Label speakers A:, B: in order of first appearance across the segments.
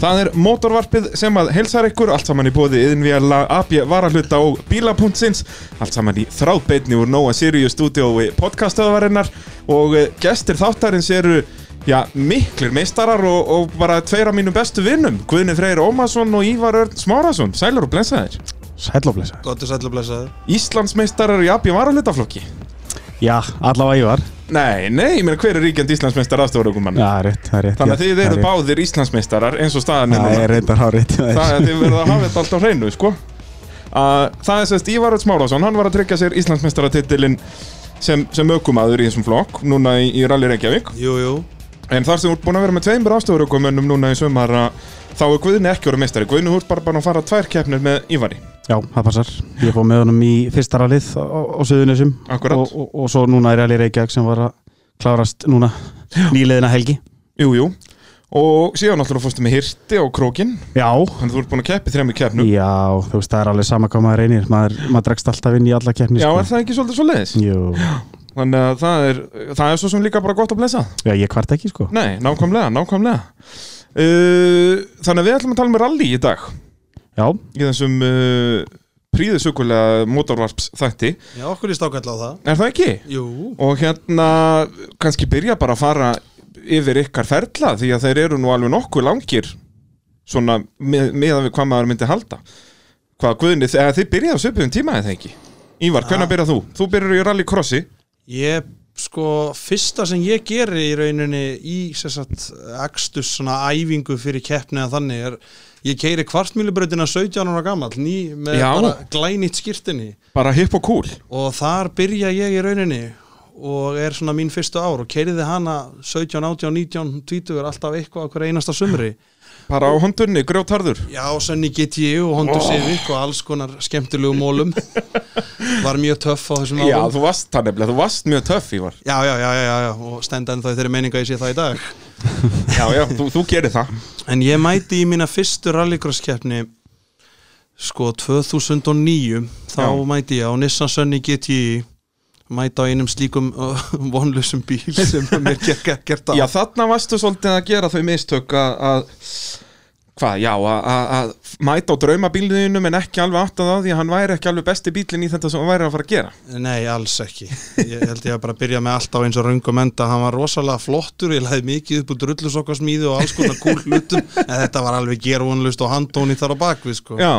A: Það er mótorvarpið sem að helsar ykkur allt saman í bóði yðinvíala AB varahluta og bíla.sins allt saman í þráðbeitni úr Nóa Sirius stúdiói podcastöðvarinnar og eh, gestir þáttarins eru já, miklir meistarar og, og bara tveir af mínum bestu vinnum Guðni Freyr Ómarsson og Ívar Örn Smárasson Sælur og blensaðir
B: Sæll og blessa
C: Gott og sæll og blessaður
A: Íslandsmeistarar í AB varahlutaflokki
B: Já, allavega Ívar
A: Nei, nei, ég meina hver er ríkjandi Íslandsmeistar aðstofarökumann
B: Já, það er rétt, það er rétt
A: Þannig að
B: já,
A: þið
B: það er
A: eru
B: rétt.
A: báðir Íslandsmeistarar eins og staðan er
B: Það
A: núna
B: er reyndar hár rétt hjá þér.
A: Það er þið verða að hafa þetta allt á hreinu sko. að, Það er sérst Ívaröld Smárásson Hann var að tryggja sér Íslandsmeistaratitilin sem, sem aukumaður í þessum flokk Núna í, í Rally Reykjavík
C: Jú, jú
A: En þar sem þú ert búin að vera með tveimur afstofarökumönnum Núna í sömar að þá er Guðni ekki voru meistari Guðni, þú ert bara, bara að fara tvær keppnir með Ívari
B: Já, það passar Ég fór með honum í fyrsta rallið á, á Suðunisum
A: Akkurat.
B: og, og, og svo núna er Rally Reykjavík sem var að klárast núna nýliðina helgi
A: Jú, jú Og síðan alltaf fórstu með hirti á krókin
B: Já
A: Þannig að þú ert búin að keppi þremur keppnum
B: Já, þú veist, það er alveg sama hvað maður reynir Maður, maður dregst alltaf inn í alla keppni
A: Já,
B: sko.
A: er það ekki svolítið svo leiðis?
B: Jú,
A: Þannig að það er, það er svo sem líka bara gott að blessa
B: já, ég kvart ekki sko
A: Nei, nákvæmlega, nákvæmlega uh, Þannig að við ætlum að tala með rally í dag
B: Já,
A: Í þessum uh, príðisökulega mótorvarps þætti
C: Já, okkur er stákall á það
A: Er það ekki?
C: Jú
A: Og hérna, kannski byrja bara að fara yfir ykkar ferla Því að þeir eru nú alveg nokkuð langir Svona með, meðan við hvað maður myndi halda Hvað guðinni, eða þið byrjaðu á söpum tíma eða ekki? Ívar, hvernig byrjað þú? Þú byrjar í rallycrossi
C: Ég, sko, fyrsta sem ég geri í rauninni í sérstætt ekstus svona æfingu fyrir keppni að þannig er Ég keiri kvartmýlubrautina 17 ára gamall Ný með
A: Já.
C: bara glænýtt skýrtinni
A: Bara hipp og cool
C: Og þar byrja ég í rauninni og er svona mín fyrstu ár og keiriði hana 17, 18, 19, 20 alltaf eitthvað okkur einasta sumri
A: Bara á hondunni, grjótarður
C: Já, Sunny GTI og Honda Civic og alls konar skemmtilegu mólum Var mjög töff á þessum
A: Já,
C: árum
A: þú varst það nefnilega, þú varst mjög töff Ívar
C: já, já, já, já, já, já, og stend ennþá í þeirri meininga ég sé það í dag
A: Já, já, þú, þú gerir það
C: En ég mæti í mína fyrstu rallycross keppni sko 2009 þá
A: Já.
C: mæti ég á Nissan Sunny GTI mæti á einum slíkum uh, vonlausum bíl sem að mér gekk ekkert á
A: Já, þarna varstu svolítið að gera þau mistök að, að hvað, já, að- að að mæta á draumabílinu en ekki alveg áttað á því að hann væri ekki alveg besti bílinn í þetta sem hann væri að fara að gera
C: Nei, alls ekki. Ég held ég að bara byrja með allt á eins og röngum enda. Hann var rosalega flottur, ég laði mikið upp úr drullusokkasmíði og alls konar kúl hlutum. En þetta var alveg gervonlust og handóni þar á bakvið, sko.
A: Já,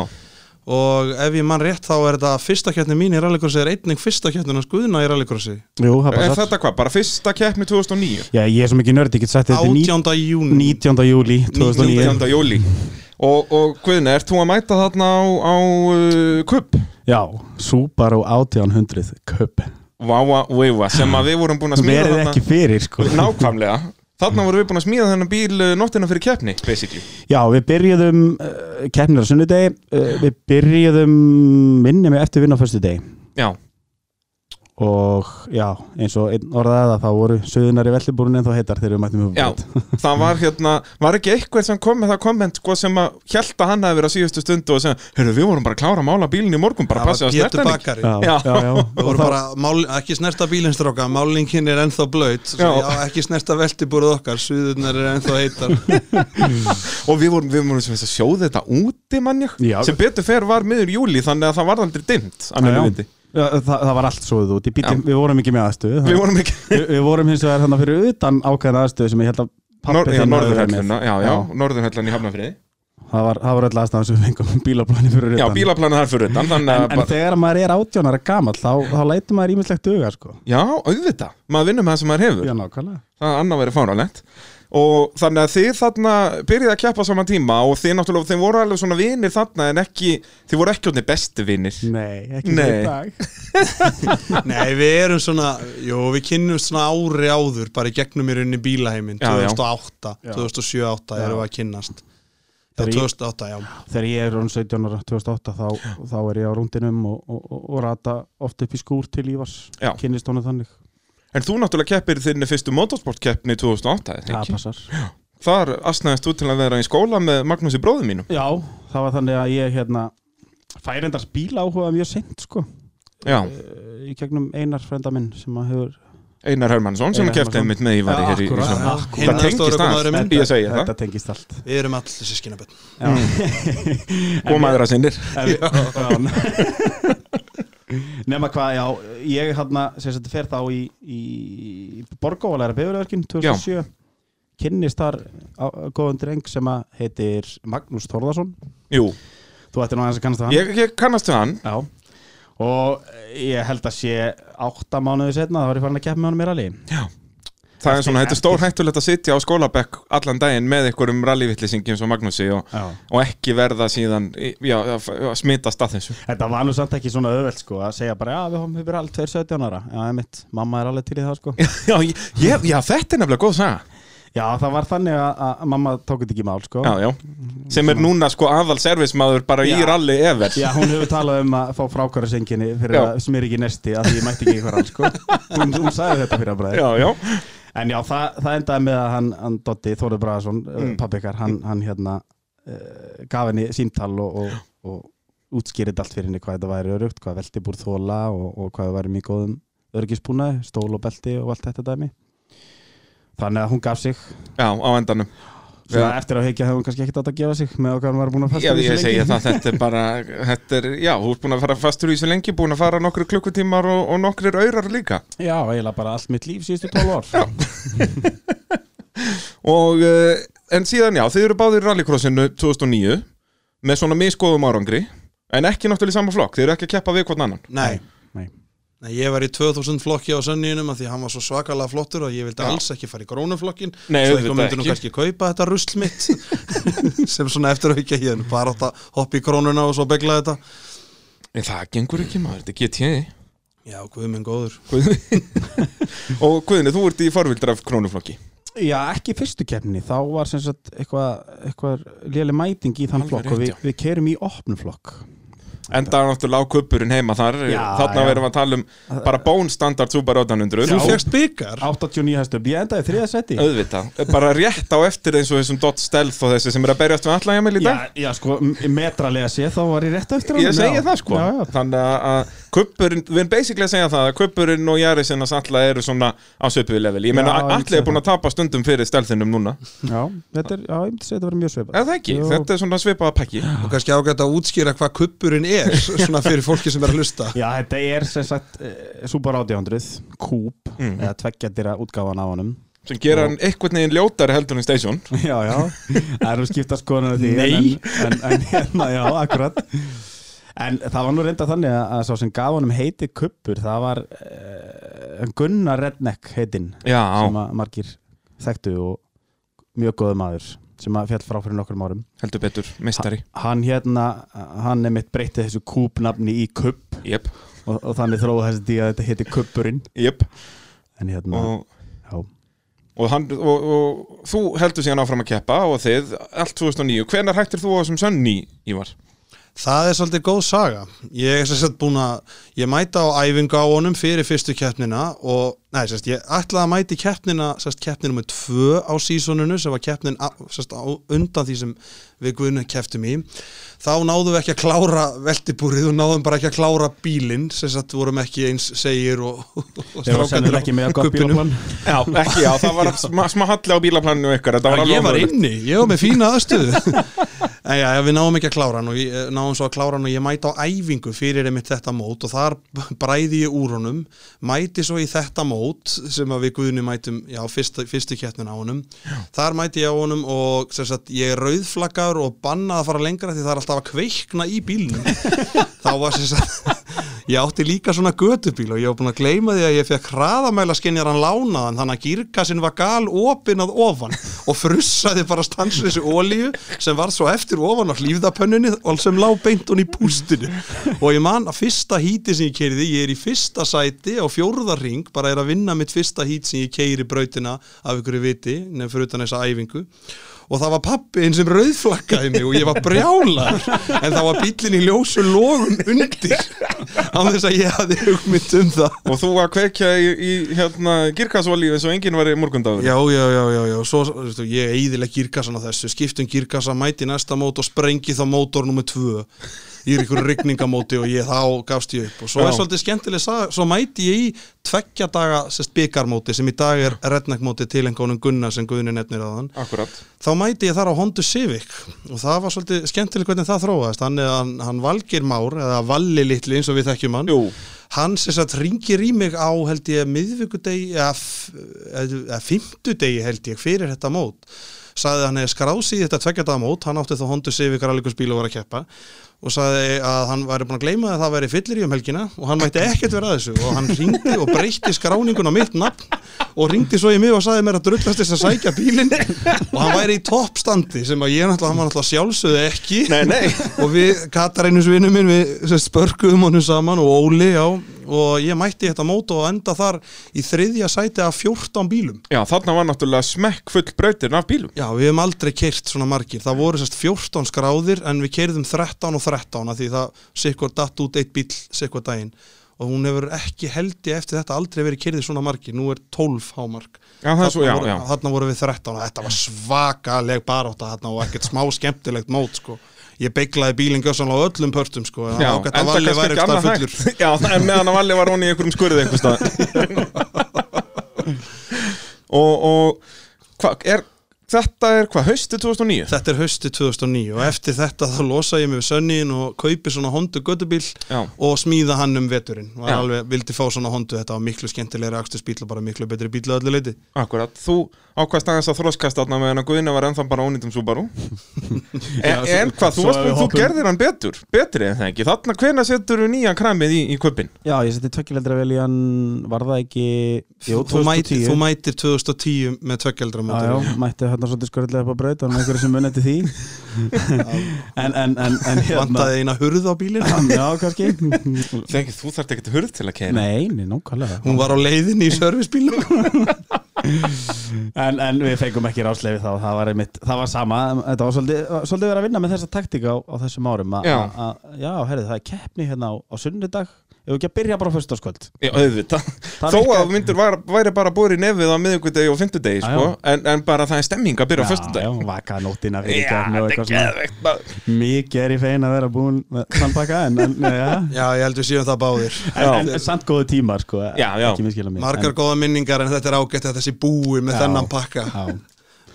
C: Og ef ég mann rétt þá er þetta fyrsta kjætni mín í rallycrossi er einning fyrsta kjætnin hans Guðna í rallycrossi.
B: jú, það
A: er
B: passar
A: þetta hvað, bara fyrsta keppni 2009
B: Já, ég er svo mikið nörd, ég get sagt þetta er ní-
C: 18. júni.
B: 19. júli 2009
A: 19. júli Og, og Guðni, ert þú að mæta þarna á, á uh, kupp?
B: Já, Subaru 1800 Cup
A: Váa, veiva, sem að við vorum búin að smíða
B: Verið
A: þarna
B: ekki fyrir sko
A: Nákvæmlega Þarna vorum við búin að smíða þennan bíl uh, nóttina fyrir keppni, basically
B: Já, við byrjuðum uh, keppnir á sunnudegi uh, Við byrjuðum minni með eftir vinna á fyrstu degi
A: Já,
B: Og já, eins og einn orðaði það þá voru söðunar í vellibúrun en þá heitar þegar við mættum upp
A: Já, það var hérna, var ekki eitthvað sem kom með það komment sko, sem að hjælta hann að vera síðustu stundu og segja, heyrðu við vorum bara að klára að mála bílinn í morgun, bara
C: Það
A: passið
C: var
A: að snerta
C: Pétur
A: hann ekki
C: Bakari.
B: já,
A: Já.
B: já, já.
C: Það
B: Og
C: voru
B: þá-
C: bara, mál, ekki snerta bílinstráka, málingin er ennþá blöyt, já.
A: Já.
C: já, ekki snerta veltibúruð okkar, suðurnar er ennþá heitar.
A: og við vorum, við vorum sem þess að sjóða þetta úti mannjak,
B: Já.
A: sem betur fer var miður júli þannig að það var aldrei dimmt að
B: Já,
A: mínu
B: já.
A: viti.
B: Já, það, það var allt svoðið út Í bíti,
A: Já.
B: Við vorum ekki með
A: Við
B: aðstöðu það-
A: vorum ekki
B: Við, við vorum hins vegar þannig fyrir utan ákveðin aðstöðu sem ég held að pabbi
A: Nor já,
B: þinn hafi verið með.
A: Norðurhelluna, já, já,
B: Já.
A: Norðurhellan í Hafnafriði
B: Það var, það var öll aðstæðan sem við fengum bílapláni fyrir
A: Já,
B: utan
A: bílaplanin þar fyrir utan þannig
B: en,
A: að
B: en
A: bara-
B: þegar maður er átjónara gamall þá, þá lætur maður ímislegt duga sko.
A: Já, auðvitað, maður vinnur með það sem maður hefur
B: Já, nákvæmlega
A: það annað verið fáránlegt og þannig að þið þarna byrjið að keppa á sama tíma og þið náttúrulega, þeim voru alveg svona vinir þarna en ekki, þið voru ekki orðnir bestu vinir
B: Nei, ekki
A: Nei.
B: Nei. í dag
C: Nei, við erum svona, jú, við kynnumst svona ári áður, bara í gegnum í rauninni bílaheimin,
A: Já, já.
C: 2008,
B: Já.
C: 2007-2008 erum við að kynnast. Já,
B: Þegar ég-
C: 2008, já.
B: Þegar ég er rún 17 ára 2008 þá, þá er ég á rúndinum og, og, og, og rata oft upp í skúr til Ívars
A: Já.
B: Kynnist honum þannig
A: en þú náttúrulega keppir þinni fyrstu motorsportkeppni 2008 eða
B: Það
A: ekki?
B: passar
A: þar asnaðist þú til að vera í skóla með Magnúsi bróðum mínum
B: Já, það var þannig að ég hérna færendars bíl áhuga mjög seint sko
A: já,
B: Eh, í gegnum einar frenda minn sem að hefur
A: Einar Hermannsson sem
B: Einar
A: kefti
B: Hermannsson.
A: einmitt með ég var í
B: Ja,
A: hér í- í
B: akkúrat.
A: svona.
B: Akkúrat.
A: Það tengist
C: Stóra
A: aðeins,
C: komaður minn.
A: ég segi
B: Þetta
A: þetta
B: tengist allt
C: Við erum allir sískinabönd
B: Mm.
A: Og maður að sindir
B: Nefna hvað, já, ég hann sem þetta fer þá í, í Borgó að læra bifurverkin 2007 kynnist þar á, á góðum dreng sem að heitir Magnús Þórðarsson
A: Jú,
B: þú ættir nú aðeins að kannast það
A: ég, ég kannast við hann
B: Já og ég held að sé átta mánuði setna þá var ég farin að keppa með honum í rally
A: Já Það er svona, þetta er stór hættulegt að sitja á skólabekk allan daginn með einhverjum rallyvittlisingi eins og Magnúsi og,
B: Já.
A: og ekki verða síðan, í- já, að f- að smitast að þessu
B: Þetta var nú samt ekki svona öðvöld sko að segja bara já við hófum yfir alveg 217 ára Já, einmitt, mamma er alveg til í það sko
A: Já, ég, ég- já þetta er nefnilega góð saga
B: Já, það var þannig að, að mamma tók þetta ekki í mál sko
A: Já, já, sem er núna sko aðal servismadur bara
B: Já.
A: í rally efer
B: Já, hún hefur talað um að fá frákvæðarsenginni fyrir
A: Já.
B: að smyr ekki nesti að því ég mætti ekki einhver alls sko. hún, hún sagði þetta fyrir að bræði
A: já, já,
B: En já, það, það endaði með að hann, hann Dotti Þóri Bræðarsson, mm. pappikar hann, hann hérna uh, gaf henni símtal og, og, og útskýrið allt fyrir henni hvað þetta væri örugt hvað velti búr þóla og, og hvað það væri mjög góðum örgisbúnaði, stól og belti og allt þetta dæmi Þannig að hún gaf sig
A: já, á endanum
B: Svona
A: Já.
B: eftir að hekja hefði hún kannski ekkert átt að gefa sig með okkar hann var búin að
A: Já,
B: fasta
A: ég segi það, þetta er bara, þetta er, já, þú ert búin að fara fastur í þessu lengi, búin að fara nokkru klukkutímar og, og nokkrir aurar líka
B: Já, eiginlega bara allt mitt líf síðustu 12 ár
A: Og, uh, en síðan já, þið eru báðir í rallycrossinu 2009 með svona miskoðum árangri en ekki náttúrulega í sama flokk, þið eru ekki að keppa við hvort annan
C: Nei,
B: Nei.
C: Nei, ég var í 2000 flokki á sönninum af því að hann var svo svakalega flottur og ég vildi
A: Já.
C: alls ekki fara í grónuflokkin
A: Nei, auðvitað
C: svo eitthvað myndi nú
A: ekki.
C: kannski kaupa þetta rusl mitt sem svona eftir aukja ég en bara átt að hoppa í krónuna og svo begla þetta
A: En það gengur ekki maður, þetta get ég
C: Já, guð minn góður
A: Og Guðni, þú ert í farvildraf krónuflokki
B: Já, ekki í fyrstu keppni, þá var sem sagt eitthvað, eitthvað léli mæting í þann
A: Alveg
B: flokk
A: rétt,
B: og við,
A: já.
B: við kerum í opnum flokk
A: Enda er náttúrulega á kuppurinn heima þar
B: Já,
A: Þarna
B: já.
A: verðum við að tala um bara bónstandard Subaru 800
C: Þú fegst byggar
B: 89 hæstum, ég endaði þriða seti
A: Auðvitað, bara rétt á eftir eins og þessum Dodge Stealth og þessi sem er að berjast við allan í dag
B: já, já, sko, m- metralega séð þá var ég rétt eftir
A: Ég
B: honum,
A: segja
B: já.
A: það sko
B: já, já.
A: Þannig að- að kuppurinn, við erum basically að segja það að kuppurinn og Jarisinn að alla eru svona á svipuðu level Ég meina
B: Já, ég
A: allir
B: hugsa
A: er búin að tapa stundum fyrir stelðinum núna
B: já, þetta er, já, ég myndi segja þetta var mjög svipað
A: Eða það ekki,
B: Jú.
A: þetta er svona svipaða pakki
C: og kannski ágætt að útskýra hvað kuppurinn er svona fyrir fólki sem er að hlusta
B: Já, þetta er sem sagt uh, Super 800, Coupe
A: Mhm.
B: eða tveggjadira útgáfan á honum
A: sem gera hann einhvern veginn ljótari heldur en station
B: Já, já, það eru skipta skoðan
A: Nei.
B: En, en, en hérna, já, akkurat En það var nú reynda þannig að, að sá sem gaf honum heiti kuppur það var uh, Gunnar Redneck heitinn
A: Já,
B: sem að margir þekktu og mjög góðu maður sem að fjall frá fyrir nokkrum árum
A: heldur betur, meistari
B: Hann hérna, hann er mitt breytið þessu kúpnafni í kupp
A: Jep,
B: og, og þannig þróðu þessi því að þetta heiti kuppurinn
A: jep
B: En hérna,
A: og,
B: já
A: og, hann, og, og þú heldur síðan áfram að keppa og þið, allt 2009 Hvenær hættir þú á þessum sönni, Ívar?
C: Það er svolítið góð saga. Ég er sem sagt búin að, ég mæta á æfingu á honum fyrir fyrstu keppnina og, nei, sem sagt, ég ætlaði að mæti keppnina, sem sagt, keppnina með tvö á sísoninu sem var keppnin, á- sem sagt, á undan því sem við guðinu kepptum í. Þá náðum við ekki að klára veltibúrið og náðum bara ekki að klára bílinn, sem sagt, vorum ekki eins segir og, og
B: Þeir voru sennilega ekki með að gott
C: kubbinum.
B: bílaplan
A: Já, ekki, já, það var sma, sma halli á bílaplaninu ykkar þetta
C: Já,
A: alveg
C: ég var
A: ómögulegt.
C: inni, ég var með fína aðstöðu En já, já, við náum ekki að klára hann og ég, náum svo að klára hann og ég mæti á æfingu fyrir einmitt þetta mót og þar bræði ég úr honum mæti svo í þetta mót sem að við guðinu mætum, já, fyrsta, fyrstu kettnuna á honum Þar mæti ég á honum og sem sagt, ég er rauðflaggar og bannað að fara lengra því það er alltaf að kveikna í bílnum Þá var sem sagt Ég átti líka svona götubíl og ég var búin að gleyma því að ég fekk hraðamæla skinjaran lánaðan þannig að gírkassin var gal opin að ofan og frussaði bara stansleysi ólíu sem var svo eftir ofan á hlýfðapönnunni og sem lá beint hún í pústinu og ég man að fyrsta híti sem ég keiriði, ég er í fyrsta sæti á fjórðarring, bara er að vinna mitt fyrsta hít sem ég keiri brautina af ykkur viti, nefn fyrir utan þessa æfingu og það var pappiðin sem rauðflakkaði mig og ég var brjálar en það var bíllinn í ljósu logum undir án þess að ég hafði hugmynd um það
A: Og þú að kveikja í, í hérna, girkasolíu eins og enginn var í morgundagur
C: Já, já, já, já, já, svo, veistu, ég eiðileg gírkassan á þessu, skiptum gírkassa, mæti næsta mót og sprengi þá mótor nummer tvö ég er ykkur rigningamóti og ég þá gafst ég upp og
A: Já.
C: svo er svolítið skemmtileg saga, svo mæti ég í tveggja daga sest, byggarmóti sem í dag er rednekmóti tilengunum Gunnar sem Guðni nefnir að hann
A: Akkurat
C: þá mæti ég þar á Honda Civic og það var svolítið skemmtileg hvernig það þróaðist hann, er- hann, hann valgir már eða valli litli eins og við þekkjum hann
A: Jú,
C: hann sem sagt ringir í mig á held ég miðvikudegi eða f- eða fymtudegi held ég fyrir þetta mót sagði að hann hefði skráð sig í þetta tveggjadaða mót hann átti þá Honda Civic rallykursbíl og var að keppa og sagði að hann væri búin að gleyma að það væri fyllir í um helgina og hann mætti ekkert vera að þessu og hann ringdi og breytti skráningun á mitt nafn og ringdi svo í mig og sagði mér að drullast þess að sækja bílinn og hann væri í toppstandi sem að ég náttúrulega, hann var náttúrulega sjálfsögðu ekki
A: nei, nei
C: og við Katarínusvinu minn við sem sagt, spörkuðum honum saman og Óli já, og ég mætti í þetta mót og enda þar í þriðja sæti af 14 bílum
A: Já, þarna var náttúrulega smekk full brautin af bílum
C: Já, við hefum aldrei keirt svona margir. Það voru sérst 14 skráðir en við keirðum 13 og 13 af því það sikkur datt út eitt bíl sikkur daginn og hún hefur ekki heldi eftir þetta aldrei verið keirðið svona margir. Nú er 12 hámark.
A: Já, það er svo- já,
C: voru,
A: já.
C: Þarna voru við 13 og þetta var svakaleg barátta þarna og ekkert smá skemmtilegt mót sko. Ég beiglaði bílinn gjössanlega á öllum pörtum sko. en
A: Já,
C: ágætt að valli væri ekki stað fullur.
A: hægt Já, það er meðan að Valli var hún í einhverjum skurði einhver stað Og, og hva, er, þetta er hvað, hausti 2009?
C: Þetta er hausti 2009 og eftir þetta þá losa ég mig við sönnin og kaupi svona hondu göttubíl
A: Já.
C: og smíða hann um veturinn og
A: Já.
C: alveg vildi fá svona hondu þetta var miklu skemmtilegri akstursbíl og bara miklu betri bíl að öllu leiti
A: Akkurat, þú ákvæðst aðeins að þróskast þarna meðan að Guðina var ennþá bara ónýtum Subaru en,
B: Já, svo-
A: en hvað, þú,
B: svo
A: varst,
B: að við
A: þú
B: hoppum-
A: gerðir hann betur betri en það ekki, þarna hvena setur þú nýjan kramið í, í kvöpin?
B: Já, ég seti tvekkjaldra vel í hann Var það ekki Jú,
C: þú, mætir,
B: 2010
C: þú mætir 2010 með tveggjaldra
B: Já, já, mætti hérna svolítið skörðlega upp á braut og einhverju sem munið til því en, en, en, en hérna
C: vandaði eina hurð á bílinn
B: Já, kannski
A: Þegar þú þarft ekkert hurð til að keira
B: Nei, nei, nákvæmlega
C: hún var á leiðinni í servisbílum
B: en, en við fengum ekki ráslegi þá það var, einmitt, það var sama, þetta var svolítið, svolítið verið að vinna með þessa taktika á, á þessum árum að,
A: Já.
B: að, já herri, það er keppni hérna á, á sunnudag ef við ekki að byrja bara á föstaskvöld
A: Já, auðvitað
B: Það
A: Þó
B: virkar-
A: að myndur var, væri bara búið í nefið á miðvikudegi og fimmtudegi,
B: Já,
A: sko en, en bara það er stemming að byrja á
B: já,
A: föstudegi
B: vaka nóttina fyrir
A: Já,
B: keppni
A: þetta
B: og
A: er
B: eitthvað svona.
A: geðveikt maður.
B: mikið er í fein að vera búin með þann pakka en, en, já,
C: já, ég held við síðan það báðir
B: en, en, en samt góðu tímar sko,
A: Já, já.
B: ekki miskila mig
C: margar
B: en,
C: góða minningar en þetta er ágætt að þessi búi með
B: Já.
C: þennan pakka
B: já.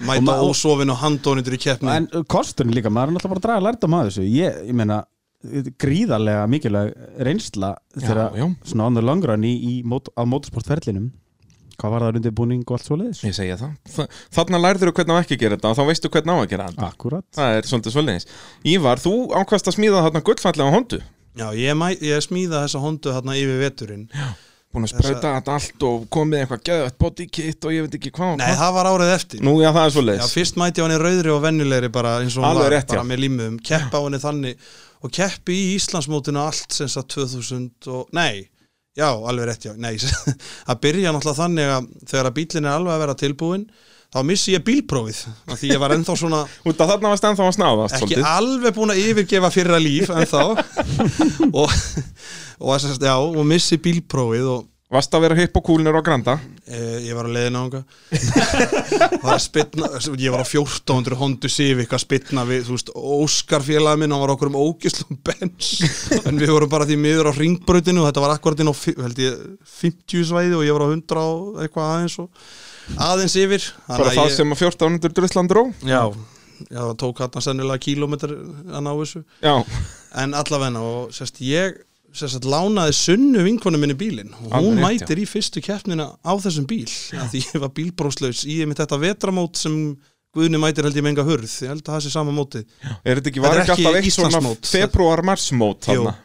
C: mæta
B: Og ma-
C: ósofin og handónindur í keppni
B: en uh, kosturinn líka, maður er náttúrulega bara að draga lærdom að þessu ég, ég meina uh, gríðarlega mikilvæg reynsla
A: já.
B: þegar svona on the long run í, í mót, á mótorsportferlinum hvað var það undirbúning og allt svo leiðis
A: Ég segja það Þa- Þarna lærður þú hvernig á ekki að gera þetta og þá veistu hvernig á að gera þetta
B: akkurat,
A: Það er svolítið svolítið Ívar, þú ákvæðst að smíða þarna gullfallega hóndu
C: já, ég, mæ, ég smíða þessa hondu hérna yfir veturinn
A: búin að sprauta þetta allt og komið eitthvað gæðvægt body kit og ég veit ekki hvað og
C: nei,
A: hvað.
C: það var árið eftir
A: Nú, já, það er svo
C: Já,
A: leiðis.
C: fyrst mæti ég hann í rauðri og vennilegri bara eins og hann
A: Alveg
C: var,
A: rétt, já.
C: bara með límum, keppa á henni þannig og keppi í Íslandsmótinu allt sem sagt 2000 og, nei já, alveg rétt, já, nei að byrja náttúrulega þannig að þegar að bílinn er alveg að vera tilbúin þá missi ég bílprófið, af því ég var ennþá svona
A: Út af þarna varst ennþá að snáðast
C: ekki
A: svolítið.
C: alveg búin að yfirgefa fyrra líf ennþá og, og, að sem sagt, já, og missi bílprófið og
A: Varst að vera hipp og kúlinur og granda.
C: Eh, Ég var á leiðin á unga var að spytna, Ég var á 1400 Hondu Civic að spytna við þú veist, Óskar félagi minn, hann var okkur um ógislum bens en við vorum bara því miður á ringbrautinu og þetta var akkurat inn á fi- held ég, 50 svæði og ég var á 100 og eitthvað aðeins og aðeins yfir Þannig
A: Bara
C: að
A: það
C: ég-
A: sem að 1400 drusland ró.
C: Já, já, það tók hann sennilega kílómetr að ná þessu
A: Já,
C: en allavegna og sérst ég sérst lánaði sunnu vinkonu minni bílinn og
A: Alveg
C: hún
A: rétt,
C: mætir í fyrstu keppnina á þessum bíl af því ég var bílbróslaus í einmitt þetta vetramót sem Guðni mætir held ég menga hurð ég held að það sé sama móti
A: er þetta ekki,
C: Þetta
A: var
C: er
A: ekki
C: ekki
A: alltaf eitt svona
C: Íslandsmót.
A: februar-marsmót
C: Jú.
A: þarna?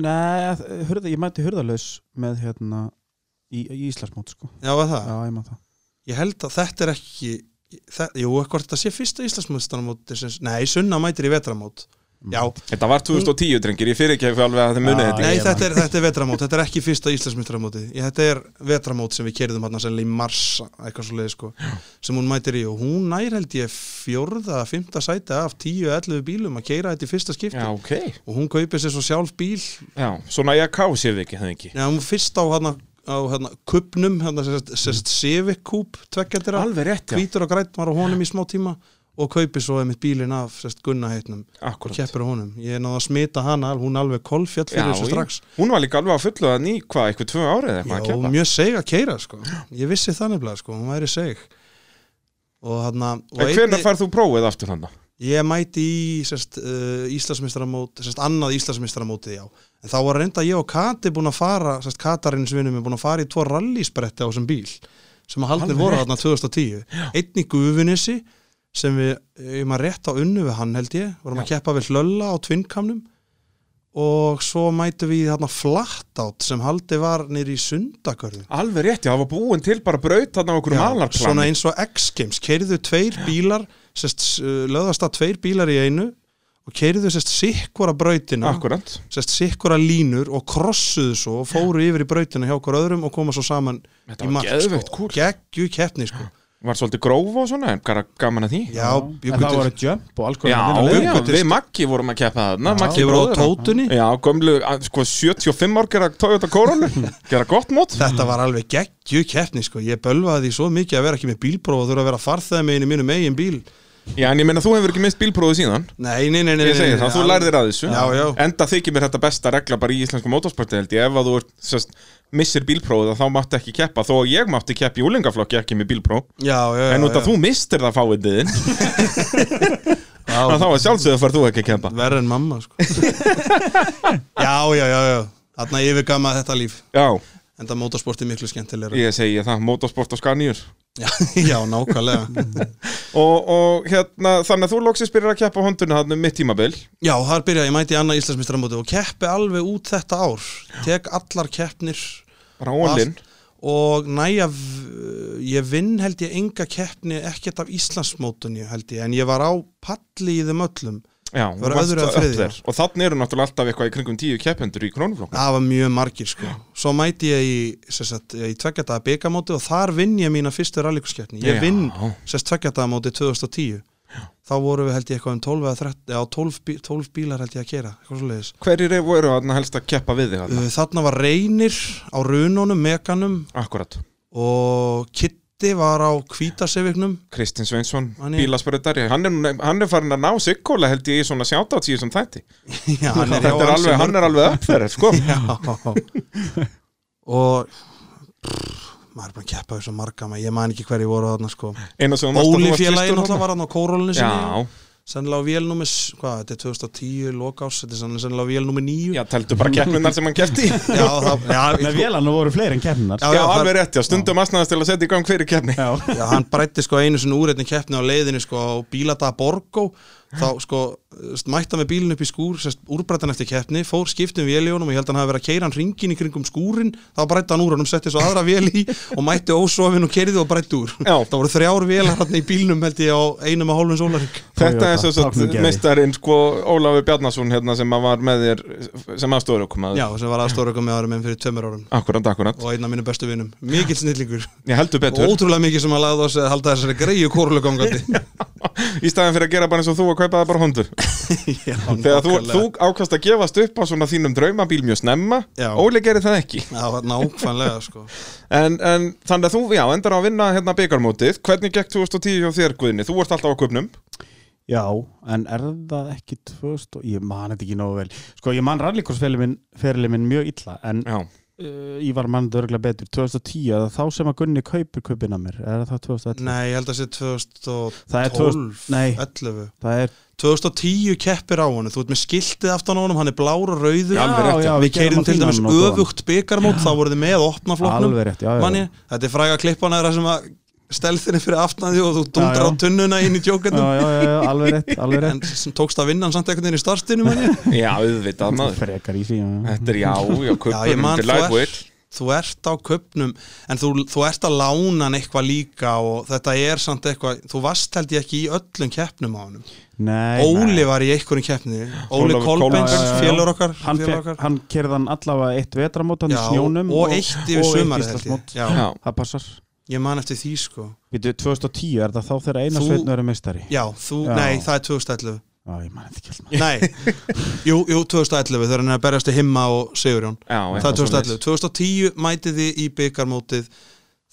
B: nei, hurða, ég mæti hurðalaus með hérna í, í Íslandsmót sko,
C: já var það
B: já, ég maður það
C: ég held að þetta er ekki það, jú, hvort þetta sé fyrsta Íslandsmótstanamóti sem, nei, sunna mætir í vetramót já,
A: Þetta var 2010, drengir, ég fyrir ekki alveg að þið munið
B: Já,
A: þetta.
C: nei,
B: ég man.
C: þetta er, þetta er vetramót þetta er ekki fyrsta Íslandsmóttanamóti þetta er vetramót sem við kerðum hann sennilega í mars eitthvað svo sko, sem hún mætir í og hún nær held ég fjórða, fymta sæti af 10-11 bílum að keira þetta í fyrsta skipti
A: Já, ok.
C: og hún kaupir sér svo sjálf bíl
A: Já, svona ég að ká sér við ekki, það ekki.
C: Já, hún fyrst á hérna á hérna kubnum, hérna sérst Civic Coupe tveggjandira,
A: Alveg rétt, já.
C: hvítur og grætt var á honum í smá tíma og kaupi svo einmitt bílinn af sest, Gunna heitnum og
A: Akkurat
C: keppir á honum ég náði að smita hana, hún alveg kolfjall fyrir
A: Já,
C: þessu
A: í-
C: strax
A: Hún var líka alveg að fullu að ný, hvað, eitthvað tvö árið eða eitthvað að
C: Já,
A: keppa
C: mjög seg að keira sko. ég vissi það nefnilega, sko, hún væri seg og hann
A: En hvernig færð þú prófið aftur hann?
C: Ég mæti í sest, uh, Íslandsmeistaramót, sest, annað Íslandsmeistaramótið, já. En þá var reynda ég og Kati búin að fara, sest, Katarins vinnum er búin að fara í tvo rallysbretti á þessum bíl sem að haldið
A: Alveg
C: voru
A: rétt.
C: þarna 2010. Einn í Gufunissi sem við, ég maður rétt á unnu við hann held ég, vorum að keppa við hlölla á tvinnkamnum og svo mætu við í þarna flatt átt sem haldið var nýri í sundakörðum.
A: Alveg rétt, já, það var búin til bara braut þarna á okkur malarplan
C: svona eins og X-Games keiriðu tveir bílar sest, löðast að tveir bílar í einu og keiriðu sest sikkvara brautina
A: Akkurat
C: sest sikkvara línur og krossuðu svo og fóru yfir í brautina hjá okkur öðrum og koma svo saman
A: Þetta
C: í
A: var
C: mark
A: geðveikt
C: sko.
A: kúl.
C: geggju keppni sko.
A: Var svolítið gróf og svona, en bara gaman að því
C: já,
B: En það voru
C: bjúkutil
B: jump og alls
A: Já,
B: konar minna
A: já,
B: leiðir.
A: við Maggi vorum að keppa þarna Maggi
C: Ég voru á
A: bróðir hann.
C: tótunni
A: Já, gömlu, að- sko, 75 ár gera Toyota Corolla Gera gott mót
C: Þetta var alveg geggju keppni sko. Ég bölvaði því svo mikið að vera ekki með bílpróf og þurfa að vera farþæði meginn í mínum eigin bíl
A: Já, en ég meina, þú hefur ekki mist bílprófið síðan
C: Nei, nei, nei, nei, nei,
A: Ég segi
C: nei,
A: það, þú
C: al-
A: lærðir að þessu
C: Já, já.
A: Enda þykir mér þetta besta regla bara í íslensku mótorsporti held ég Ef að þú ert, sérst, missir bílprófið að þá mátti ekki keppa Þó að ég mátti keppa í úlingaflokki ekki með bílpróf
C: Já, já, já,
A: En út að
C: já.
A: þú mistir það fáiðiðin
C: Já,
A: Þá að sjálfsögðu far þú ekki að keppa
C: Verð en mamma sko. Já, já, já, já Þarna yfirgama þetta líf
A: Já,
C: En það mótorsporti miklu skemmtilegra
A: ég segi það, motorsport og skanýjur
C: já, já, nákvæmlega
A: og, og hérna, þannig að þú loksins byrjar að keppa á hondunni hann um mitt tímabil
C: Já, þar byrja ég mæti í annað Íslandsmistramóti og keppi alveg út þetta ár Tek allar keppnir
A: bara ólinn
C: og næja ég vinn held ég enga keppni ekkert af Íslandsmótunni held ég en ég var á palli í þeim öllum
A: Já, og,
C: Var öðru eða þriðja?
A: og þannig eru náttúrulega alltaf eitthvað í kringum tíu keppendur í krónuflokk
C: Það var mjög margir sko Svo mæti ég í, sem sagt, í tveggjadaða byggamóti og þar vinn ég mína fyrstu rallíkuskeppni Ég
A: Já.
C: vinn sérst tveggjadaða móti 2010 Þá voru við held ég eitthvað um 12 eða 13 Já, 12, bí- 12 bílar held ég að kera Eitthvað svo leiðis
A: Hverjir voru hann helst að keppa við þig hann?
C: Þarna var reynir á rununum, mekanum
A: Akkurat
C: Og Kitty var á kvítasefiknum
A: Kristinn Sveinsson,
C: Hann er-
A: bílaspröðari hann, er nú- hann er farin að ná sikkóla held ég í svona sjátátsíu sem þetta
C: Já, hann er
A: Þetta
C: hjá
A: er
C: ansi
A: alveg, hann er alveg upp þeirra sko.
C: Já Og pff, maður er bara að keppa þessu marga maður, ég man ekki hverju voru þarna sko
A: Eina sem þú manst að þú
C: Óli
A: varst
C: félagi
A: fyrstur
C: náttúrulega
A: þarna.
C: var hann á kórólinu sinni
A: Já,
C: sennilega á vélnúmi, hvað, þetta er 2010 lokás, þetta er sennilega- sennilega á vélnúmi 9
A: já, teltu bara keppnunar sem hann keppti í.
C: já, það, já,
B: Nei,
C: sko,
B: vélarnar voru fleiri en keppnar
C: Já,
A: Já,
C: það-
A: alveg rétt, já, stundum aðsnaðast til að setja í gang fyrir keppni
B: Já,
C: já, hann brætti sko einu sinni úr einni keppni á leiðinu sko á bíladaða Borgó þá sko, st, mætta með bílinn upp í skúr sest, úrbrættan eftir keppni, fór skiptum véljónum og ég held að hann hafi verið að keira hann ringin í kringum skúrin þá brætti hann úr honum, setti svo aðra vél í og mætti ósofin og kerði og brætti úr
A: Já.
C: það voru þrjár vélar hann í bílnum held ég á einum og hálfum sólaring
A: Þetta er
B: Toyota,
A: svo svo
B: táknum geði.
A: meistarinn sko Ólafur Bjarnason hérna sem að var með þér sem aðstofur okkur maður
C: já, sem var aðstóra ykkur með árum en fyrir tveimur árum
A: Akkurat, akkurat,
C: og einn af mínu bestu vinum, mikill snillingur
A: ég heldur betur
C: ótrúlega mikið sem að laða þess að halda þessari greiðu kórlugangandi
A: Í staðan fyrir að gera bara eins og þú að kaupa það bara hondur Þegar þú, þú ákvast að gefast upp á svona þínum draumabíl mjög snemma
C: Já.
A: Óli gerir það ekki
C: Já, nákvæmlega sko
A: En, en þannig að þú, já, endar á að vinna hérna byggarmótið Hvernig gekk 2010 hjá þér Guðni? Þú ert alltaf á kupnum
B: já, en er það ekki 2000 og ég man þetta ekki nógu vel Sko, ég man rallíkorsferli minn, ferli minn mjög illa en
A: Já,
B: uh, ég var mann dörgla betur 2010, er það þá sem að Gunni kaupir kaupin að mér, er það 2011?
C: Nei, ég held að sé 2012
B: það er 2000, nei,
C: 11
B: það er
C: 2010 keppir á honum, þú ert með skiltið aftan á honum hann er blár og rauður
A: Já, alveg rétt, já.
B: við
C: við keirum
B: gerðum
C: til dæmis
B: fínan og góðan.
C: öfugt byggarmót þá voruð þið með opna flokknum
B: alveg rétt, já, já,
C: manni, þetta er fræga klippan aðra sem að stelðinni fyrir aftan því og þú dundrar á
B: já.
C: tunnuna inn í
B: já,
C: tjókendum
B: já, já, já, alveg rétt, alveg rétt
C: en sem tókst að vinna hann samt einhvern veginn í starstinu manni
A: já auðvitað maður
B: frekar í því, já, já.
A: Þetta er já, já,
C: Já, ég
A: kupnum
C: man
A: til
C: þú
A: lightweight
C: ert, þú ert á köpnum en þú, þú ert að lána hann eitthvað líka og þetta er samt eitthvað þú varst held ég ekki í öllum keppnum á hann
B: Nei, nei.
C: Óli var í einhverjum keppni Óli
A: Ólafur
B: Já,
C: Kolbens,
B: já, já.
C: félur okkar,
B: hann,
C: félur
B: fekk,
C: okkar.
B: hann kerði hann allavega eitt vetramót hann í
C: Já,
B: snjónum
C: og eitt yfir
B: og eitt
C: sumarið, held ég.
B: Íslandsmót.
C: Já.
A: Já,
B: það passar
C: ég man eftir því sko
B: Býtu, 2010 er það þá þegar eina
C: Þú-
B: þú... sveitn verið meistari
C: Já, þú,
B: Já.
C: nei, það er 2011
B: Já, ég man þetta ekki alls maður
C: Nei, jú, jú, 2011 þegar hann er að berjast í Himma og Sigurjón
A: já
C: Það er
A: eitthvað svoleiðis.
C: 2011, 2010 mætið þið í byggarmótið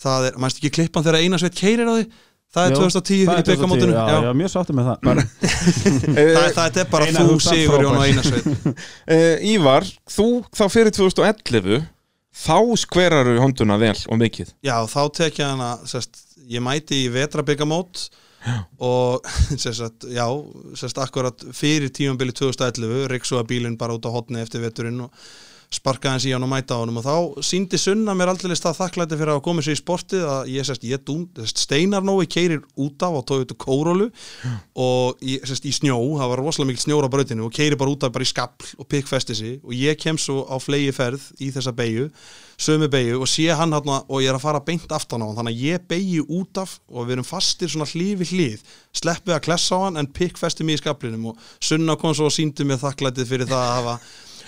C: Það er, mæst ekki klippan þegar eina sveit keirir á því það er
B: Það
C: 2010 í
B: er 2010,
C: byggamótinu
B: já, já, mjög sáttu með það bara,
C: Það, það er bara
B: Einar
C: þú
B: Hugdal
C: Sigur
B: frábær.
C: Jón og Einarsveit
A: Eh, Ívar, þú þá fyrir 2011 þá skveraru honduna vel og mikið
C: Já, þá tek ég hana sest, ég mæti í vetrabyggamót og sérst, já, sérst, akkurat fyrir tíumbili 2011, riksuða bílinn bara út á hotni eftir veturinn og sparkaði hans í hann og mæta á honum og þá síndi sunna mér aldrei það þakklæti fyrir að hafa komið sér í sportið að ég, sérst, ég dún, sérst, steinar nógu keirir út af og tóði út kórólu og ég, sérst, í snjó, það var rosalega mikil snjór á brautinu og keiri bara út af bara í skapl og pikkfesti sig og ég kem svo á flegi ferð í þessa beigju, sömu beigju og sé hann hann og ég er að fara beint aftan á hann þannig að ég beigju út af og við erum fastir svona hlífi hlíð sleppið að klessa á hann en pikkfesti mig í skaplinum og sunna kom svo og síndi mér þakklætið fyrir það að hafa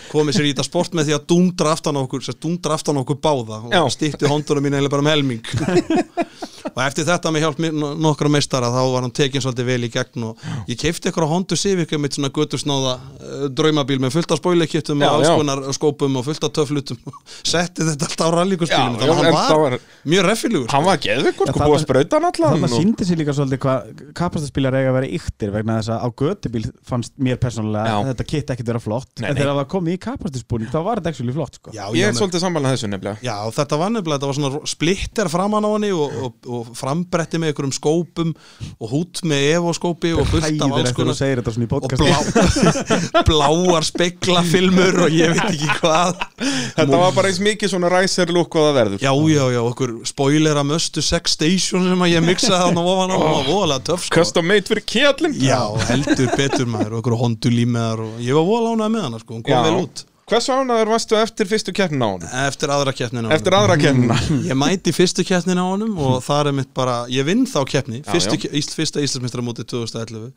C: komið sér í þetta sport með því að dundra aftan á okkur sem dundra aftan á okkur báða og
A: Já.
C: stýtti hondunum mín eiginlega bara um helming og eftir þetta með hjálp mér- no- nokkra meistara þá var hann tekin svolítið vel í gegn og ég keipti eitthvað hondu Civic mitt svona göttusnáða uh, draumabíl með fullt af spoilerkittum
A: Já,
C: og alls
A: já.
C: konar skópum og fullt af töflutum setti þetta allt á rallíkuspílum
A: Já,
C: þannig að
A: en
C: hann var,
A: þá var-
C: mjög reffilugur
A: hann var geðveikur,
B: Já,
A: sko,
B: þarna-
A: búið að sprauta hann allan
B: þannig að
A: og-
B: síndi sér líka svolítið hvað kapastaspílar eiga að vera yktir vegna þess að á götubíl fannst mér persónulega
A: Já.
B: að þetta kitt ekkert vera flott
A: Nei,
B: en
A: nei.
B: þegar það var komið í kapastaspúning þá var þetta ekki flott sko.
C: já,
A: ég
C: já,
A: er
C: menn-
A: svolítið samanlega þessu nefnilega
C: Já, þetta var nefnilega, þetta var svona ro- splitter framan á henni og, og, og frambretti með einhverjum skópum og hút með evoskópi og fullt af
B: hæðir
C: alls
B: eftir að
C: konar
B: segja þetta svona í
C: og
B: podcast
C: blá, bláar speglafilmur og ég veit ekki hvað
A: þetta var bara eins mikið svona ræsir lúk og það verður
C: Já, já, já, okkur spoiler að möstu sex station sem að ég miksaði hann og ofan á og var voðalega töff sko
A: custom made fyrir kjallin
C: Já, heldur betur maður og okkur hondulímiðar og ég var voðalega ánægð með hann sko, hún kom vel út
A: hversu ánaður varstu eftir fyrstu keppnin á hann
C: Eftir aðra keppnina á honum.
A: eftir aðra keppnina
C: Ég mæti í fyrstu keppnin á honum og það er mitt bara, ég vinn þá keppni
A: Já,
C: fyrstu,
A: já.
C: já. Ísl, fyrsta Íslandsmeistaramóti 2011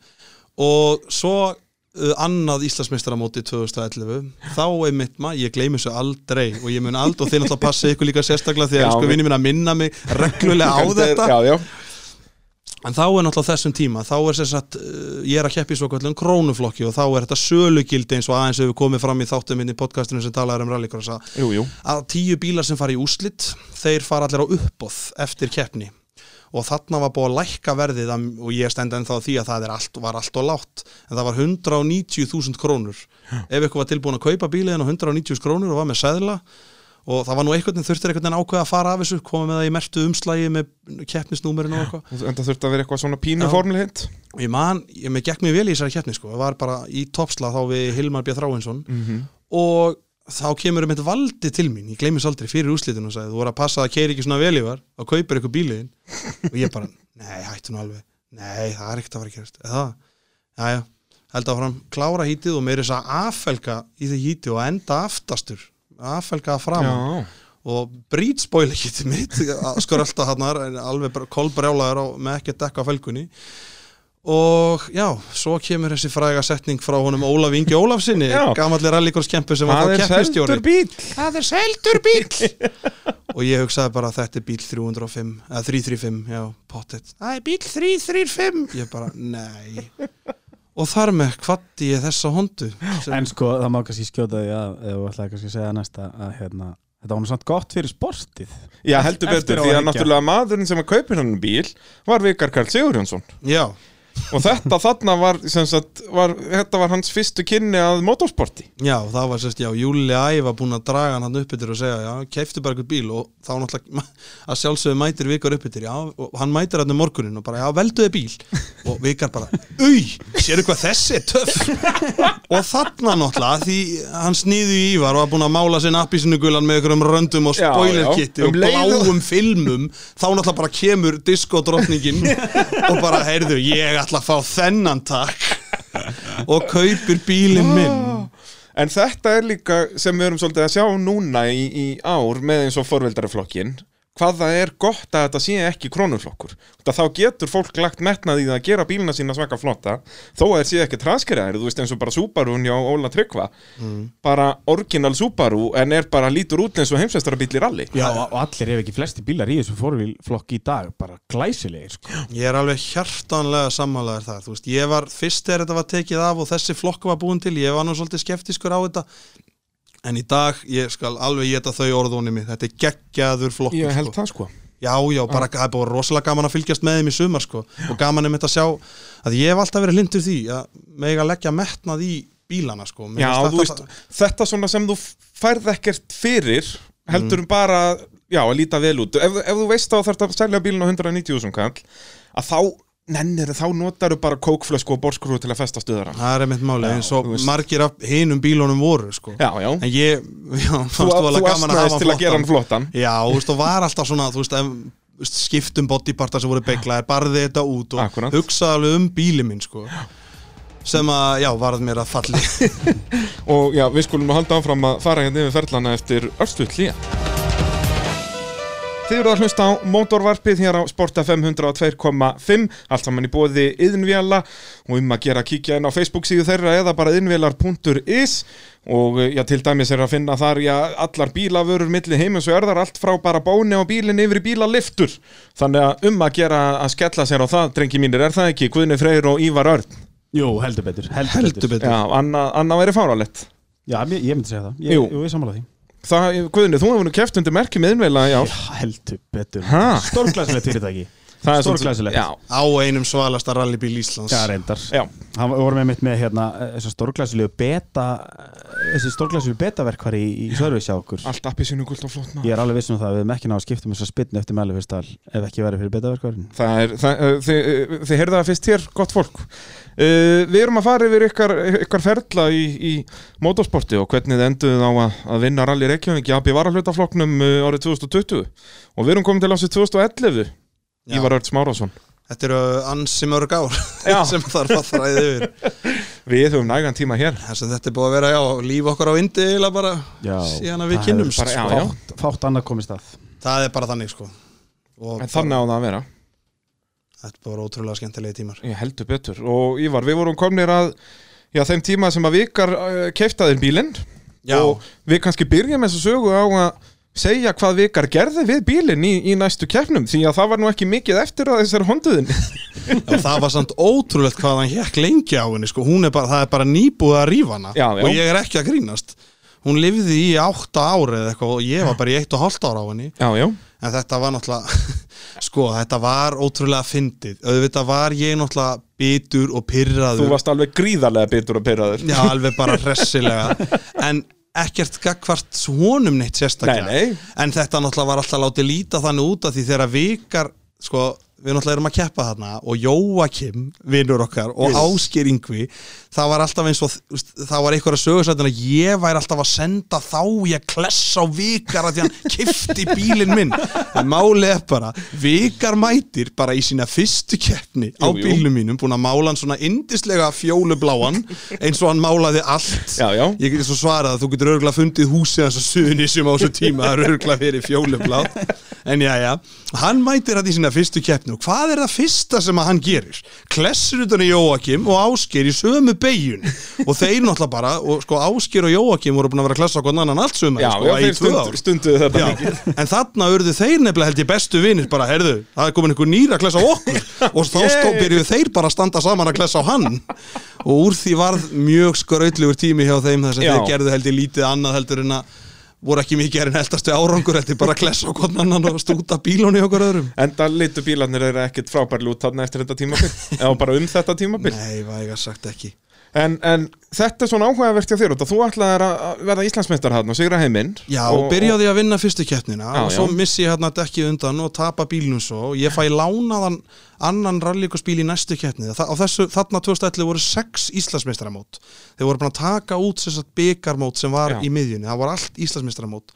C: og svo uh, annað Íslandsmeistaramóti 2011 þá er mitt maður, ég gleymi þessu aldrei og ég mun aldrei og þið náttúrulega passa ykkur líka sérstaklega því
A: Já,
C: að sko
A: við-
C: vinni mín að minna mig reglulega á þetta
A: já, já,
C: En þá er náttúrulega þessum tíma, þá er sem sagt, uh, ég er að keppi svo kvöldum krónuflokki og þá er þetta sölugildi eins og aðeins hefur komið fram í þáttum minn í podcastinu sem talaður um rallycross að
A: jú, jú
C: að tíu bílar sem fara í úslit þeir fara allir á uppboð eftir keppni og þarna var búið að lækka verðið að, og ég stend ennþá að því að það er allt, var allt og látt en það var 190.000 krónur ef ykkur var tilbúin að kaupa bíliðin á 190.000 krónur og var með seðla og það var nú einhvern veginn þurftir einhvern veginn ákveða að fara af þessu komið með það í mertu umslægi með keppnisnúmerinu og eitthvað
A: en það þurfti að vera eitthvað svona pínu
C: Já.
A: formli hint
C: og ég man, ég með gekk mér vel í þessari keppni sko, það var bara í toppsla þá við Hilmar B. Þráinsson og þá kemur um eitt valdi til mín ég gleymis aldrei fyrir úslitinu og sagði þú voru að passa að keiri ekki svona vel í var og kaupir eitthvað bíliðin og ég bara, nei hættu nú alveg nei það er ekkert að fara að gerast eða það, jájá, held áfram klára hítið og meiri þess að affelga í því híti og enda aftastur affelga að framan og brýt spoilerkitið mitt skor alltaf hann alveg bara kolbrjálaður og með ekki að dekka felgunni og já, svo kemur þessi fræga setning frá honum Ólaf Ingi Ólafsinni
A: Já.
C: gamalli rallykorskempu sem var
A: það
C: þá
A: er
C: keppistjóri
A: seldur bíl
C: það er seldur bíl og ég hugsaði bara þetta er bíl 305 eða 335, já, pottet það er bíl 335 ég bara, nei og þar með kvatti ég þessa hondu sem,
B: en sko það má kannski skjóta því að eða þú ætlaði kannski að segja næsta að hérna, þetta var nú samt gott fyrir sportið
A: já, heldur
B: Eftir
A: betur, því
B: á að
A: að
B: hyggja.
A: náttúrulega maðurinn sem að kaupir hann bíl var Vikar Karl Sigurjónsson
C: já,
A: og þetta þarna var, sem sagt, var þetta var hans fyrstu kynni að motorsporti
C: Já, það var sérst, já, Júli Æ var búin að draga hann hann uppbyttir og segja, já, keiftu bara eitthvað bíl og þá náttúrulega að sjálfsögðu mætir vikar uppbyttir, já, og hann mætir hann um morgunin og bara, já, velduði bíl og vikar bara, ui, sérðu hvað þessi er töff og þarna náttúrulega, því hann sniði í Ívar og var búin að mála sinna appísinugulan með einhverjum röndum og
A: Já, já.
C: spoilerkitti
A: Um
C: og
A: leið og-
C: bláum filmum, þá náttúrulega bara kemur diskodrottningin og bara, heyrðu, ég ætla að fá þennan takk og kaupir bílinn
A: Oh.
C: minn
A: en þetta er líka sem við erum svolítið að sjá núna í, í ár með eins og forveldaraflokkin hvað það er gott að þetta sé ekki krónuflokkur þetta þá getur fólk lagt metnað í það að gera bílina sína svaka flotta þó að þeir sé ekki transkeraðir, þú veist eins og bara Subaru hjá Óla Tryggva bara orginal Subaru en er bara lítur út eins og heimsveistarabíl í rally
B: Já, og og allir ef ekki flesti bílar í þessu fórvílflokki í dag bara glæsilegir sko.
C: Ég er alveg hjartanlega sammálaður þar, þú veist, ég var fyrst þegar þetta var tekið af og þessi flokk var búin til, ég var nú svolítið skeptiskur á þetta, en í dag, ég skal alveg geta þau orðunni mig, þetta er geggjaður flokkur,
A: ég held
C: sko.
A: það sko
C: Já, já, bara það er búið rosalega gaman að fylgjast með þeim í sumar sko og gaman er mitt að sjá að ég hef alltaf verið hlindur því að mega leggja metnað í bílana sko Mér
A: Já,
C: finnst
A: þú veist, þetta svona sem þú færð ekkert fyrir heldur um bara, já, að líta vel út ef, ef þú veist þá þarf að selja bílinn á 190.000 kall, að þá nennir, þá notarðu bara kókflösku og borskrú til að festa stöðara
C: það er mitt máli eins og
A: þú veist.
C: margir af hinum bílunum voru sko
A: Já, já,
C: en ég, já,
A: þú,
C: fannst þú
A: þú
C: alveg gaman að hafa
A: asnaðist til að gera hann flottan
C: Já, þú veist, og var alltaf svona, þú veist, ef, þú veist, skiptum bodypartar sem voru beiglaðir, barði þetta út og
A: Akkúrat.
C: hugsaði alveg um bíli minn, sko. Sem að, já, varð mér að falli.
A: og já, við skulum nú halda áfram að fara hérna yfir ferlana eftir örstuð hlýja Þið eru að hlusta á mótorvarpið hér á Sporta 502.5 allt saman í bóði yðnvjala og um að gera að kíkja inn á Facebook síðu þeirra eða bara yðnvjalar.is og eh, já, til dæmis er að finna þar já, allar bílavörur milli heimins og erðar allt frá bara bóni og bílinn yfir í bílaliftur þannig að um að gera að skella sér á það, drengi mínir, er það ekki? Guðni Freyr og Ívar Örn
B: Jú, heldur betur Heldur,
C: Heldur betur.
A: Já, annað anna væri fáralett
B: Já, mér, ég myndi segja það Ég,
A: Jú.
B: jú, ég sammála því
A: Það, Guðni, þú hefur nú keft undir merkjum yðnvjala, já,
B: Já, heldur betur
A: Ha?
B: Stórglæsilegt fyrirtæki
A: það er
B: stórglæsilegt.
A: Já,
C: Á einum svalasta rallybíl Íslands.
B: Já, reyndar
A: já,
B: Hann var með mitt með hérna þessi stórglæsilegu beta eh, þessi stórglæsilegu betaverkvar í, í Sörfis hjá okkur
A: allt appi sínu guld og flott maður
B: Ég er alveg viss um það að við erum ekki ná að skipta um þessa spynnu eftir meðlefistal ef ekki verið fyrir betaverkvarinn
A: Það er, það, uh, þið, uh, þið heyrða það fyrst hér, gott fólk. Uh, við erum að fara yfir ykkar, ykkar ferla í, í motorsporti og hvernig þið enduðu á að, að vinna rally Reykjavík í AB Varahlutafloknum uh, árið 2020 og við erum komin til ásið 2011,
C: Já.
A: Ívar Örts Márásson.
C: Þetta eru uh, ansi mörg ár
A: Já.
C: sem þarf að þræði yfir.
A: Við höfum nægan tíma hér.
C: Þess að þetta er búið að vera, já, líf okkar á indi eiginlega bara
B: Já.
C: síðan að við
B: Það
C: kynnumst.
A: bara- já,
C: sko.
A: já.
B: Fátt, fátt annað komist að
C: Það er bara þannig, sko. Og
A: En þannig á það að vera.
C: Þetta er bara ótrúlega skemmtilegi tímar.
A: Ég heldur betur. Og Ívar, við vorum komnir að já, þeim tíma sem að vikar uh, keiftaðir bílinn
C: Já,
A: og við kannski byrjum þess að sögu á að segja hvað vikar gerði við bílinn í, í næstu keppnum því að það var nú ekki mikið eftir að þessari honduðin
C: En það var samt ótrúlegt hvað hann hjekk lengi á henni sko. Hún er bara, það er bara nýbúið að rífa hana
A: Já, já.
C: og ég er ekki að grínast hún lifði í átta ári eða eitthvað og ég var bara í eitt og hálft ára á henni
A: Já, já,
C: en þetta var náttúrulega sko, þetta var ótrúlega fyndið auðvitað var ég náttúrulega bitur og pyrraður
A: þú varst alveg gríðarlega bitur og pyrraður
C: já, alveg bara hressilega en ekkert gagvart honum neitt sérstaklega
A: Nei, nei.
C: en þetta náttúrulega var alltaf látið líta þannig út að því þegar vikar sko, við náttúrulega erum að keppa þarna og Jóakim, vinnur okkar og yes. Ásker Yngvi, það var alltaf eins og þú veist, það var einhverja sögursættin að ég væri alltaf að senda þá ég klessa á vikar að því hann kifti bílinn minn en málið er bara, vikar mætir bara í sína fyrstu keppni á
A: Jú, jú.
C: bílnum mínum, búin að mála hann svona indislega fjólubláan eins og hann málaði allt
A: Já, já.
C: ég get svo svarað að þú getur örgulega fundið húsið hans að suðni sem á þessu tíma það er örgulega fyrir fjólublá en já, já, hann mætir hann í sína fyrstu keppni og hvað er það fyrsta sem að hann gerir? Klessur utan í Jóakim og Ásker í sömu beigjun og þeir náttúrulega bara, og sko Ásker og Jóakim voru búin að vera að klessa okkur annan allt sömu
A: Já,
C: sko,
A: já,
C: í
A: þeir
C: tvö
A: stund,
C: ár.
A: stunduðu þetta
C: Já,
A: mikið
C: en þarna urðu þeir nefnilega held ég bestu vinir bara, herðu, það er komin einhver nýra að klessa á okkur og þá
A: Yay.
C: stó byrjuðu þeir bara að standa saman að klessa á hann og úr því varð mjög skrautlegur tími hjá þeim þess að
A: Já.
C: þeir gerðu held ég lítið annað heldur en að voru ekki mikið er en heldastu árangur heldur bara að klessa á hvern annan og stúta bílunni okkur öðrum
A: En það litu bílarnir eru ekkit frábærlega út þarna eftir þetta tímabil Eða bara um þetta tímabil
C: Nei, væga sagt ekki
A: en, en þetta er svona áhugavert hjá þér út að þú ætlaðir að að verða Íslandsmeistar hann og sigra heiminn
C: Já, og byrjaði að vinna fyrstu keppnina
A: Já,
C: og svo
A: já.
C: missi ég hérna dekkið undan og tapa bílnum svo og ég fæ lánaðan annan rallíkusbíl í næstu keppni Þa, á þessu, þarna 2011 voru sex Íslandsmeistaramót þeir voru búin að taka út sem sagt, byggarmót sem var
A: Já.
C: í miðjunni, það var allt Íslandsmeistaramót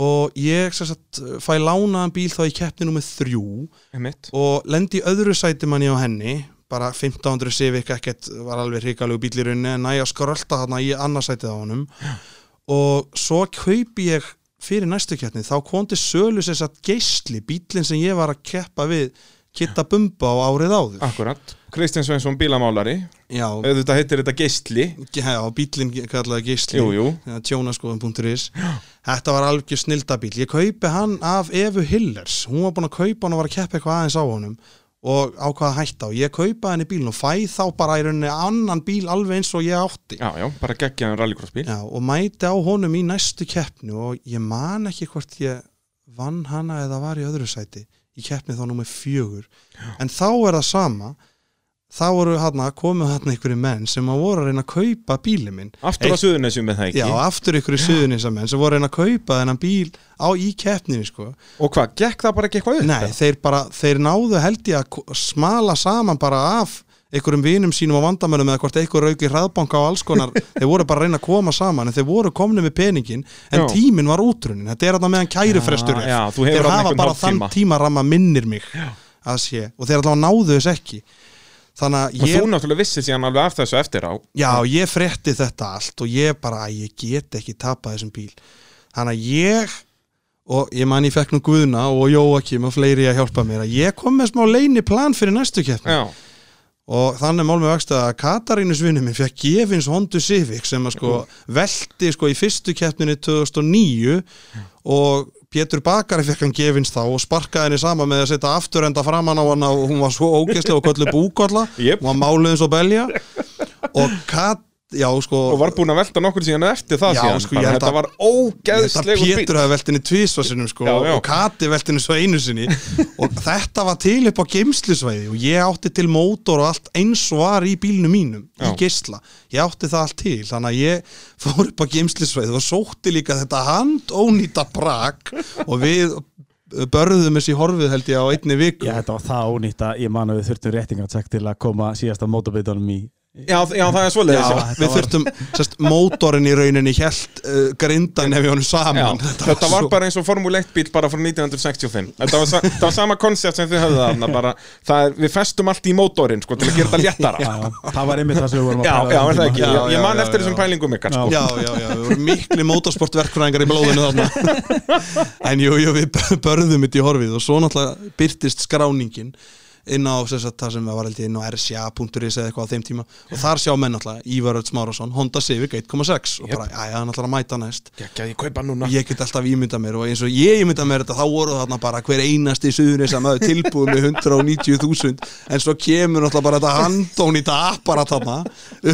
C: og ég sem sagt, fæ lánaðan bíl þá í keppni nummer þrjú
A: Einmitt.
C: og lendi í öðru sæti manni á henni bara 1500 Civic ekkert var alveg hrikalegu bíl í rauninni en næja skrölda þarna í annarsætið á honum og svo kaupi ég fyrir næstu keppni, þá kom til sölu sem sagt geisli, bílinn sem ég var að keppa við Kitta Bumba á árið áður
A: Akkurat, Kristján Sveinsson bílamálari
C: já,
A: Auðvitað heitir þetta geistli
C: já, bílinn kallaði geisli
A: Jú, jú,
C: tjónaskoðum.is þetta var algjör snildabíl ég kaupi hann af Evu Hillers hún var búin að kaupa hann og var að keppa eitthvað aðeins á honum og ákvaða hætta og ég kaupa henni bílinn og fæ þá bara í rauninni annan bíl alveg eins og ég átti
A: já, já, bara geggjaðan rallycrossbíl
C: Já, og mæti á honum í næstu keppnu og ég man ekki hvort ég vann hana eða var í öðru sæti í keppni þá nummer fjögur en þá er það sama þá voru hana, komið hana einhverju menn sem að voru að reyna að kaupa bíli minn
A: Aftur á Suðunessjum með það ekki
C: já, aftur einhverju suðunins menn sem voru að reyna að kaupa þennan bíl á í keppninu sko
A: Og hvað, gekk það bara ekki eitthvað upp?
C: Nei, þeir bara, þeir náðu held ég að ko- smala saman bara af einhverjum vinum sínum og vandamönnum eða hvort einhver rauki hraðbanka og alls konar þeir voru bara að reyna að koma saman en þeir voru komni með peningin en
A: Já.
C: tíminn var útrunin þetta er þarna meðan kærufrestur
A: Já,
C: er.
A: já, þú hefur
C: þeir
A: þarna
C: hafa
A: einhvern
C: bara þann
A: hálftíma.
C: tímaramma minnir mig að sé og þeir allavega náðu þess ekki þannig
A: Og
C: að ég
A: þú náttúrulega vissir síðan alveg af þessu eftir á
C: Já, ég frétti þetta allt og ég bara, æ, ég get ekki tapað þessum bíl. Þannig að ég, og ég man ég fekk nú Guðna og Jóakim og fleiri að hjálpa mér, að ég kom með smá leini plan fyrir næstu keppni.
A: Já,
C: Og þannig mál með vöxt að Katarínus vinnu minn fekk gefins Honda Civic sem að sko velti sko í fyrstu keppninu 2009 og Pétur Bakari fekk hann gefins þá og sparkaði henni sama með að setja afturenda framan á hann og hún var svo ógeðslega og kollu búkolla
A: Jep.
C: og hann máluði eins og belja og Kat, já sko
A: og var búin að velta nokkur síðan eftir það
C: Já,
A: síðan
C: sko, ég
A: Þannig að
C: held
A: þetta
C: að-
A: var
C: Þetta
A: ógeðslegur bíl
C: Pétur hafði velt henni tvísva sinnum sko
A: Já, já.
C: og Kati velt henni svo einu sinni og þetta var til upp á geimslisvæði og ég átti til mótor og allt eins og var í bílnum mínum í
A: Já.
C: geisla, ég átti það allt til þannig að ég fór upp á geimslisvæði og sótti líka þetta handónýta brak og við börðum þessi horfið held ég á einni viku
B: Já, þetta var það ónýtt að ég man að við þurftum réttingartsekk til að koma síðasta mótorbeitunum í
A: já, já, það er svoleiðis
C: Já,
A: já.
C: við þurftum, sérst, mótorin í rauninni held uh, grindan ef ég honum
A: Já,
C: saman
A: þetta, var
C: svo-
A: bara eins og Formule 1 bíl bara frá 1965 Þetta var, sa þetta var sama koncept sem þið höfðu þarna bara, það er, Við festum allt í mótorinn sko, til að gera þetta léttara
B: Já, það var einmitt það sem við vorum að
A: Já, já,
B: pæla á
A: er
B: þessum
A: það
B: tíma.
A: ekki Ég-
C: Já,
A: Ég
C: já,
A: man
C: já,
A: eftir
C: já.
A: þessum pælingum ykkar sko.
C: já, já, já, við vorum mikli motorsportverkfræðingar í blóðinu þarna en jú, jú, við börðum þetta í horfið og svo náttúrulega byrtist skráningin inn á sem sagt, það sem var held ég inn á rca.is eða eitthvað á þeim tíma og þar sjá menn náttúrulega Ívar Öld Smárasson Honda Civic 1.6 og bara, æja, hann ætlar að mæta næst
A: Já, já, ég kaupa núna
C: ég get alltaf ímynda mér og eins og ég ímynda mér þetta þá voru þarna bara hver einasti suðunni sem hafði tilbúið með 190.000 en svo kemur náttúrulega bara þetta handón í þetta apparat þarna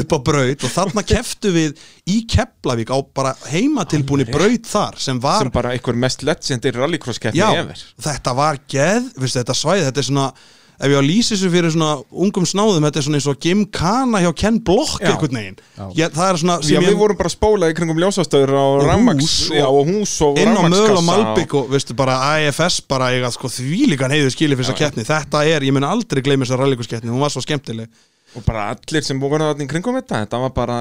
C: upp á braut og þarna keftu við í Keflavík á bara heimatilbúni braut þar sem var
A: sem bara einhver mest legendir rallycross keppni
C: já,
A: ever
C: þetta var geð veistu, þetta svæði, þetta er svona ef ég á að lýsa þessu fyrir svona ungum snáðum þetta er svona eins og gimkana hjá Ken Block
A: Já.
C: einhvern veginn
B: Já.
C: ég, það er svona
A: Já,
C: sem
A: við
C: ég-
A: vorum bara að spóla í kringum ljósastöður og rafmaks
C: hús og-
A: Já, og hús og
C: inn á möl og
A: rafmagnskassa
C: Malbygg og veistu bara AFS bara eiga sko þvílíkan heiðu skilið fyrir þessa keppni þetta er, ég mun aldrei gleyma þessa rallykurskeppni hún var svo skemmtileg
A: og bara allir sem voru þarna í kringum þetta þetta var bara,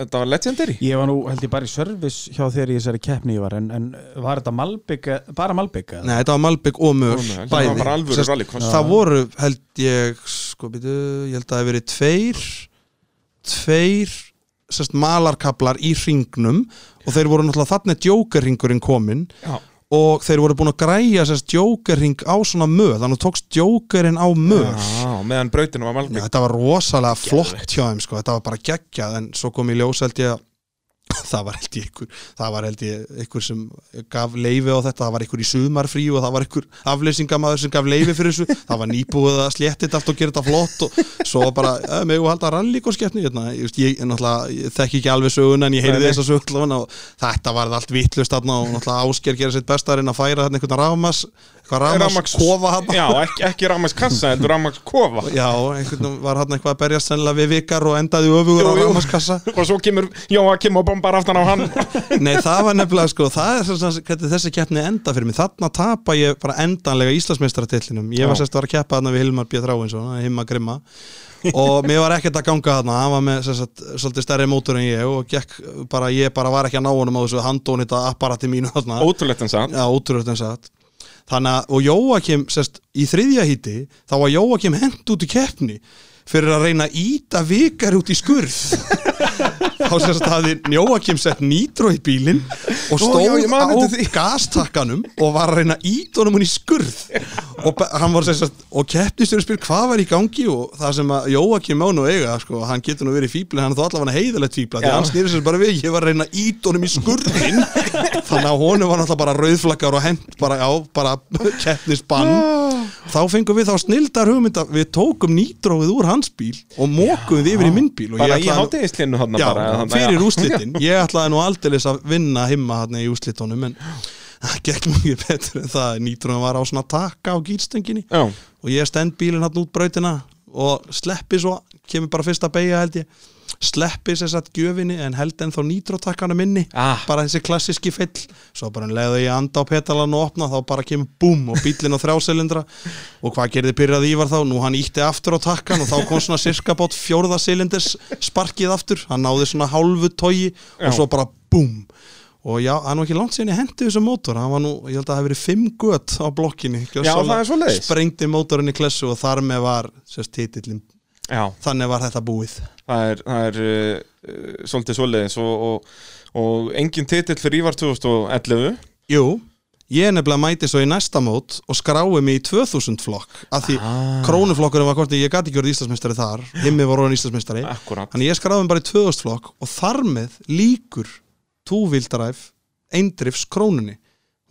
A: þetta var legendary
B: Ég var nú held ég bara í service hjá þér í þessari keppni ég var en, en var þetta Malbygg bara Malbygg? eða?
C: Nei, þetta var Malbygg og möl,
A: Og Möl, það
C: bæði
A: var bara alvöru
C: Sest,
A: rallycross.
C: það voru held ég sko býtu, ég held að það hef verið tveir tveir sérst malarkablar í ringnum og þeir voru náttúrulega þarna djókerringurinn kominn
A: Já.
C: og þeir voru búin að græja sérst djókerring á svona möl þannig að þú tókst djókerinn á möl
A: Já, meðan brautinu var
C: Já,
A: Malbygg
C: þetta var rosalega flott hjá þeim sko. þetta var bara geggjað en svo kom í ljós held ég að það var held ég ykkur það var held ég ykkur sem gaf leifi á þetta, það var ykkur í sumarfrí og það var ykkur afleysingamæður sem gaf leifi fyrir þessu það var nýbúið að slétti þetta allt og gera þetta flott og svo bara, eh, mig og halda rallíkoskeppni hérna, ég, veist, ég náttúrulega ég þekki ekki alveg söguna en ég
A: Nei,
C: heyrði
A: nei.
C: þessa sög allavega og þetta var allt vittlust þarna og náttúrulega ásker gera sitt besta að reyna að færa þarna einhvern rafmas, eitthvað rafmas kofa þarna
A: Eh, Já, ekki, ekki rafmaks kassa, þetta rafmaks kofa
C: Já, einhvern veginn var hann eitthvað að berjast sennilega við vikar og endaði öfugur
A: Jú,
C: á
A: jú.
C: rámaskassa
A: og svo kemur Jóakim og bombar aftan á hann
C: Nei, það var nefnilega sko, það er sem sagt hvernig þessi keppni enda fyrir mig Þarna tapa ég bara endanlega Íslandsmeistaratitlinum Ég var
A: Já.
C: sérst að vera að keppa þarna við Hilmar B. Þráinsson, himma grimma og mér var ekkert að ganga þarna hann var með sem sagt, svolítið stærri mótur en ég og gekk, bara, ég bara var ekki að ná honum á þessu handónita apparati mínu þarna
A: Ótrúlegt en sann
C: Já, ótrúlegt en satt Þannig að, og Jóakim, sérst, í þriðja híti þá var Jóakim hent út í keppni fyrir að reyna að íta vikar út í skurð þá sérst hafði Jóakim sett nýtró í bílinn og
A: Ó,
C: stóð
A: já, ég man
C: á
A: eftir því.
C: gastakkanum og var að reyna að íta honum hún í skurð og be- hann var sérst og keppnistur spyr hvað var í gangi og það sem að Jóakim má nú eiga sko, hann getur nú verið fíbli, hann er þó allavega heiðalegt fíbla því
A: Já.
C: hann snýri sér bara við, ég var að reyna að íta honum í skurðin þannig að honum var náttúrulega bara rauðflakkar og hent bara á, bara keppnisbann þá fengum við þá snildar hugmynda við tókum nýtróið úr hans bíl og mókuðum þið yfir í minn bíl og
A: Bara í
C: ætlaði nú-
A: hátegislinu hann
C: Já,
A: bara, þarna,
C: fyrir
A: já.
C: úrslitin Ég ætlaði nú aldeilis að vinna himma hann í úrslitunum en það gekk mjög betur en það nýtrunum var á svona taka á gýrstöngin
A: Já,
C: og ég stend bílinn hann út brautina og sleppi svo, kemur bara fyrst að beigja held ég, sleppi sér satt gjöfinni en held ennþá nýtrótakkanum inni
A: Ah.
C: bara þessi klassíski fyll svo bara leiðu ég anda á petalan og opna þá bara kemur búm og bílinn á þrjásilindra og hvað gerði byrjað Ívar þá nú hann ítti aftur á takkan og þá kom svona sirka bát fjórðasilindis sparkið aftur, hann náði svona hálfu togi
A: Já.
C: og svo bara búm og já, hann var ekki langt síðan ég hendi þessu mótor hann var nú, ég held að það hafi verið fimm gött á blokkinni
A: Já, það er svoleiðis.
C: sprengdi mótorinn í klessu og þar með var sérst titillin,
A: já,
C: þannig var þetta búið
A: það er, það er uh, uh, svolítið svoleiðis og, og, og engin titill fyrir Ívar 2011
C: Jú, ég nefnilega mæti svo í næsta mót og skrái mig í 2000 flokk af því
A: Ah.
C: krónuflokkurinn var hvort ég gæti ekki verið Íslandsmeistari þar himmi var orðin Íslandsmeistari
A: Akkurat
C: þannig ég skráði mig bara í 2000 flokk og þar með líkur túvildaræf eindrifs krónunni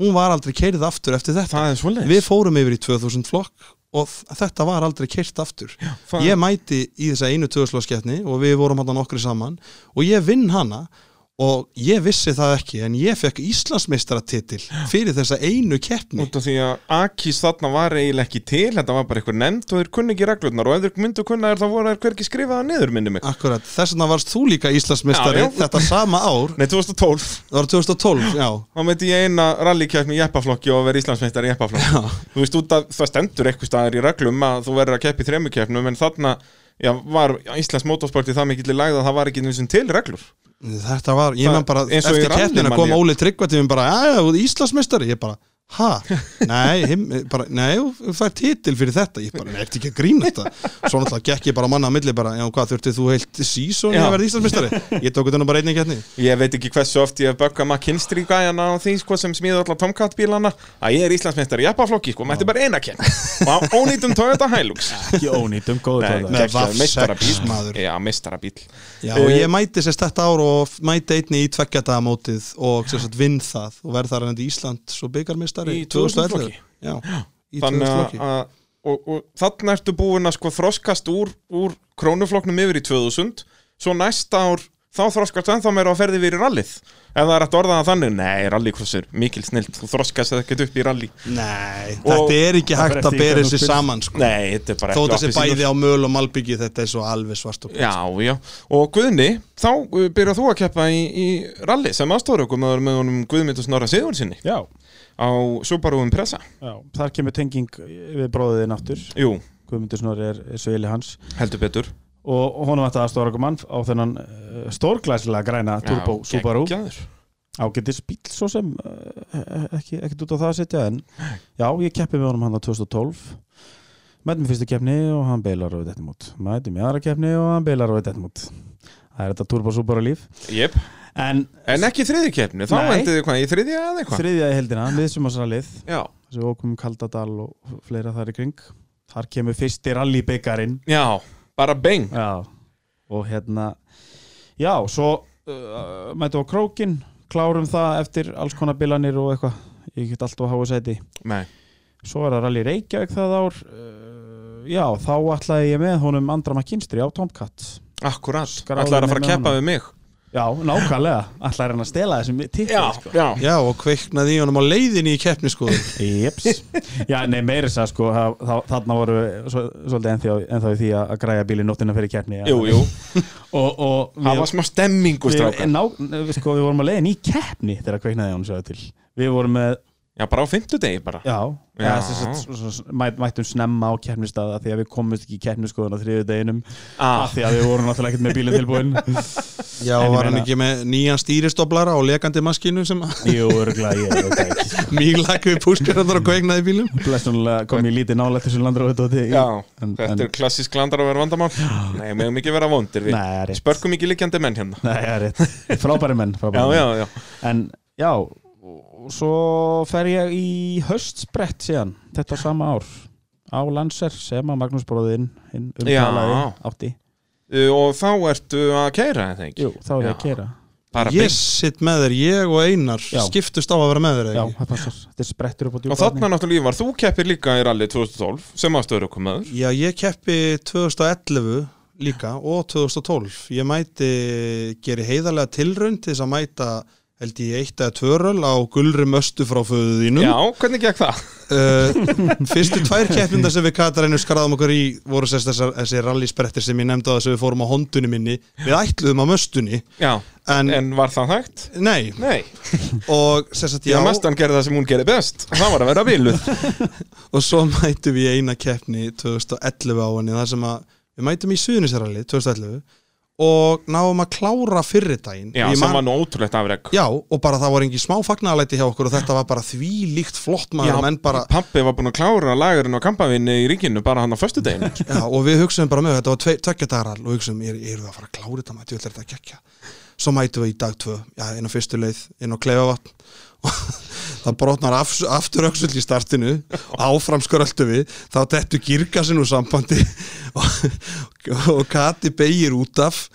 C: hún var aldrei keirið aftur eftir þetta
A: Það er svoleiðis
C: við fórum yfir í 2000 flokk og þ- þetta var aldrei keirt aftur
A: það-
C: ég mæti í þessa einu 2000 flokkskeppni og við vorum hann nokkri saman og ég vinn hana og ég vissi það ekki en ég fekk Íslandsmeistaratitil fyrir þessa einu keppni
A: Út af því að Akis þarna var eiginlega ekki til, þetta var bara eitthvað nefnd og þeir kunni ekki reglurnar og ef þeir myndu kunna þær þá voru þær hverki skrifaða niður minni mig.
C: Akkurat, þess vegna varst þú líka Íslandsmeistari
A: Já, já.
C: þetta sama ár,
A: Nei, 2012,
C: það var 2012 já,
A: þá meinti ég eina rallykjæfni í eppaflokki og að vera Íslandsmeistar í eppaflokki. Þú veist, út að það stendur eitthvað staðar í reglum að þú verður að keppa í þremukjæfnum en þarna já, var Íslands motorsporti það mikill í lagð að það var ekki einu sinni til reglur.
C: þetta var, ég
A: Það-
C: man bara
A: eins og í
C: eftir
A: rally,
C: keppnina
A: man
C: kom
A: ég.
C: Óli Tryggvatífin bara, já, já, Íslandsmeistari ég bara, ha, nei him, bara, nei, þú fær titil fyrir þetta ég bara, nei, ertu ekki að grína þetta svo náttúrulega gekk ég bara manna að milli bara, já, hvað þurfti þú heilt sísón í
A: Já.
C: að verða Íslandsmeistari ég tók þetta nú bara einnig keppni
A: Ég veit ekki hversu oft ég hef bökkað maður kynstri í gæjana og því sko sem smíða alla tomkattbílana að ég er Íslandsmeistar í eppaflokki sko, mætti bara eina kenn og á ónýtum Toyota Hilux.
B: ekki ónýtum, góðu
A: Nei,
B: tóta
C: Með
A: geggjaður
C: VAF6
A: meistarabíl.
C: maður.
A: Já, meistarabíl Eh,
C: já, og ég mæti sérst þetta ár og f- mæti einni í tveggjadagamótið og sérst vinn það og verð þar ennig Íslands og byggarmeistari
A: Í 2000 flokki.
C: já, í 2000
A: Þannig
C: flokki
A: að og, og þannig ertu búin að sko þroskast úr, úr krónufloknum yfir í 2000 Svo næsta ár þá þroskast ennþá meira að ferði við í rallið Ef það er að orða það þannig, nei, rallycrossur, mikil snilt Þú þroskast ekkert upp í rally
C: nei,
A: Og-
C: þetta er ekki
B: Það
C: hægt
B: fer
C: að
B: eftir
C: bera
B: hvernig
C: þessi
B: þú spyrð.
C: saman sko.
A: Nei, þetta er bara
C: þó þessi
A: appelsínur.
C: bæði á möl og malbyggi þetta er svo alveg svart og
A: Já, já, og Guðni, þá uh, byrjar þú að keppa í, í rally sem aðstóður okkur með, með honum Guðmynd og Snorra Sigur sinni
B: já,
A: á Subaru Impressa
B: já, þar kemur tenging við bróðiðin aftur
A: Jú,
B: Guðmundur Snorri er, er svili hans
A: heldur betur
B: og honum ætti aðstóra okkur mann á þennan uh, stórglæsilega græna Turbo
A: Já,
B: Subaru
A: geggjaður.
B: ágættis bíl svo sem uh, ekki, ekki út á það að setja en já, ég keppi með honum hann á 2012 mætum í fyrstu keppni og hann beilar og þetta mút mætum í aðra keppni og hann beilar og þetta mút það er þetta Turbo Subaru líf
A: Jep.
B: en
A: En ekki þriði keppni, þá
B: Nei.
A: endið þið hvað, í þriðja eða eitthvað?
B: þriðja í heldina, miðsumarsralið
A: Já.
B: sem við okkum Kaldadal og fleira þar í kring þar kemur fyrsti rallybyggarinn
A: Já, bara beng.
B: já. og hérna já, svo uh, mætu á krókin klárum það eftir alls konar bilanir og eitthvað, ég get allt á háu sæti
A: Nei.
B: svo er það rally Reykjavík það ár uh, já, þá ætlaði ég með honum Andra McKinstry á Tomcat
A: Akkurat.
B: Skráðu
A: Ætlaði að
B: mig
A: fara að
B: með
A: keppa
B: hana.
A: við mig.
B: já, nákvæmlega, ætlaði hann að stela þessum titli sko.
A: já.
C: Já, og kveiknaði í honum á leiðinni í keppni sko
B: Jeps. Já, nei, meiri sæ sko, það- þá- þarna voru við svo- svolítið ennþá, ennþá í því að að græja bílinn nóttina fyrir keppni.
A: Jú, jú.
B: Og, og
A: Það var smá stemmingu,
B: við,
A: strákar.
B: ná, við, sko, við vorum að leiðin í keppni þegar kveiknaði hann sjáðu til. Við vorum með,
A: Já, bara á fimmtudegi bara.
B: já,
A: Já.
B: eða sem sagt, svo- svo- mæ- mættum snemma á keppnistaða því að við komumst ekki í keppniskoðun á þriðu deginum
A: Ah.
B: af því að við vorum náttúrulega ekkert með bílinn tilbúin.
C: Já,
B: En ég
C: var hann
B: meina-
C: ekki með nýjan stýristoflara og lekandi maskinu sem
B: Jú, örgulega, ég er ok.
C: mjög lakk við púskarandar og kveiknaði í bílum
B: Blessunlega kom ég lítið nálægt þessu landra út á því.
A: Já,
B: En-
A: þetta
B: en-
A: er klassísk landar að vera vandamál. Nei, við hefum ekki vera vondir við.
B: Nei, rétt.
A: Spörkum ekki liggjandi menn hérna.
B: Nei, það er rétt. Frábæri menn, frábæri
A: Já,
B: menn.
A: já, já.
B: En já, og svo fer ég í höstsbrett síðan, þetta sama ár á Lanser sem að Magnús bróðinn hinn umtalaði um átti
A: Uh, Og þá ertu að keira þetta ekki?
B: Jú, þá er ég að
A: Já.
B: kera
A: Bara
C: Ég
A: yes.
C: sitt með þér, ég og Einar
B: Já.
C: skiptust á að vera með þér
B: Já,
C: eða ekki?
B: það passar, þetta er sprettur upp á
A: beng.
B: djúpa
A: Og þarna náttúrulega var þú keppir líka í rally 2012 sem aðstöður okkur maður.
C: Já, ég keppi 2011 líka og 2012 Ég mæti, geri heiðarlega tilraun til þess að mæta held ég eitt eða tvöröl á gulri möstu frá föðu þínum
A: Já, hvernig gekk það?
C: uh, fyrstu tvær keppnindar sem við Katarínu skraðum okkur í voru sérst þessar, þessi rallysprettir sem ég nefndi á þess að við fórum á hondunni minni við ætluðum á möstunni
A: Já,
C: en,
A: en var það hægt?
C: nei,
A: Nei,
C: og sérst að
A: já, mestan gerði það sem hún gerði best Það var að vera bíluð
C: og svo mætum við í eina keppni 2011 á henni þar sem að við mætum í Suðunisaralli 2011 og náum að klára fyrri daginn
A: Já,
C: Og ég
A: sem
C: man-
A: var nú ótrúlegt afreg
C: já og bara það voru engi smá fagnaðalæti hjá okkur og þetta var bara því líkt flott maður menn bara
A: Pappi var búin að klára lagurinn á kampavinni í ríkinu bara hann á föstudeginu
C: já, og við hugsaum bara með þetta var tve- tveggja dagarall og hugsaum, er, eru það að fara að klára þetta maður, þetta er þetta að kekja svo mætum við í dag tvö, já, inn á fyrstu leið inn á klefavatn og það brotnar af, aftur öxull í startinu áfram sköröldu við þá dettu girkasinn úr sambandi og, og Kati beigir út af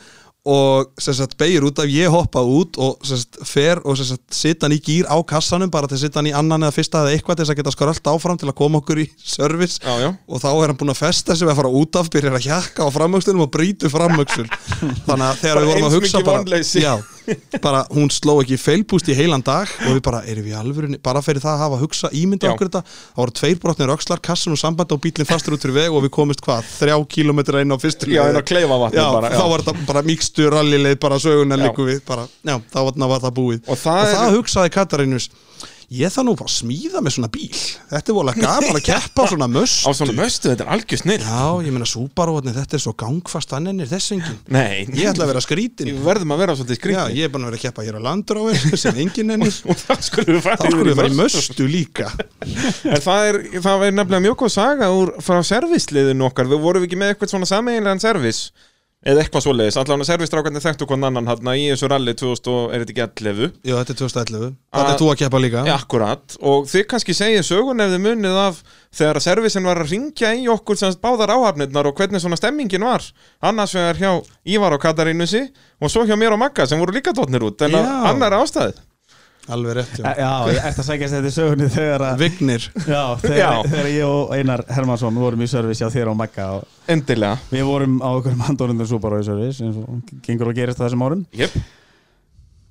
C: og sem sagt, beigir út af, ég hoppa út og sem sagt, fer og sem sagt, sitt hann í gýr á kassanum bara til að sitta hann í annan eða fyrsta eða eitthvað til þess að geta sköröld áfram til að koma okkur í service
A: Já, já
C: og þá er hann búinn að festa sig við að fara út af byrjar að hjakka á framöxlunum og brýtu framöxl þannig að þegar
A: Bara
C: við vorum að
A: eins
C: hugsa
A: mikið
C: bara,
A: vonleysi.
C: já, bara hún sló ekki feilpúst í heilan dag og við bara erum við alvörinni, bara fyrir það að hafa að hugsa ímynda
A: Já.
C: okkur þetta, það voru tveir brotnir öxlar kassan og samband og bílinn fastur út fyrir veg og við komist hvað, þrjá kílómetra inn á fyrstu
A: Já,
C: leið.
A: en að kleifa vatni
C: já,
A: bara
C: þá var þetta bara mikstu rallileið bara söguna
A: Já.
C: líku við bara, já, þá var þarna var það búið
A: Og það er-
C: hugsaði Katarinus ég þarf nú bara að smíða með svona bíl þetta er vola gaman að keppa á svona möst
A: Á svona möstu, þetta er algjör snill
C: Já, ég meina Subaru, hvernig þetta er svo gangfast hann ennir þess enginn.
A: Nei,
C: Ég ætla að vera skrítin.
A: Við verðum að vera svolítið
C: Já,
A: skrýtni
C: ég er bara að vera að keppa hér á landrófin sem enginn ennir.
A: Og það skulum við
C: Þá
A: fara
C: skulum
A: yfir
C: við fara í
A: möstu.
C: möstu líka.
A: En það er, það er nefnilega mjög góð saga úr, frá servisliðinu okkar, við vorum ekki með eitthvað svona sameiginlegan servis eða eitthvað svoleiðis, allan að servisstrákarnir þekktu hvern annan hann í þessu rally 2000 og er þetta ekki allifu
C: Já, þetta er 2011.
A: Ah.
C: Þetta er þú að keppa líka.
A: Akkurat, og þið kannski segið sögun ef þið munið af þegar að servisin var að ringja í okkur sem sagt báðar áhafnirnar og hvernig svona stemmingin var annars vegar hjá Ívar og Katarínusi og svo hjá mér og Magga sem voru líka tóknir út en að
C: Já.
A: annar ástæði
C: Alveg rétt,
A: Eh,
C: já.
B: Já, ég ætti að sækja þetta í sögunni þegar að
C: Vignir.
B: Já, þegar,
A: Já.
B: þegar ég og Einar Hermansson vorum í service hjá þér og Magga og
A: Endilega
B: við vorum á einhverjum handónundum Subaru í service eins og gengur og gerist á þessum árum
A: yep.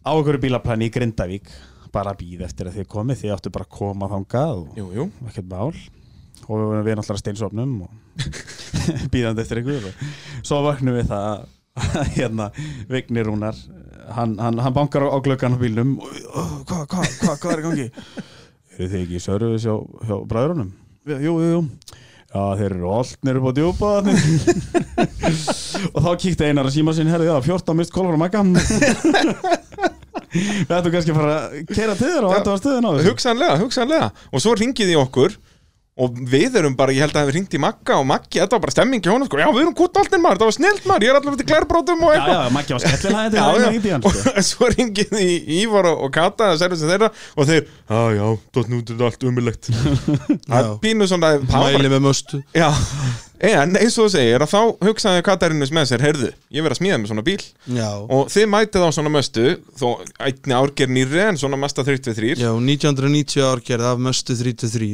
B: á einhverju bílaplan í Grindavík bara býð eftir að þið komið, þið áttu bara að koma þangað og
A: Jú, jú
B: ekkert mál og við vorum við náttúrulega steinsofnum og býðandi eftir ykkur og svo vaknum við það að- að hérna Vignir Rúnar hann, hann, hann bankar á, á glöggan á bílnum og við, "Ó, hvað hva, hva, hva er í gangi eru þið ekki í service hjá, hjá bræðurunum jú, jú, jú já, þeir eru alltnir upp á djúpa þarna." og þá kíkti Einar að síma sinni herri, já, 14 mist kólfur og magga við ættum kannski að fara að keira til þeirra og
A: Já.
B: ættum að stöðina á þessu
A: Hugsanlega, hugsanlega Og svo ringið í okkur Og við erum bara, ég held að það hefur ringt í Magga og Maggi, þetta var bara stemming hjá honum sko. Já, við erum kútaldin maður, það var snilt maður, ég er allavega til glærbrótum og
B: Já,
A: eitthvað
B: já, Maggi var skellin að þetta
A: Já,
B: Það
A: já.
B: er ekki í hann sko.
A: og svo ringið í Ívar og og Kata að servisið þeirra og þeir já já, dottin út er allt umilegt það er
C: Já.
A: pínu svona það var-
C: Mæli með möstu.
A: já, en eins og þú segir að þá hugsaði Katarinus með sér heyrðu, ég verð að smíða með svona bíl
C: Já.
A: og þið mætið á svona möstu þó ætni árger nýrri en svona mesta 33
C: Já, 1990 ár gerð af möstu 33.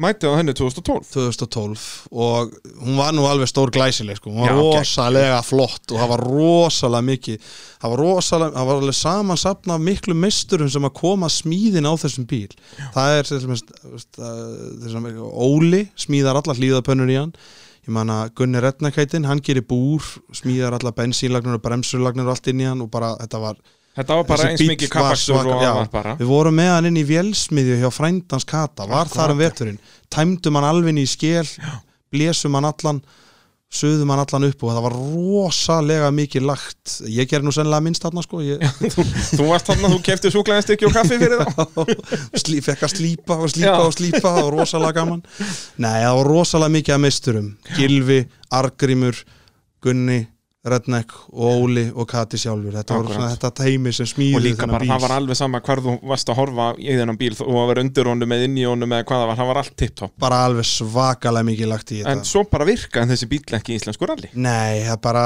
A: mætið á henni 2012
C: 2012 og hún var nú alveg stór glæsileg sko, hún var
A: Já, gegn.
C: rosalega flott og það var rosalega mikið það var rosalega, það var alveg samansapna af miklu misturum sem að koma smíðin á þessum bíl, það er þessum Óli smíðar alla hlýðapönnur í hann ég man að Gunni Retnakætin, hann gerir búr smíðar alla bensínlagnur og bremsurlagnur og allt inn í hann og bara þetta var
A: þetta var bara
C: þessi
A: eins
C: bíll
A: mikið
C: var
A: kapakstur
C: svaka-
A: og
C: já,
A: annað bara
C: Við vorum með hann inn í vélsmiðju hjá frændans Kata, var þar um veturinn Tæmdum hann alveg inn í skél Blésum hann allan Suðum hann allan upp og það var rosalega mikið lagt Ég gerði nú sennilega minnst þarna sko ég,
A: þú varst þarna, þú kefti súklaðinstykki og kaffi fyrir þá
C: slí, Fekk að slípa og slípa
A: Já.
C: og slípa Það var rosalega gaman Nei, það var rosalega mikið að meisturum Gilvi, Argrímur, Gunni Redneck og Óli og Kati sjálfur Þetta var
A: Akkurat.
C: svona þetta teimi sem smíði
A: og líka bara, það var alveg sama hvar þú varst að horfa í þennan bíl og að vera undir honum eða inn í honum eða hvað það var, það var allt tipptopp
C: bara alveg svakalega mikið lagt í þetta
A: en svo bara virkaði þessi bíl ekki í íslensku rally
C: Nei, það er bara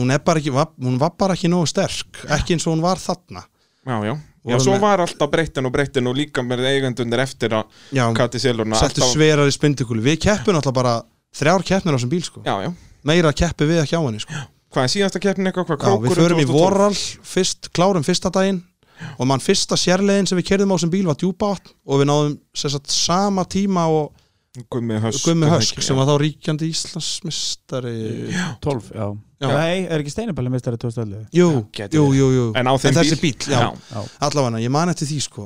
C: hún, er bara ekki, var, hún var bara ekki nógu sterk ekki eins og hún var þarna
A: já, já, já,
C: Vorum
A: svo
C: með-
A: var alltaf breytin og breytin og líka með eigendunir eftir að
C: Já,
A: Kati Silurna
C: settu sverar í spindukulu Við keppum alltaf bara þrjár keppnir á þessum bíl sko.
A: já, já,
C: meira keppi við ekki á henni sko.
A: hvað er síðasta keppnin eitthvað, hvað
C: Já, Við
A: krókurinn
C: förum í
A: 2012?
C: vorral, fyrst, klárum fyrsta daginn og mann fyrsta sérlegin sem við kerðum á sem bíl var djúbátt og við náðum sem sagt, sama tíma og
A: Gummi Hösk
C: Gummi Hösk
A: Helgi,
C: sem
A: já.
C: var þá ríkjandi Íslandsmistari
B: 12, já,
C: Já.
B: Nei, er ekki steinabæli mistari 2011
C: Jú,
A: gæti
C: jú,
A: verið.
C: jú, jú.
A: En á þeim
C: þessi bíl, já.
A: Já.
C: allavega, ég man eftir því sko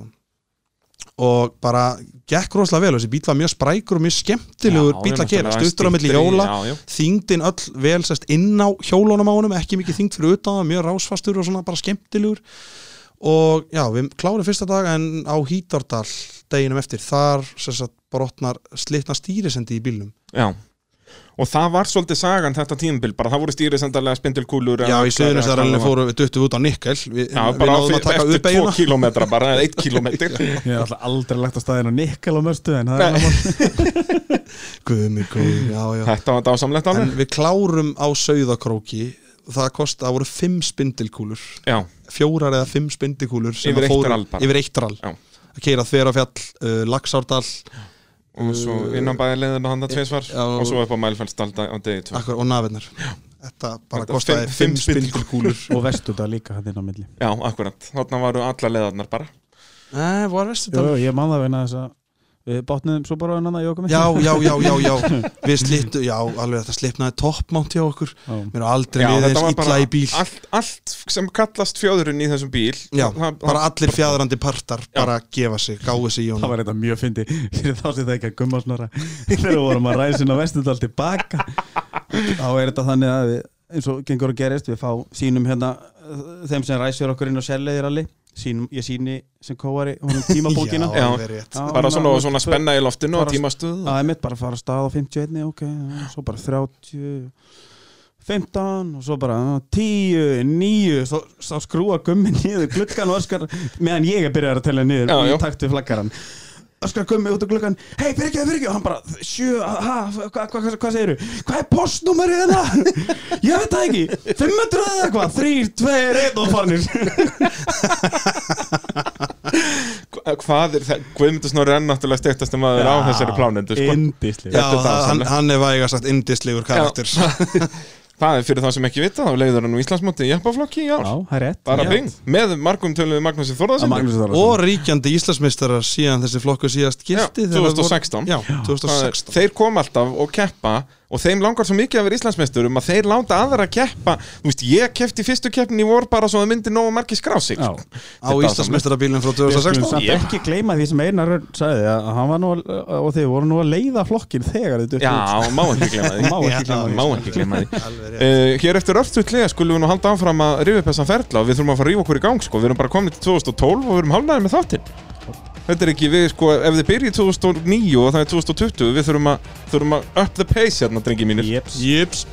C: og bara gekk rosalega vel, þessi bíl var mjög sprækur og mjög skemmtilegur
A: Já,
C: bíl
A: já,
C: að gera,
A: náttúrulega
C: stuttur á milli
A: styttri í-
C: hjóla
A: já, já.
C: þyngdin öll vel sest inn á hjólunum á honum ekki mikið þyngd fyrir utan, það, mjög rásfastur og svona bara skemmtilegur og já, við klárum fyrsta dag en á Hítardal deginum eftir, þar sess að brotnar slitna stýrisendi í bílnum
A: Já Og það var svolítið sagan þetta tímabil bara það voru stýrisendarlega spindilkúlur eða
C: Já, í
A: axlar eða
C: Suðurnestaralinu
A: hvað það var.
C: fóru við duttum út á Nikkel við,
A: Já,
C: við
A: bara á
C: náðum
A: því
C: að taka
A: bestu
C: upp
A: tvo
C: beiguna
A: kílómetra bara, eða eitt kílómetri
B: Ég hef alltaf aldrei lagt á staðin á Nikkel á mörstu en það er annað mál.
C: Guðmi, guðmi, já, já
A: Þetta var dásamlegt
C: En
A: alveg
C: við klárum á Sauðakróki það kosti, það voru fimm spindilkúlur
A: Já,
C: fjórar eða fimm spindilkúlur sem
A: Yfir
C: að
A: eitt
C: fóru-
A: drall bara.
C: yfir eitt drall
A: Já.
C: að keira Þverafjall, uh, Laxárdal
A: og svo innan bæði leiðinu hann að tveisvar
C: Uh, Já. Ah.
A: og svo upp á Mælfellsdalda á degi tvö
C: akkur, og Nafinnar þetta bara
A: Þetta
C: kostiði
A: fimm-
C: fimm,
A: fimm
C: spindilkúlur
B: og vestuða líka hann inn á milli
A: Já, akkurat, þarna varu allar leiðarnar bara
B: Eh,
C: Nei, var
B: Jú,
C: Vesturdal
B: jú, ég man það vegna þess að við bátnum svo bara hérna hann að jóka mig
C: Já, já, já, já, já Við slittu, já, alveg þetta slipnaði toppmánt hjá okkur Mér er aldrei
A: Já,
C: liðið
A: þetta
C: eins
A: var
C: illa
A: bara
C: í bíl
A: allt, allt sem kallast fjöðurinn í þessum bíl
C: Já,
A: það,
C: bara allir fjadrandi partar bara gefa sig, gáðu sig í
B: Það
C: honum
B: var þetta mjög fyndi fyrir þá sem það ekki að gumma snora þegar við vorum að ræða sinna vestundal tilbaka þá er þetta þannig að við, eins og gengur að gerist við fá sínum hérna eh, þeim sem ræsir okkur inn á sérleiðiralli sínum, ég síni sem kóari honum tímabókina
A: Já.
C: alveg rétt.
B: Já,
A: bara svona,
B: hún-
A: svona spenna í loftinu og
B: bara-
A: tímastuð
B: Það er mitt bara að fara að stað á 51 ok, já, svo bara 30 15 og svo bara já, 10, 9 svo, svo skrúa gummi niður gluggan og öskar meðan ég er byrjar að tella niður
A: Já, já.
B: í takt við flaggaran öskar gummi út á gluggan hei, byrgjöð, byrgjöð, hann bara 7, ha, hva, hva, hva, hvað segiru hvað er postnúmerið hérna ég veit það ekki, 500 eða eitthvað 3, 2, 1 og farnir
A: Hvað er það, Guðmundur Snorri er náttúrulega styrtast um aður á þessari plánendu sko.
B: indisli
C: Já,
A: Þetta er
C: það- hann,
A: dásamlegt.
C: hann er vægast sagt indislegur karakter
A: Það er fyrir þá sem ekki vita, þá leiður hann úr Íslandsmóti í Jeppaflokki í ár
B: já, það er rétt
A: bara
C: Já.
A: bing, með margum töluðu Magnúsi Þorðarsinni
C: og ríkjandi Íslandsmeistarar síðan þessi flokku síðast gildi
A: Já,
C: þegar voru-
A: 2016.
C: Já,
A: Það er-
C: 2016
A: þeir kom alltaf og keppa og þeim langar svo mikið að vera Íslandsmeisturum að þeir láta aðra keppa þú veist, ég keppti fyrstu keppnin í vor bara svo að myndi nógu margir skrá sig
B: Já.
A: sko.
C: á
A: Þetta
C: Íslandsmeistarabílinn frá
B: Við skulum
C: 2016
B: samt ekki gleyma því sem Einar Örn sagði að hann var nú að- og þeir voru nú að leiða flokkin þegar þau duttu
A: Já, má ekki glemma því
B: Má ekki gleyma því. sko.
A: Má ekki glemma því
C: Alveg rétt.
A: Uh, hér eftir örtutlega skulum við nú halda áfram að rifja upp þessan ferla og við þurfum að fara að rífa okkur í gang sko. við erum bara komin til 2012 og við erum hálnaðið með þáttinn þetta er ekki við sko ef þið byrjið 2009 og það er 2020 við þurfum að, þurfum að up the pace hérna drengi mínir
B: Jeps.
C: Jöps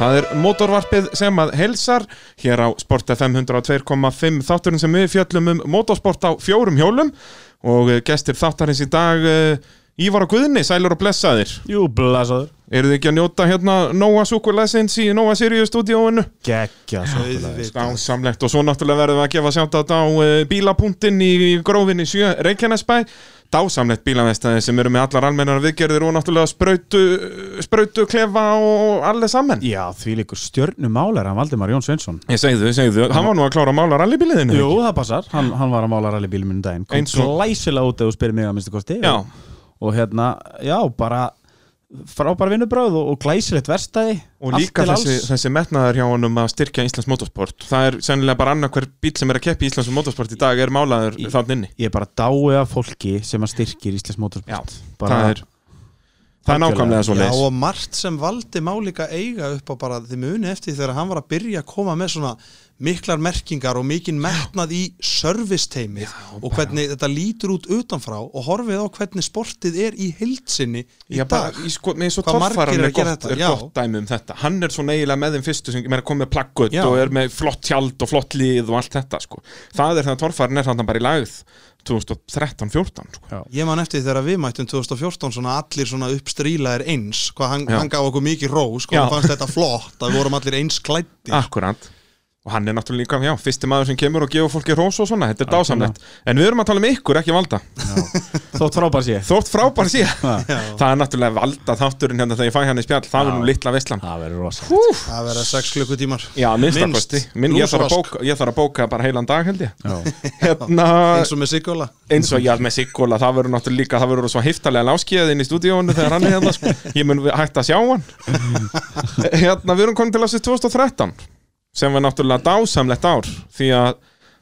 A: Það er mótorvarpið sem að helsar hér á Sport FM 102.5 þátturinn sem við fjöllum um motorsport á fjórum hjólum og eh, gestir þáttarins í dag eh, Ívar og Guðni, sælur og blessaðir.
B: Jú, blasaður
A: Eru þið ekki að njóta hérna Nóa Súkulæsins í Nóa Sirius stúdíóinu?
B: Gekja
A: Dásamlegt og svo náttúrulega verðum við að gefa sjátt á eh, bílapunktinn í grófinni 7 Reykjanesbæ. Dásamlegt bílamestæði sem eru með allar almennar viðgerðir og náttúrulega sprautu, sprautu klefa og allir saman.
B: Já, því líkur stjörnum málar hann Valdimar Jón Sveinsson
A: Ég segðu, segðu, hann var nú að klára að mála rallybíliðinu
B: Jú, það passar, hann, hann var að mála rallybílum minn um daginn kom
A: Eins og-
B: glæsilega út ef þú spyrir mig að minnstu kosti
A: Já.
B: og, og hérna, já, bara frábær vinnubröð og, og glæsilegt verstaði
A: Og líka
B: allt til
A: þessi,
B: alls.
A: þessi metnaðar hjá honum að styrkja Íslands motorsport Það er sennilega bara annar hver bíl sem er að keppi í Íslands motorsport í dag er málaður
B: Í-
A: þann inni
B: Ég er bara dái að fólki sem að styrkir Íslands
A: Já,
B: motorsport
A: það er, það er nákvæmlega svo
C: Já
A: leis
C: og margt sem valdi má líka eiga upp á bara þið muni eftir þegar hann var að byrja að koma með svona miklar merkingar og mikinn metnað í serviceteimið og hvernig þetta lítur út utanfrá og horfið á hvernig sportið er í heildsinni í
A: Já, bara,
C: dag
A: í sko, með svo
C: Hvað margir
A: torfaran er,
C: eru að gera
A: gott,
C: þetta,
A: er
C: já.
A: gott dæmi um þetta Hann er svona eiginlega með þeim fyrstu sem er að koma með plaggut
C: Já.
A: og er með flott tjald og flott lið og allt þetta sko. Það er það að torfaran er þannig bara í lagð 2013-14 sko.
C: Ég man eftir þegar við mættum 2014 svona allir svona uppstrílaðir eins hvað hann,
A: Já.
C: hann gaf okkur mikið rós hvað
A: Já. Ah.
C: hann fannst þetta flott að við vorum allir eins klæddi
A: Akkurant og hann er náttúrulega líka, já, fyrsti maður sem kemur og gefur fólki rós og svona, þetta er dásamlegt en við erum að tala um ykkur, ekki valda
B: Þótt frábær sé
A: þótt frábær síðan
B: Það
A: það er náttúrulega valda þátturinn hérna þegar ég fæ hann í spjall, það er nú litla veistlan
B: verður rosa
A: Húf,
C: Það verða 6 klukkutímar
A: já, minnstakosti
C: Minnst.
A: Minn, ég, þarf að
C: Lúsrask.
A: bóka, ég þarf að bóka bara heilan dag held ég
B: Já,
A: hérna,
C: eins og með Sigurla
A: eins og já, með Siggola, það verður náttúrulega líka það verður svo hiftalega náskið inn í stúdíónu þegar hann er hérna, sko. ég mun hægt að sjá hann hérna, við erum komin til ásins 2013 sem var náttúrulega dásamlegt ár því að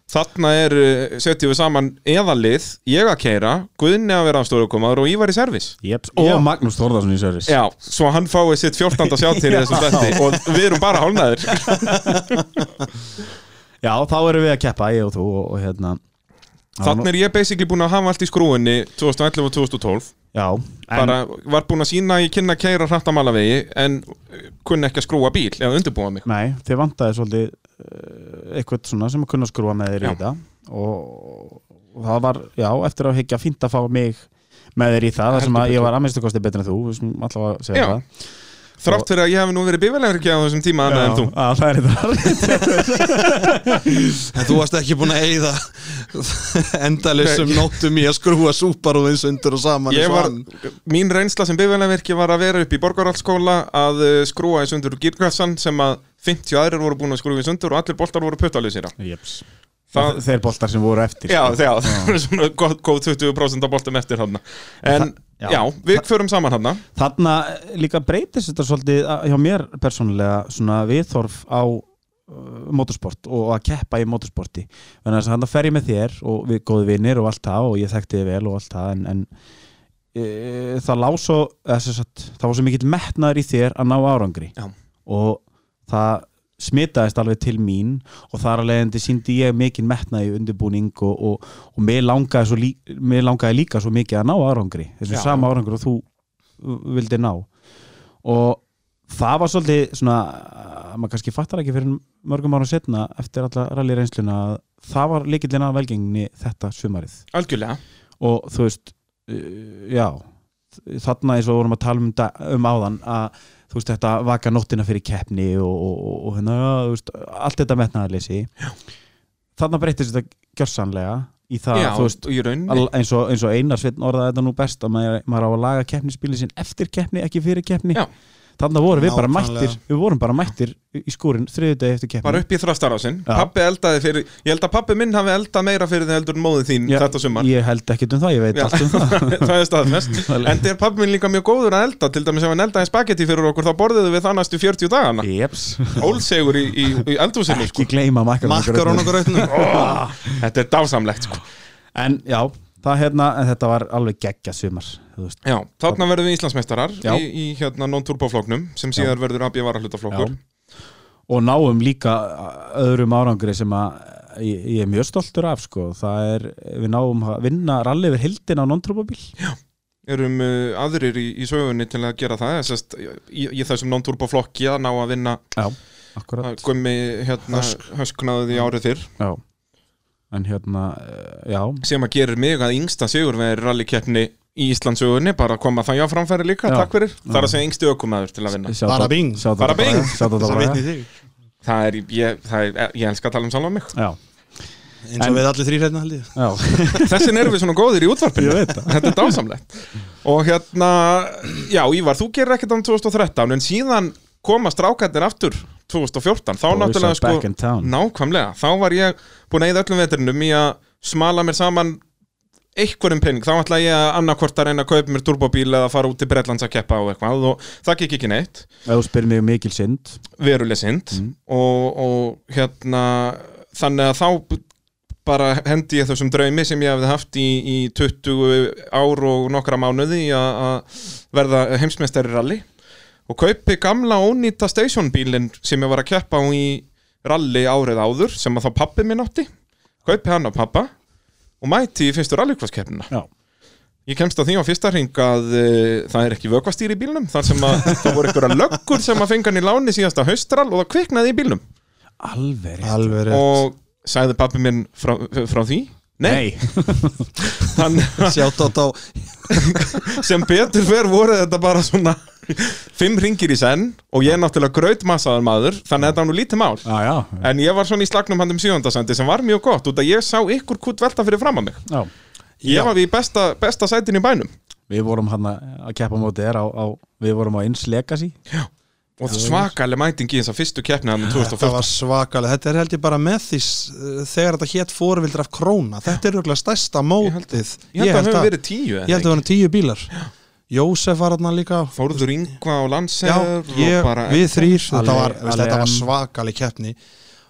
A: þarna er uh, setjum við saman eðalið, ég að keira Guðni að vera afstórukomaður og Ívar í servis
B: Jeps. og Magnús Þórðarsson í Sörðis
A: Já, svo hann fái sitt 14. sjáttir í þessum stætti og við erum bara hálnaðir
B: Já, þá erum við að keppa, ég og þú og, og hérna
A: Þannig er ég basically búin að hafa allt í skrúinni 2011 og 2012
B: Já, en
A: bara var búin að sína að ég kynna að keira hratt að mala vegi en eh, kunni ekki að skrúa bíl eða undirbúa mig
B: Nei, þið vantaði svolítið uh, eitthvað svona sem að kunna skrúa með þér
A: Já.
B: í þetta og, og það var, já, eftir að higgja fínt að fá mig með þér í það, þar sem
A: Heldur
B: að ég var að minnstu kosti betur en þú, við sem alltaf að segja
A: Já,
B: það
A: þrátt fyrir að ég hef nú verið bífælegur ekki á þessum tíma annað en þú
B: að, það er þetta
C: En þú varst ekki búin að eyða endalisum nóttum í að skrúa súparúðins undir og saman
A: Ég
C: eins og
A: var,
C: hann.
A: mín reynsla sem bifjalaverki var að vera upp í borgarhaldsskóla að eh, skrúa í sundur gírkassan sem að 50 aðrir voru búin að skrúa í sundur og allir boltar voru puttalusir
B: Jeps.
A: Það-
B: Þeir boltar sem voru eftir
A: Já,
B: sko.
A: já, það er svona gott- góð 20% af boltum eftir hann En,
B: já.
A: já, við förum saman hann
B: Þarna líka breytist þetta svolítið að- hjá mér persónulega svona viðþorf á uh, motorsport og að keppa í motorsporti þannig að þannig fer ég með þér og við góði vinnir og allt það og ég þekkti þið vel og allt það en, en e, það lá svo eða, sem sagt, það var svo mikill metnaður í þér að ná árangri
A: Já.
B: og það smitaðist alveg til mín og þar að leiðandi síndi ég mikinn metnaði í undirbúning og, og, og mér, langaði svo lí, mér langaði líka svo mikið að ná árangri þessum
A: Já.
B: sama árangri og þú vildi ná og það var svolítið svona að maður kannski fattar ekki fyrir mörgum ára setna eftir alla rallyreinsluna að það var líkillin að velgengni þetta sumarið
A: Algjörlega
B: og þú veist uh, já, þarna eins og við vorum að tala um, da- um áðan að þú veist þetta vaka nóttina fyrir keppni og, og, og, og hérna, já, þú veist, allt þetta metnaðarleysi þarna breytist þetta gjörsanlega í það,
A: Já,
B: þú veist
A: í rauninni
B: al- eins og, eins og Einar Sveinn orðaði þetta nú best að maður, maður á að laga keppnispílið sinn eftir keppni, ekki fyrir keppni
A: Já.
B: þannig vorum við bara
C: Nákvæmlega.
B: mættir við vorum bara mættir í skúrin þriðudegi eftir keppni
A: bara upp í þrastarásin
B: Já.
A: pappi eldaði fyrir, ég held að pappi minn hafi eldað meira fyrir þið heldur en móðið þín
B: Já,
A: þetta sumar
B: ég held ekkert um það, ég veit
A: Já.
B: allt um það
A: það er staðfest,
B: Alveg.
A: en þegar pappi minn líka mjög góður að elda, til dæmis ef hann eldaði spagetti fyrir okkur þá borðuðu við það næstu 40 dagana
B: Jeps,
A: ólsegur í, í, í eldhúsinu
B: ekki
A: sko.
B: gleyma
C: Makarón og
B: makkarónu
C: grötnum
A: þetta er dásamlegt sko.
B: en já, það hérna, en þetta var alveg geggja sumar þú veist.
A: Já, þarna verðum við Íslandsmeistarar
B: Já.
A: í, í hérna non-turboflóknum sem síðar verður AB varahlutaflokkur
B: og náum líka öðrum árangri sem að ég, ég er mjög stoltur af sko. það er, við náum að vinna rally yfir hildin á non-trúpabil
A: erum uh, aðrir í, í sögunni til að gera það sest, í, í þessum non-turboflokki að ná að vinna
B: já, akkurat
A: að gummi hérna, hösknaðið í árið fyrr
B: Já En hérna, eh, já
A: sem að gerir mig að yngsta sigurvegir rallikeppni í Íslandsögunni bara að koma það já framfæri líka,
B: Já.
A: takk fyrir það er að segja yngstu ökumæður til að vinna
B: Sjátt
C: Bara
B: á-
C: bing.
B: sjátt á
A: Bara
B: Braga,
A: bing.
B: sjátt á
C: Það
B: Braga.
C: vitni þig
A: það er, ég, það er, ég elska að tala um sjálf á mig
B: Já,
C: Eins og
B: En-
C: við allir þrýrætna held ég
B: já
A: þessin erum við svona góðir í útvarpinu
B: Ég veit það.
A: þetta er dásamlegt og hérna, já Ívar, þú gerir ekkert um án 2013 en síðan koma strákarnir aftur 2014, þá
B: Boys
A: náttúrulega
B: are back in
A: sko
B: town.
A: nákvæmlega, þá var ég búin að eyða öllum veturinnum í að smala mér saman einhverjum pening, þá ætla ég að annarkvort að reyna að kaupa mér turbóbíl eða fara út til Bretlands að keppa og eitthvað og það gekk ekki neitt
B: Ef þú spyrir mig um mikil synd
A: veruleg synd og, og hérna þannig að þá b- bara hendi ég þessum draumi sem ég hafði haft í, í 20 ár og nokkra mánuði í að að verða heimsmeistari í rally og kaupi gamla ónýta stationbílinn sem ég var að keppa á í rally árið áður sem að þá pappi minn átti kaupi hann á pappa og mæti í fyrstu rallycrosskeppnina
B: Já,
A: Ég kemst á því á fyrsta hring að uh, það er ekki vökkvastýr í bílnum þar sem að það voru einhverja löggur sem að fenga hann í láni síðasta haustral og það kviknaði í bílnum
B: alveg rétt.
C: Alveg
A: og sagði pappi minn frá, frá því Nei,
B: Nei,
A: þannig að
C: Sjátt átt á
A: sem betur fer voru þetta bara svona fimm ringir í senn og ég er náttúrulega grautmassaðar maður þannig að þetta var nú lítið mál
B: Já, já,
A: en ég var svona í slagnum handum sjöndasandi sem var mjög gott út að ég sá ykkur kutt velta fyrir fram að mig
B: já.
A: ég var við í besta, besta sætin í bænum
B: Við vorum hann að keppa móti þér á, á, við vorum á Inns Legacy
A: og svakaleg mæting í þess að fyrstu keppni um hann
C: Þetta
A: 2014
C: var svakalega, þetta er held ég bara með því s- þegar þetta hétt fórvildur af króna þetta er auðvitað stærsta mótið
A: ég held að það hefur verið tíu
C: ég held að það var tíu bílar Jósef var hann líka
A: Þórður Ingva og
C: Já,
A: Lanser
C: ég,
A: og bara
C: við þrýr, þetta
B: Alli-
C: var, veist, þetta var
B: Alli-
C: svakaleg keppni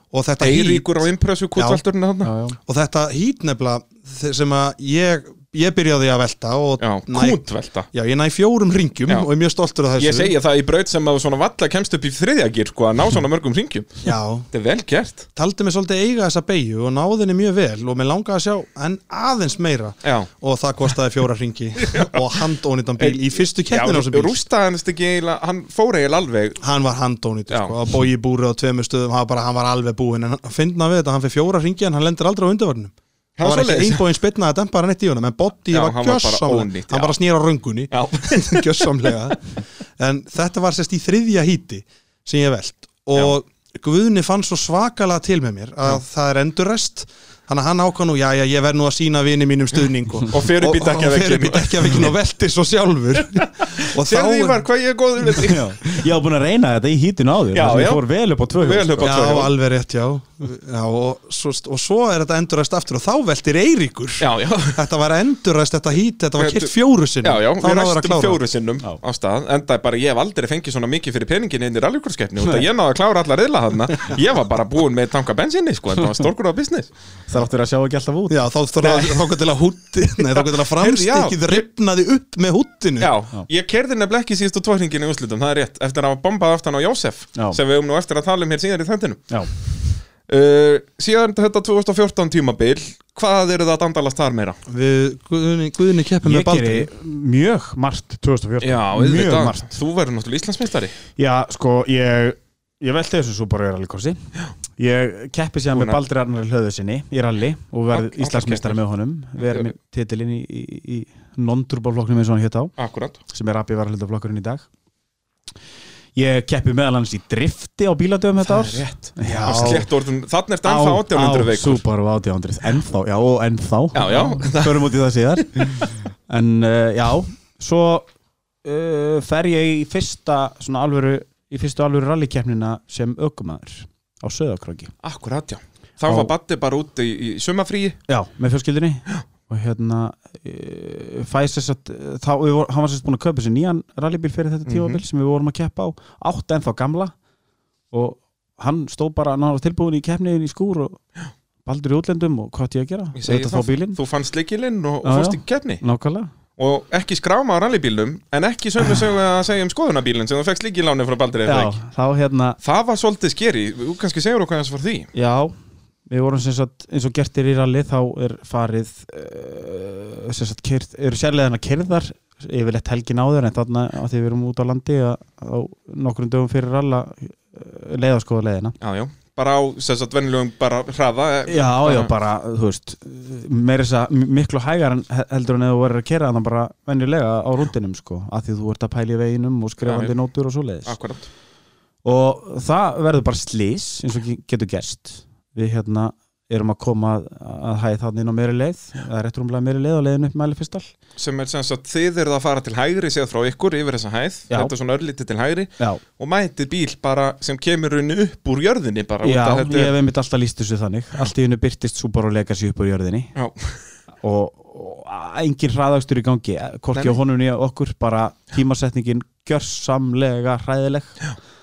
C: og þetta hít
A: Eiríkur á impressu kuttvelturinn hann
B: já, já.
C: og þetta hít nefnilega þe- sem að ég, ég byrjaði að velta og
A: Já, kútvelta
C: já, ég næ fjórum ringjum
A: Já.
C: og er mjög stoltur af þessu
A: Ég segja það í braut sem að svona valla kemst upp í þriðjagir sko að ná svona mörgum ringjum
C: Já,
A: Þetta er vel gert
C: taldi mig svolítið eiga þessa beigju og náðinni mjög vel og mér langaði að sjá en aðeins meira
A: Já,
C: og það kostaði fjóra ringi og handónýtan bíl í fyrstu keppninu á þessum bíl
A: rústa hann ekki eiginlega, hann fór eiginlega alveg
C: hann var handónýtur
A: Já.
C: sko, að bói í búri á tveimur stöðum, hann var, bara, hann var alveg búinn en hann finna við þetta, hann fyrir fjóra ringi en hann lendir aldrei á undirvarnum
A: Það
C: hann
A: var
C: var ekki
A: svoleiðis.
C: einbóin spilnaði að dempa hann eitt í honum en Boddi
A: Já,
C: var
A: hann var bara
C: gjössamlega,
A: ónýtt, já.
C: hann bara snýra röngunni
A: Já,
C: gjössamlega en þetta var sérst í þriðja híti sem ég veld og Guðni fann svo svakalega til með mér að það er endurrest þannig að hann ákvað nú, já, já, ég verð nú að sína vini mínum stuðning og,
A: Og fer upp í
C: og- og fer upp í
A: dekkjavegginum.
C: dekkjavegginum og velti svo sjálfur og
A: þegar því var hvað ég er góður með því
B: Já. Ég var búin að reyna þetta í hítinu áður
A: Já,
B: þar sem
A: já.
B: Ég fór vel upp á tvö hjól,
A: Vel upp á-
B: sko.
A: bara tvö
C: Já,
A: hjól.
C: alveg rétt, já, já og, svo, og svo er þetta enduræst aftur og þá veltir Eiríkur
A: Já, já
C: Þetta var enduræst, þetta hít, þetta var
A: Þetta-
C: kilt fjóru sinni
A: Já, já,
C: þá
A: við
C: náður að
A: ræstum
C: klára
A: fjóru sinnum
B: Já.
A: á stað Enda er bara, ég hef aldrei fengið svona mikið fyrir peningin inn í rallyrkurskeppni Út að ég náði að klára alla reyðla þarna Ég var bara búinn með tanka bensinni, sko En það var stórkur á business
B: Það áttur að sjá ekki alltaf út
C: Já, þá þókað til að hútti, nei, þókað til að framstikkið ripnaði upp með húttinu
A: Já, ég kerði nefnilega ekki síðustu tvöringin í úslutum, það er rétt Eftir að hafa bombað aftan á Jósef
B: Já.
A: Sem við um nú eftir að tala um hér síðan í þendinu
B: Já,
A: uh, Síðan þetta 2014 tímabil Hvað eru það að dandalast þar meira?
C: Við, Guðni, Guðni keppum með
B: ég
C: Baldur
B: geri mjög margt 2014
A: Já,
B: Mjög
A: auðvitað.
B: margt
A: Þú verður náttúrulega Íslandsmeistari
B: Já, sko, ég, ég velti þessu svo bara í rallykorsi Ég keppi síðan
A: Búin
B: með
A: að-
B: Baldur Arnar Hlöðusinni í rally og verð
A: Á- áfram keppnir.
B: Íslandsmeistari með honum verð með titilinn í, í, í non-turboflokknum eins og hann hétt á
A: Akkurat
B: sem er api varalhildaflokkurinn í dag Ég keppi meðal hans í drifti á bíladöfum þetta ár
A: rétt
B: Já,
A: Á slétt orðum, þannig er þetta ennþá 1800
B: Á
A: veikur
B: Subaru 1800, ennþá, já, og ennþá
A: Já, já.
B: Förum út í það síðar En uh, já, svo uh, fer ég í fyrsta svona alvöru, í fyrstu alvöru rallikeppnina sem ökumæður á Söðakróki
A: Akkurat, já Þá
B: Á-
A: var Batti bara út í, í sumafríi
B: Já, með fjölskyldinni og hérna uh, fæs þess að uh, þá, við vor, hann var sérst búin að kaupa sér nýjan rallybíl fyrir þetta tímabil
A: Mhm.
B: sem við vorum að keppa á átt ennþá gamla og hann stó bara, hann var tilbúin í keppniðin í skúr og baldur í útlendum og hvað átti ég að gera?
A: Ég segi
B: Auðvitað
A: það.
B: þá bílinn,
A: Þú fannst leikilinn og,
B: Já,
A: og fórst
B: já.
A: í keppni
B: nákvæmlega
A: Og ekki skráma á rallybílnum En ekki sömu sögu að segja um skoðunabílinn Sem þú fekst líkiláni frá Baldur eða
B: Já,
A: ekki
B: þá hérna,
A: Það var svolítið skeri, þú kannski segir okkur hans var því
B: já við vorum sem sagt, eins og gert er í rally þá er farið uh, sem sagt, kyrð, eru sérleðina kyrðar yfirleitt helgin áður en þarna að því við erum út á landi að, á nokkrum dögum fyrir ralla uh, leiðaskoða leiðina
A: Já, já, bara á, sem sagt, venjulegum bara hraða eh,
B: Já, já, bara, þú veist meira þess að miklu hægar en he- heldur en eða þú verður að kera þannig bara venjulega á rúndinum sko, að því þú ert að pæli veginum og
A: Já, já.
B: skrifandi nótur og svo leiðis
A: Akkurat
B: og það verður bara slís eins og ge- getur gerst við hérna erum að koma að, að hæð þannig inn á meiri leið eða rétt rúmlega meiri leið og leiðin upp með alifistall
A: Sem er sem sagt, þið eruð að fara til hægri séð frá ykkur yfir þessa hæð
B: Já.
A: Þetta er svona örlítið til hægri
B: Já,
A: og mætið bíl bara sem kemur henni upp úr jörðinni bara út
B: já
A: af
B: ég
A: þetta
B: hef einmitt alltaf líst þessu þannig allt í hennu byrtist Subaru Legacy upp úr jörðinni
A: Já,
B: og, og engin hraðakstur í gangi
A: Nei,
B: hvorki
A: nei.
B: á honum nýja okkur bara tímasetningin gjörsamlega hræðileg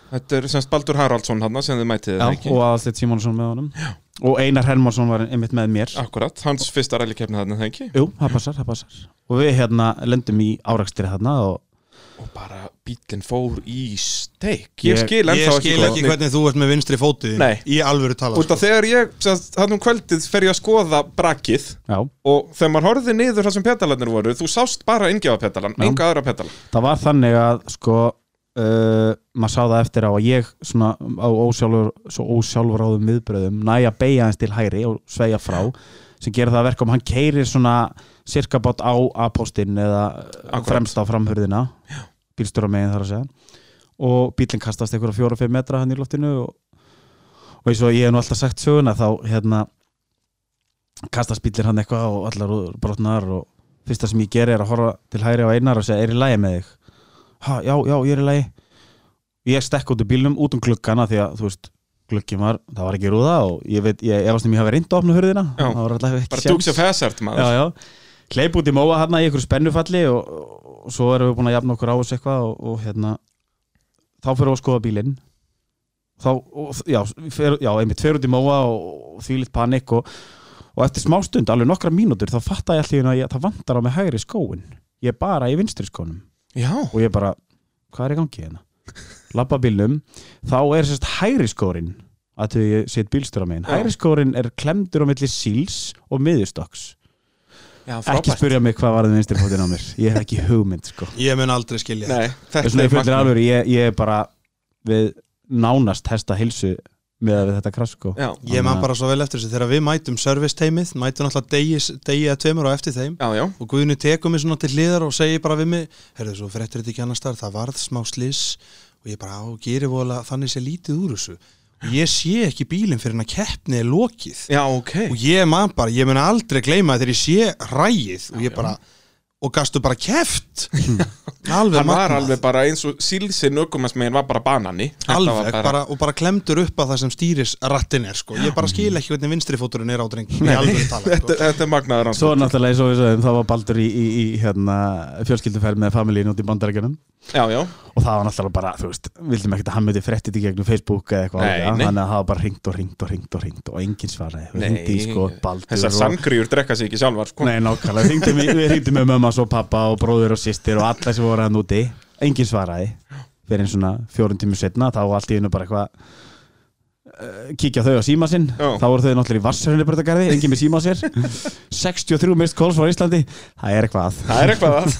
A: þetta er semst Baldur Haraldsson hann sem þið mætið
B: já,
A: þetta
B: og aðalstætt Simonsson með honum já. og Einar Hermansson var einmitt með mér
A: Akkurat, hans fyrsta rallykefni þarna það ekki
B: Jú, það passar, það passar og við hérna lendum í árakstri þarna og
A: og bara bílinn fór í steik
B: Ég-
A: Ég skil
C: Ég
A: ennþá
C: skil ekki hvernig þú ert með vinstri fótið þín.
A: sko. Nei.
C: Í alvöru sko. tala
A: Út af þegar ég, hann um kvöldið fer ég að skoða brakið
B: já
A: og þegar maður horfði niður þar sem petalarnir voru þú sást bara yngjafa petalan,
B: Já.
A: enga aðra petala
B: það var þannig að sko uh, maður sá það eftir á að ég svona á ósjálfur, svo ósjálfur áðum viðbröðum næja beigja hans til hægri og sveja frá sem gera það að verkum, hann keirir svona cirka bát á A-postin eða
A: Akkurat.
B: fremst á framhörðina bílstjóra megin þar að segja og bílinn kastast einhverja fjóra og fimm metra hann í loftinu og, og eins og ég hef nú alltaf sagt söguna þá hérna kastast bílinn hann eitthvað og allar rúður brotnar og fyrsta sem ég geri er að horfa til hægri á einar og segja er í lægi með þig ha, já, já, ég er í lægi ég stekk út úr bílnum, út um gluggana því að, þú veist, gluggin var, það var ekki rúða og ég veit, ég efast um ég hafi reynd að opna hurðina
A: Já.
B: það var alltaf ekki
A: bara
B: séns.
A: dukes of hazard maður
B: já, já. hleyp út í móa hérna í ykkur spennufalli og, og svo erum við búin að jafna okkur á þessu eitthvað og, og hérna þá fyrir við að skoða bílinn þá, og, já, fer, já, einmitt fyrir út í móa og, og því litt panik og, og eftir smá stund, alveg nokkra mínútur þá fatta ég allir að ég, það vantar á mig hægri skóin ég er bara í vinstri skónum
A: já,
B: og ég bara, hvað er í gangi hérna labba bílnum, þá er sérst hægri skórin að því ég set bílstjóra megin,
A: Já.
B: hægri skórin er klemdur á milli síls og miðustokks
A: já
B: ekki
A: frábært
B: spyrja mig hvað var það vinstri fótinn á mér ég hef ekki hugmynd sko
C: Ég mun aldrei skilja
A: Nei,
B: ég,
A: þetta
B: svona,
A: er
B: ég, fullir
A: magnað.
B: alveg, ég, ég er bara við nánast hesta hilsu með að við þetta krass sko
A: já,
C: Ég man bara svo vel eftir þessu, þegar við mætum service teimið, mætum alltaf degi, degi að tveimur og eftir þeim
A: já, já,
C: og Guðinu tekur mig svona til hliðar og segir bara við mig, herðu svo frettir þetta ekki annars þar, það varð smá sliss og ég bara á, gerir vola, þannig sé lítið úr þessu og ég sé ekki bílinn fyrir en að keppni er lokið
A: já, ok
C: og ég man bara, ég mun aldrei gleyma þegar ég sé rægið og ég bara, og gastu bara keft
A: hann
C: alveg
A: var
C: magnað.
A: alveg bara eins og sílsinn ökumessmegin var bara banani Þetta var
C: alveg, bara, og bara klemdur upp að það sem stýris rattin er sko, ég bara skil ekki hvernig vinstri fóturinn er á drengjum, ég alveg tala
A: þetta,
C: sko.
A: þetta er magnaður hans
B: svo náttúrulega eins og við sagðum, þá var Baldur í, í, í hérna, fjölskylduferð með familíin út í bandarækjunum
A: já, já,
B: og það var náttúrulega bara, þú veist, vildum ekkert að hann myndi fréttið í gegnum Facebook eða eitthvað
A: Nei,
B: álíka,
A: nei.
B: þannig að það var bara ringt og ringt og ringt og ringt og enginn svaraði, við
A: Nei.
B: ringdi í sko Baldur
A: þessar
B: og-
A: sangriður drekka sig ekki sjálfar sko.
B: Nei, nákvæmlega, hringdum í- við hringdum með mamma og pappa og bróður og sýstir og alla sem voru hann úti enginn svaraði fyrir einn svona fjórun tímu setna þá var allt í einu bara eitthvað eh, kíkja þau á síma sinn
A: Já.
B: þá voru þau náttúrulega í vassarunni brötagarði, enginn með síma á sér 63 mist kóls frá Íslandi það er eitthvað að.
A: það er eitthvað að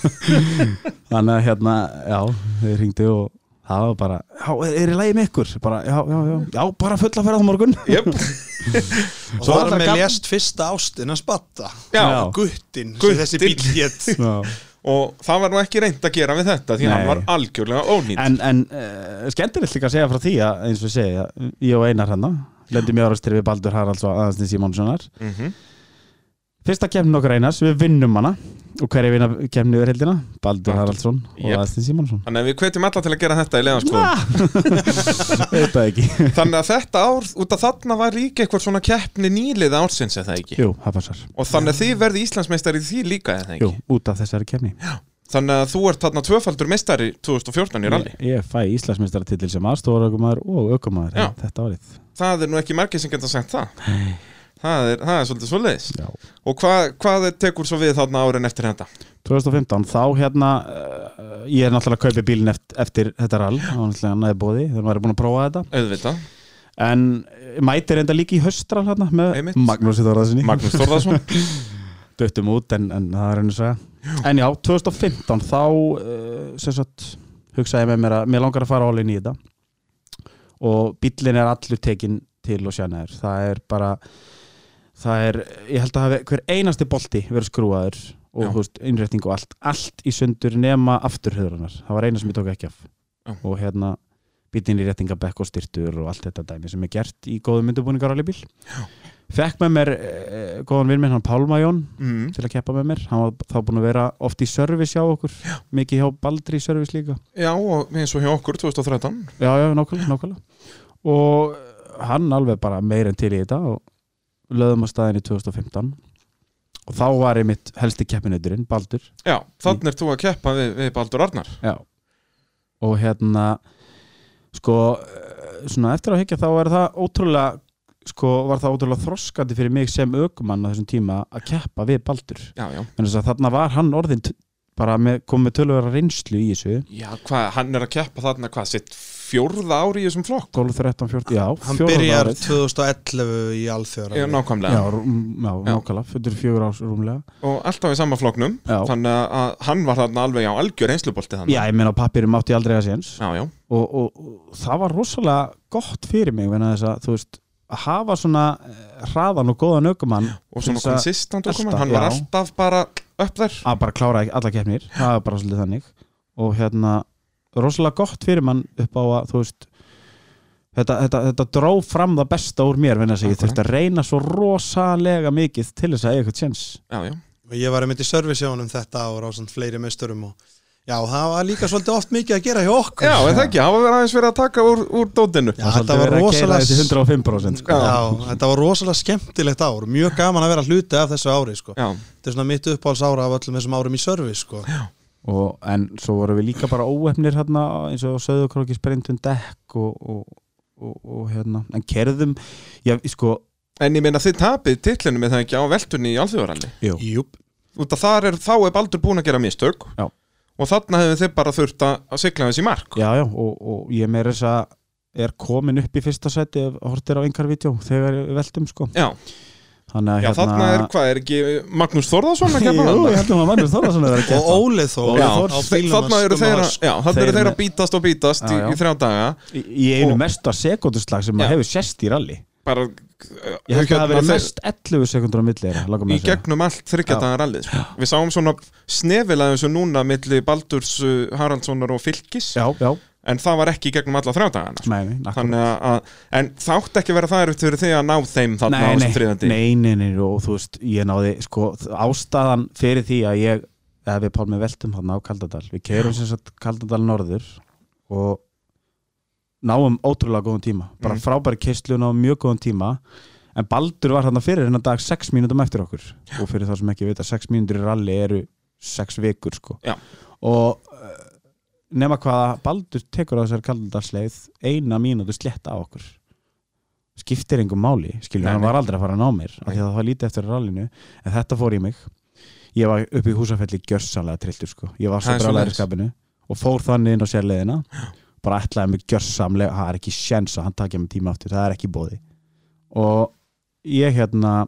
B: þannig að hérna, já, þau hringdu og það var bara, já, er í lagi með ykkur bara, já, já, já, já, bara fulla ferð á morgun
A: Jöp.
C: og
B: Svo
C: það
B: var
C: var
B: það
C: með
B: gaman-
C: lest fyrsta ástin að spatta
A: já,
B: Já.
C: guttin,
A: Guttinn.
C: sem þessi bíl hétt
B: já.
A: og það var nú ekki reynd að gera við þetta því
B: Nei.
A: hann var algjörlega ónýtt
B: En, en uh, skemmtilegt líka að segja frá því að eins og segja, ég og Einar hérna, hann lendi mjög árastri við Baldur Haralds og Aðansni Simonssonar
A: mm
B: Fyrsta kemni okkar Einars, við vinnum hana og hverja vinna kemni yfir heldina? Baldur Haraldsson
A: Jep.
B: og
A: Sko.
B: yep. Aðansni Simonsson
A: þannig að við hvetjum alla til að gera þetta í leiðanskoðum
B: Þetta ekki
A: þannig að þetta ár, út af þarna var líka eitthvað svona keppni nýliða ársins eða ekki
B: Jú, það passar
A: og þannig að þið verði Íslandsmeistari í því líka eða ekki
B: Jú, út af þessari kemni
A: þannig að þú ert þarna tvöfaldur meistari 2014 í rally
B: Ég fæ Íslandsmeistaratitil sem aðstofar ökumæður og ökumæður
A: Já.
B: þetta árið
A: það er nú ekki margir sem geta sagt það það er, það er svolítið svoleiðis
B: Já.
A: og hva, hvað tekur svo við þarna árin eftir þetta
B: 2015, þá hérna uh, ég er náttúrulega að kaupa bílinn eftir, eftir þetta rall, það var náttúrulega annaði bóði þegar maður er búin að prófa þetta
A: auðvitað,
B: en eh, mætir enda líka í höstral hérna með
A: Einmitt.
B: Magnúsi Þorðarsinni
A: Magnús Þórðarsson
B: döttum út en, en það er henni að segja en já, 2015 þá uh, sem sagt, hugsaði ég með mér að mér langar að fara álinn í þetta og bíllinn er allur tekinn til og sjanaður, það er bara það er, ég held að hafi hver einasti bolti verið skrúaður og
A: Já.
B: þú veist, innrétting og allt, allt í sundur nema afturhöðrunar, það var eina sem ég tók ekki af
A: Já.
B: og hérna bíllinn í réttingabekk og styrtur og allt þetta dæmi sem er gert í góðum myndubúningar alveg bíl fekk með mér eh, góðan vinn minn hann Pálma Jón
A: mm.
B: til að keppa með mér hann var þá búin að vera oft í service hjá okkur já. mikið hjá Baldri í service líka
A: já og eins og hjá okkur 2013
B: já, já, nákvæmlega, nákvæmlega og eh, hann alveg bara meir en til í þetta og löðum á staðin í 2015 og þá var ég mitt helsti keppinuturinn, Baldur
A: já, þannig er þú að keppa við, við Baldur Arnar
B: já. og hérna sko, eh, svona eftir að higgja þá er það ótrúlega sko, var það ótrúlega þroskandi fyrir mig sem ökumann á þessum tíma að keppa við Baldur
A: já, já,
B: Þannig að þarna var hann orðin t- bara með, kom með tölvöra reynslu í þessu
A: já hvað, hann er að keppa þarna hvað, sitt fjórða ári í þessum flokk
B: Golf 13, 14, já,
C: hann
B: fjórða
C: byrjar
B: árið.
C: 2011 í
A: já,
C: alþjóðar
B: Já,
A: nákvæmlega,
B: rúm- já,
A: Já.
B: nákvæmlega, fyrir fjögur árs rúmlega
A: og alltaf í sama flokknum
B: Já,
A: þannig að- að hann var þarna alveg á algjör einslubolti þannig
B: já ég meina á pappirum átti ég aldrei að séns
A: já, já,
B: og, og, og það var rosalega gott fyrir mig vegna þess að, þú veist að hafa svona eh, hraðan og góðan ökumann
A: og
B: til
A: svona
B: þess að-
A: konsistant okkur
B: alltaf,
A: hann var
B: já.
A: alltaf bara upp þær
B: að bara klára ekki alla keppnir það er bara svolítið þannig og hérna, rosalega gott fyrir mann upp á að, þú veist þetta, þetta, þetta dró fram það besta úr mér vegna þess að ég þurfti að reyna svo rosalega mikið til þess að eiga eitthvað tjens
A: já, já.
C: og ég var einmitt í service hjá honum þetta og rásand fleiri meisturum og já, það var líka svolítið oft mikið að gera hjá okkur
A: já, en það ekki, hafa verið aðeins verið að taka úr, úr dótinu
C: Já, þetta var rosalega
B: þessi 105% sko.
A: Já.
C: Já, þetta var rosalega skemmtilegt ár mjög gaman að vera hluti af þessu ári sko.
A: já,
C: þetta er svona mitt uppáhalds ára af öllum þessum árum í service sko.
B: og, en svo vorum við líka bara óefnir hérna, eins og söðukróki sprintun dekk og, og, og, og hérna en kerðum, já, sko
A: en ég meina þið tapið titlunum er það ekki á veltunni í alþjóðaralli
B: jú,
C: Júp,
A: út að þar er, þá er Baldur búin að gera mistök
B: Já.
A: og þarna hefur þið bara þurft að að sigla þessi mark
B: Já, já, og, og ég meira þess að er komin upp í fyrsta seti ef hortir á einhver vídeo þegar við veltum sko
A: já,
B: Þannig að hérna-
A: já þarna er, hvað er ekki Magnús Þórðarsson að kemja
B: Jú, ég heldum að Magnús Þórðarsson er að
C: og
B: keppa
C: Ólið þó
A: hérna- Já,
C: á bílnum
A: þarna
C: hans, sko,
A: eru
C: Gumma
A: þeir að
C: Vars.
A: já, þarna
B: Þeir
A: eru þeir að
B: með-
A: bítast og bítast
B: Já, já.
A: í, í þrjá daga
B: Í í einu
A: Og-
B: mesta sekunduslag sem
A: Já.
B: maður hefur sest í rally
A: bara uh, hérna,
B: Ég held að það hafi verið
A: þeir-
B: mest 11 sekundur á milli þeirra, langar
A: í
B: mig að segja.
A: gegnum allt þryggjadagar allið við sáum svona snefilega eins og núna milli Baldurs uh, Haraldssonar og Fylkis
B: Já, já,
A: en það var ekki í gegnum alla þrjádagana
B: nei, nei,
A: Sko,
B: akkurat.
A: þannig að, að en þátt ekki að vera það erfitt fyrir þig að ná þeim þarna á
B: nei,
A: þessum
B: nei,
A: þriðandi
B: nei, nei, nei, og þú veist, ég náði, sko, ástæðan fyrir því að ég, eða við pálmi veltum hann á Kaldadal, við keirum sem sagt Kaldadal norður og náum ótrúlega góðum tíma, bara
A: Mm.
B: frábæri keistlu og náum mjög góðum tíma, en Baldur var hann fyrir hennar dag 6 mínútum eftir okkur og fyrir þá sem ekki vita, 6 mínútur í rally eru 6 vikur, sko
A: Já.
B: og eh, nema hvaða Baldur tekur á þessari Kaldadarsleið eina mínútu sletta á okkur skiptir engum máli skilur,
A: Nei,
B: hann
A: nei.
B: var aldrei að fara að ná mér af
A: Nei.
B: því að það var lítið eftir rallinu, en þetta fór í mig ég var upp í húsafelli gjörsanlega trilltur sko, ég var svo
A: Það er
B: brálaður í
A: svoleiðis.
B: skapinu og fór þannig inn á sérleðina bara ætlaði mig gjörsamlega, það er ekki sjens að hann takja mig tíma aftur, það er ekki bóði og ég hérna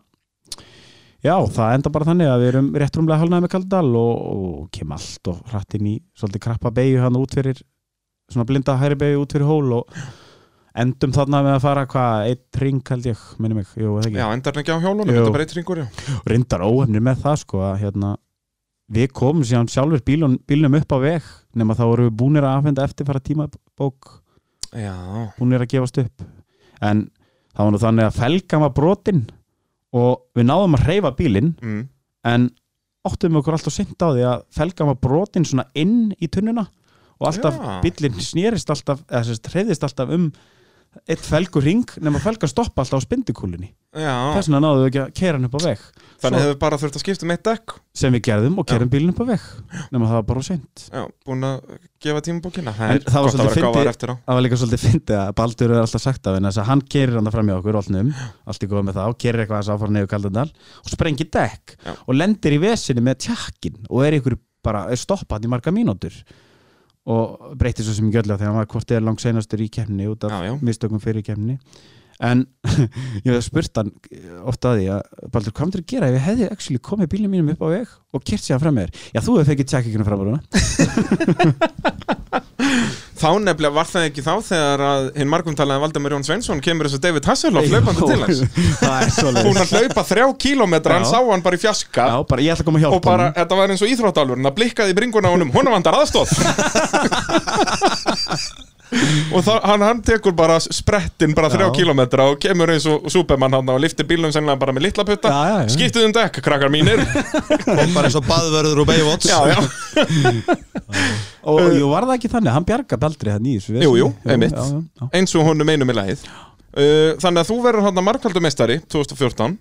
B: já, það enda bara þannig að við erum rétt rúmlega hálnaði með Kaldal og, og kem allt og hratt inn í svolítið krappa beigju hann út fyrir svona blinda hæri beigju út fyrir hól og endum þarna með að fara hvað, eitt ring held ég, minni mig, jú, eða ekki
A: já, endar hann ekki á hjólunum,
B: Jú.
A: þetta er bara eitt ringur já.
B: reyndar óhefnir með það sko að hérna við komum síðan sjálfur bílun, bílnum upp á veg nema þá vorum við búnir að afhenda eftirfara tímabók
A: já,
B: búnir að gefast upp en það var nú þannig að felgan var brotin og við náðum að hreyfa bílinn
A: mm.
B: en óttum okkur alltaf seint á því að felgan var brotin svona inn í tunnuna og alltaf
A: Já.
B: bílinn snýrist alltaf eða sérst hreyðist alltaf um eitt felgur ring nema felgan stoppa alltaf á spindikúlinni
A: já.
B: þess vegna náðum við ekki að keira hann upp á veg
A: þannig
B: Svo-
A: hefur bara þurft að skipta um eitt dekk
B: sem við gerðum og kerum bílinn upp á veg nema það var bara seint
A: já, búin að gefa tímabókina það
B: En
A: er
B: það
A: gott
B: var
A: að
B: svolítið
A: vera
B: fyndið-
A: gáðar eftir á
B: það var líka svolítið fyndið að Baldur er alltaf sagt af henni þess að hann kerir hann það fram í okkur allnum, allt í góð með það og kerir eitthvað þess áfara niður kaldandal og sprengir dekk
A: Já.
B: og lendir í vesinu með tjakkin og er ykkur bara er stoppað í marga mínútur og breytir svo sem gjöldlega þegar hann var hvort eð er langt seinastur í kemni út af
A: já, já,
B: mistökum fyrir kemni en ég hef spurt hann ofta að því að Baldur, hvað myndir að gera ef ég hefði actually komið bílnum mínum upp á veg og kert sér fram með þér já, þú hefur fengið tjakkikinu fram á rúna
A: þá nefnilega var það ekki þá þegar að hinn margumtalaði Valdamur Jón Sveinsson kemur þessu David Hasselhoff hlaupandi til hans
B: það er svo
A: búin að hlaupa þrjá kílómetra hann
B: Já.
A: sá hann bara í fjaska
B: Já, bara ég ætla að koma að hjálpa
A: og bara, þetta var eins og íþróttalvur hann blikkaði í bringuna á honum, honum vandar aðstóð og það, hann, hann tekur bara sprettin bara þrjá
B: Já.
A: kílómetra og kemur eins og Superman hann og liftir bílum sennilega bara með litla putta
B: Já, já, já.
A: skiptið um dekk, krakkar mínir
C: og sko, bara eins og baðverður og Baywatch
A: já, já,
B: Og uh, jú, var það ekki þannig, hann bjarga Baldri hann í þessu veseni.
A: Eh, Jú, jú, einmitt.
B: já, já, já.
A: eins og honum einum í lagið Uh, Þannig að þú verður hann markvaldumestari 2014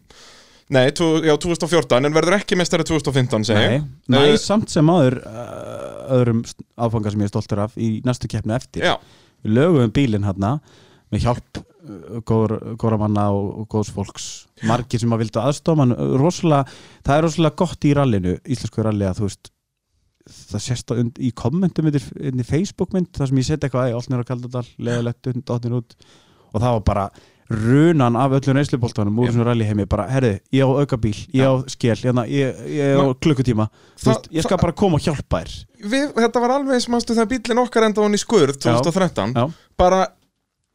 A: Nei, tu, já, 2014 en verður ekki mestari 2015 segi
B: Nei,
A: ég.
B: næ,
A: Eh,
B: samt sem áður uh, öðrum áfanga sem ég er stoltur af í næstu keppni eftir
A: Já,
B: Við lögum bílinn hann með hjálp uh, góður, góðra manna og, og góðs fólks margir sem að vildu aðstofa mann uh, rosalega, það er rosalega gott í rallinu íslensku ralli að þú veist það sést á und- í kommentum undir, undir Facebookmynd þar sem ég seti eitthvað að Olnir og Kaldadal, leðalegt, dottin út og það var bara runan af öllum reynsluboltanum úr
A: Já.
B: þessu rally heimi bara, herði, ég á aukabíl, ég á skell hérna, ég, ég á
A: Ma-
B: klukkutíma
A: Þa-
B: Þa, veist, ég skal
A: það-
B: bara koma og hjálpa þér
A: við, þetta var alveg sem aðstu þegar bílinn okkar enda hann í skurð 2013
B: Já.
A: bara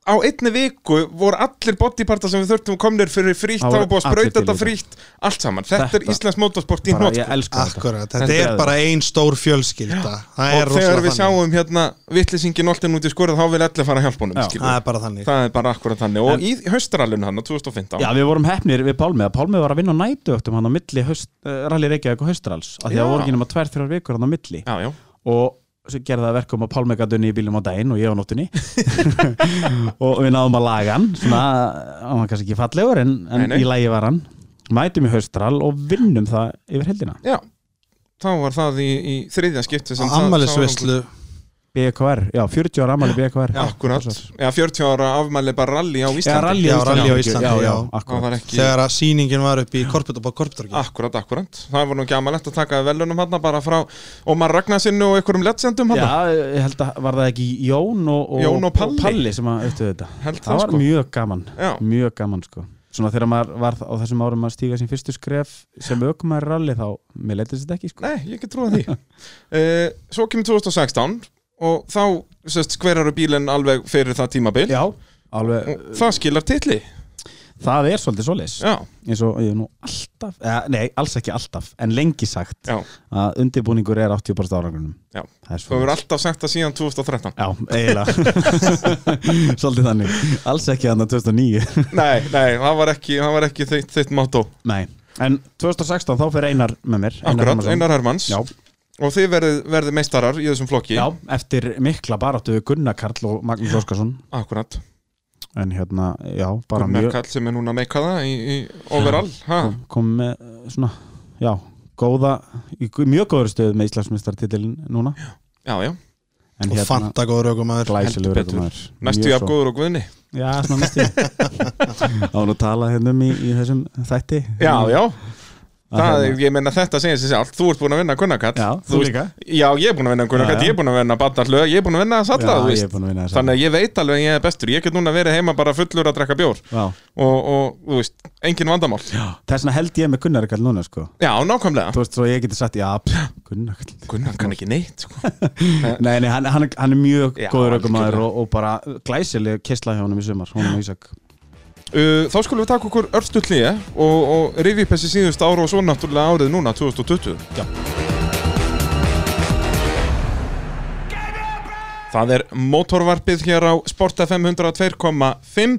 A: á einni viku voru allir bodyparta sem við þurftum komnir fyrir frítt,
B: Það
A: þá
B: voru
A: var búið að
B: allir
A: sprauta
B: til
A: þetta
B: í það.
A: frítt allt saman, þetta, er
B: Þetta-
A: Íslands motorsport í
B: bara,
A: nót
B: ég elsku þetta
C: Akkurat, þetta
B: Þetta er
C: er bara ein stór fjölskylda Það er
A: og þegar
C: rosalega
A: við
C: þannig
A: sjáum hérna vittlisingin alltaf út í skorið þá vil allir fara að hjálpa honum
B: Já.
A: skilur.
C: Það er bara þannig
A: það er bara akkurat þannig og
B: En-
A: í haustralun hann á 2015
B: Já, við vorum hefnir við Pálmið að Pálmið var að vinna á nætuöktum hann á milli haust, uh, Rally Reykjavík og Haustrals af því
A: Já.
B: að voru ekki nema tvær, þrjár vikur hann á milli
A: já, já.
B: og svo gerði það verkum að Pálmið gæti unni í bílum á daginn og ég á nóttunni og við náðum að laga hann svona, hann var kannski ekki fallegur en, en
A: Nei, nei.
B: í lagi var hann mætum í Haustral og vinnum það yfir heldina
A: já. þá var það í, í þriðja skipti
C: Á
A: sem það-
C: ammælisveislu
B: BKR, já, 40 ára amali BKR
A: sá- akkurat, já, 40 ára afmæli bara rally á
B: Já,
A: Íslandi
B: rally á
C: Já, rally á
B: Íslandi,
C: Íslandi,
B: já, já,
C: já.
A: það
B: akkurat
A: var ekki
C: Þegar að sýningin var upp í Korputorgi
A: Akkurat, akkurat. Það var nú ekki amalegt að taka velunum hann bara frá Ómar Ragnarsinu og einhverjum ledsendum hann.
B: Já, ég held að var það ekki Jón og, og,
A: Jón og Palli.
B: sem að auðvitað þetta
A: Held
B: Það
A: það,
B: var
A: sko.
B: mjög gaman,
A: Já.
B: mjög gaman sko Svona þegar maður var á þessum árum að stíga sín fyrstu skref sem aukumæður ralli þá, mér leytist þetta ekki sko
A: Nei, ég get trúið því. uh, svo kemur 2016 og þá sest, skveraru bílinn alveg fyrir það tímabil.
B: Já, alveg,
A: Og það skilar titli.
B: það er svolítið svoleiðis
A: Já,
B: eins og ég er nú alltaf, eða, nei, alls ekki alltaf en lengi sagt
A: já.
B: að undirbúningur er 80% árangunum
A: Já.
B: Það er
A: Þú hefur
B: svoleiðis.
A: alltaf sagt það síðan 2013.
B: Já, eiginlega Svolítið þannig, alls ekki hann 2009
A: nei, nei, það var ekki, það var ekki þitt, þitt motto.
B: Nei, en 2016 þá fyrir Einar með mér
A: Akkurat,
B: Hermannsson.
A: Einar Hermanns.
B: Já,
A: Og þið verði, verði meistarar í þessum flokki.
B: já, eftir mikla baráttu Gunnar Karl og Magnús Óskarsson
A: Akkurat.
B: En hérna, já, bara
A: Gunnar
B: mjög
A: Kall sem er núna að meika það í, í overall. Ha?
B: kom, kom með eh, svona, já, góða í gu- mjög góður stöðu með Íslandsmyndstartitilin núna
A: Já, já.
B: En
A: hérna-
B: hérna,
C: Og fanta góður ögum aður
B: glæsilegur
A: heldur betur.
B: ökumaður.
A: Næstu
B: Mjög
A: jafn
B: svo- Mm.
A: góður og guðni.
B: Já, svona næstu Það var nú talað hérna um í, í þessum þætti
A: Já, já.
B: Að
A: Það,
B: hérna-
A: ég meina þetta segir sér allt, þú ert búin að vinna Gunnarkall
B: Já, þú líka.
A: Já, ég er búin að vinna
B: Já,
A: Gunnarkall,
B: já.
A: ég er búin að vinna Batnarlög, ég er búin að vinna þess alla,
B: Já,
A: þú
B: ég er
A: veist
B: búin að vinna þess
A: Þannig að ég veit alveg að ég er bestur, ég get núna verið heima bara fullur að drekka bjór
B: Já,
A: Og, og þú veist, engin vandamál Já,
B: þess vegna held ég með Gunnar Karl núna sko
A: nákvæmlega
B: Þú veist, svo ég geti sagt, já, pff, Gunnar Karl
A: Gunnar kann ekki neitt, sko
B: Nei, nei, hann, hann, hann er mjög
A: Já,
B: góður aukumæður
A: algjörlega.
B: og, og bara glæsileg kessla hjá honum í sumar, honum og Ísak
A: uh, Þá skulum við taka okkur örstutlíja og, og rifi upp þessi síðust ára og svo náttúrulega árið núna, 2020 Já Það er mótorvarpið hér á Sport FM 102.5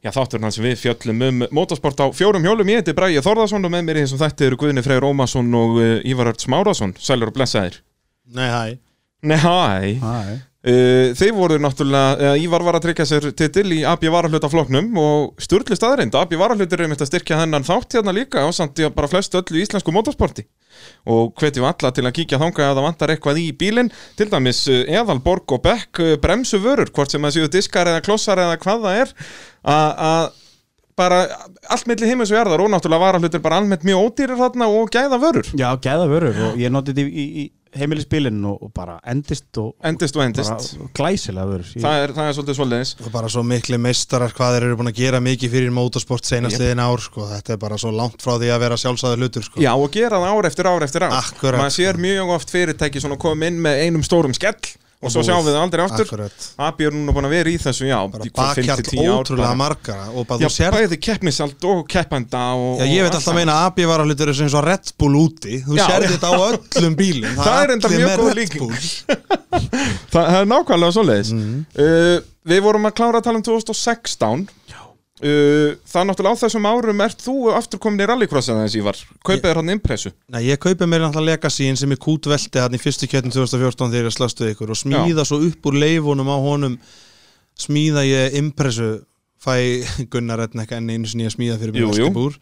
A: Já, þátturinn hans við fjöllum um motorsport á fjórum hjólum. Ég heiti Bræði Þorðarsson og með mér í þessum þætti eru Guðni Freyr Ómarsson og uh, Ívar Örts Márásson. Sælur og blessaðir.
C: Nei, hæ
A: Nei,
B: Já,
A: Uh, þeir voru náttúrulega, uh, Ívar var að tryggja sér titil í AB Varahlutafloknum og sturgli staðarind, AB Varahlut er einmitt að styrkja þennan þátt hérna líka og samt í að bara flestu öllu í íslensku motorsporti og hvetjum alla til að kíkja þangað að það vantar eitthvað í bílinn, til dæmis uh, eðalborg og bekk, uh, bremsu vörur hvort sem það séu diskar eða klossar eða hvað það er að- að bara allt milli heimins og jarðar og náttúrulega varahlut er bara almennt mjög ódýrir þarna og gæða vörur,
B: gæða vörur og ég notið í, í, í heimilisbílinn og, og bara endist og
A: endist og
B: bara
A: endist
B: glæsilega vörur ég,
A: það er, það er svolítið svoleiðis
C: Og bara svo mikli meistarar hvað þeir eru búin að gera mikið fyrir motorsport seinastliðin ár sko. Þetta er bara svo langt frá því að vera sjálfsæður hlutur sko.
A: Já, og gera það ár eftir ár eftir ár
C: Akkurat.
A: Maður sér mjög oft fyrirtæki svona koma inn með einum stórum skell og svo sjáum við það aldrei aftur
C: Akkurat.
A: Abi er núna búin að vera í þessu, já
C: Bara
A: í hvað, fimm til
C: bakkjart
A: tíu ár
C: ótrúlega
A: bara.
C: margara Og bara
A: Já,
C: þú sér
A: bæði keppnisald og keppanda og,
C: Já, ég veit alltaf að meina að AB var að hlutur eins og Red Bull úti Þú
A: Já.
C: sér þetta á öllum bílum
A: Það er enda
C: allir
A: mjög
C: með
A: góð
C: Red
A: líking.
C: Bull.
A: Þa, Það er nákvæmlega svoleiðis
C: Mhm.
A: uh, Við vorum að klára að tala um 2016 Uh, það er náttúrulega á þessum árum ert þú aftur komin í rallycrossið þessi var kaupið þér hann impressu
C: Nei, ég kaupi mér náttúrulega legasíin sem ég kútvelti hann í fyrstu kjöttin 2014 þegar ég slastu ykkur og smíða svo upp úr leifunum á honum smíða ég impressu fæ Gunnar Redneck enn einu sinni að smíða fyrir
A: Jú,
C: mér
A: jú.
C: Eskibúr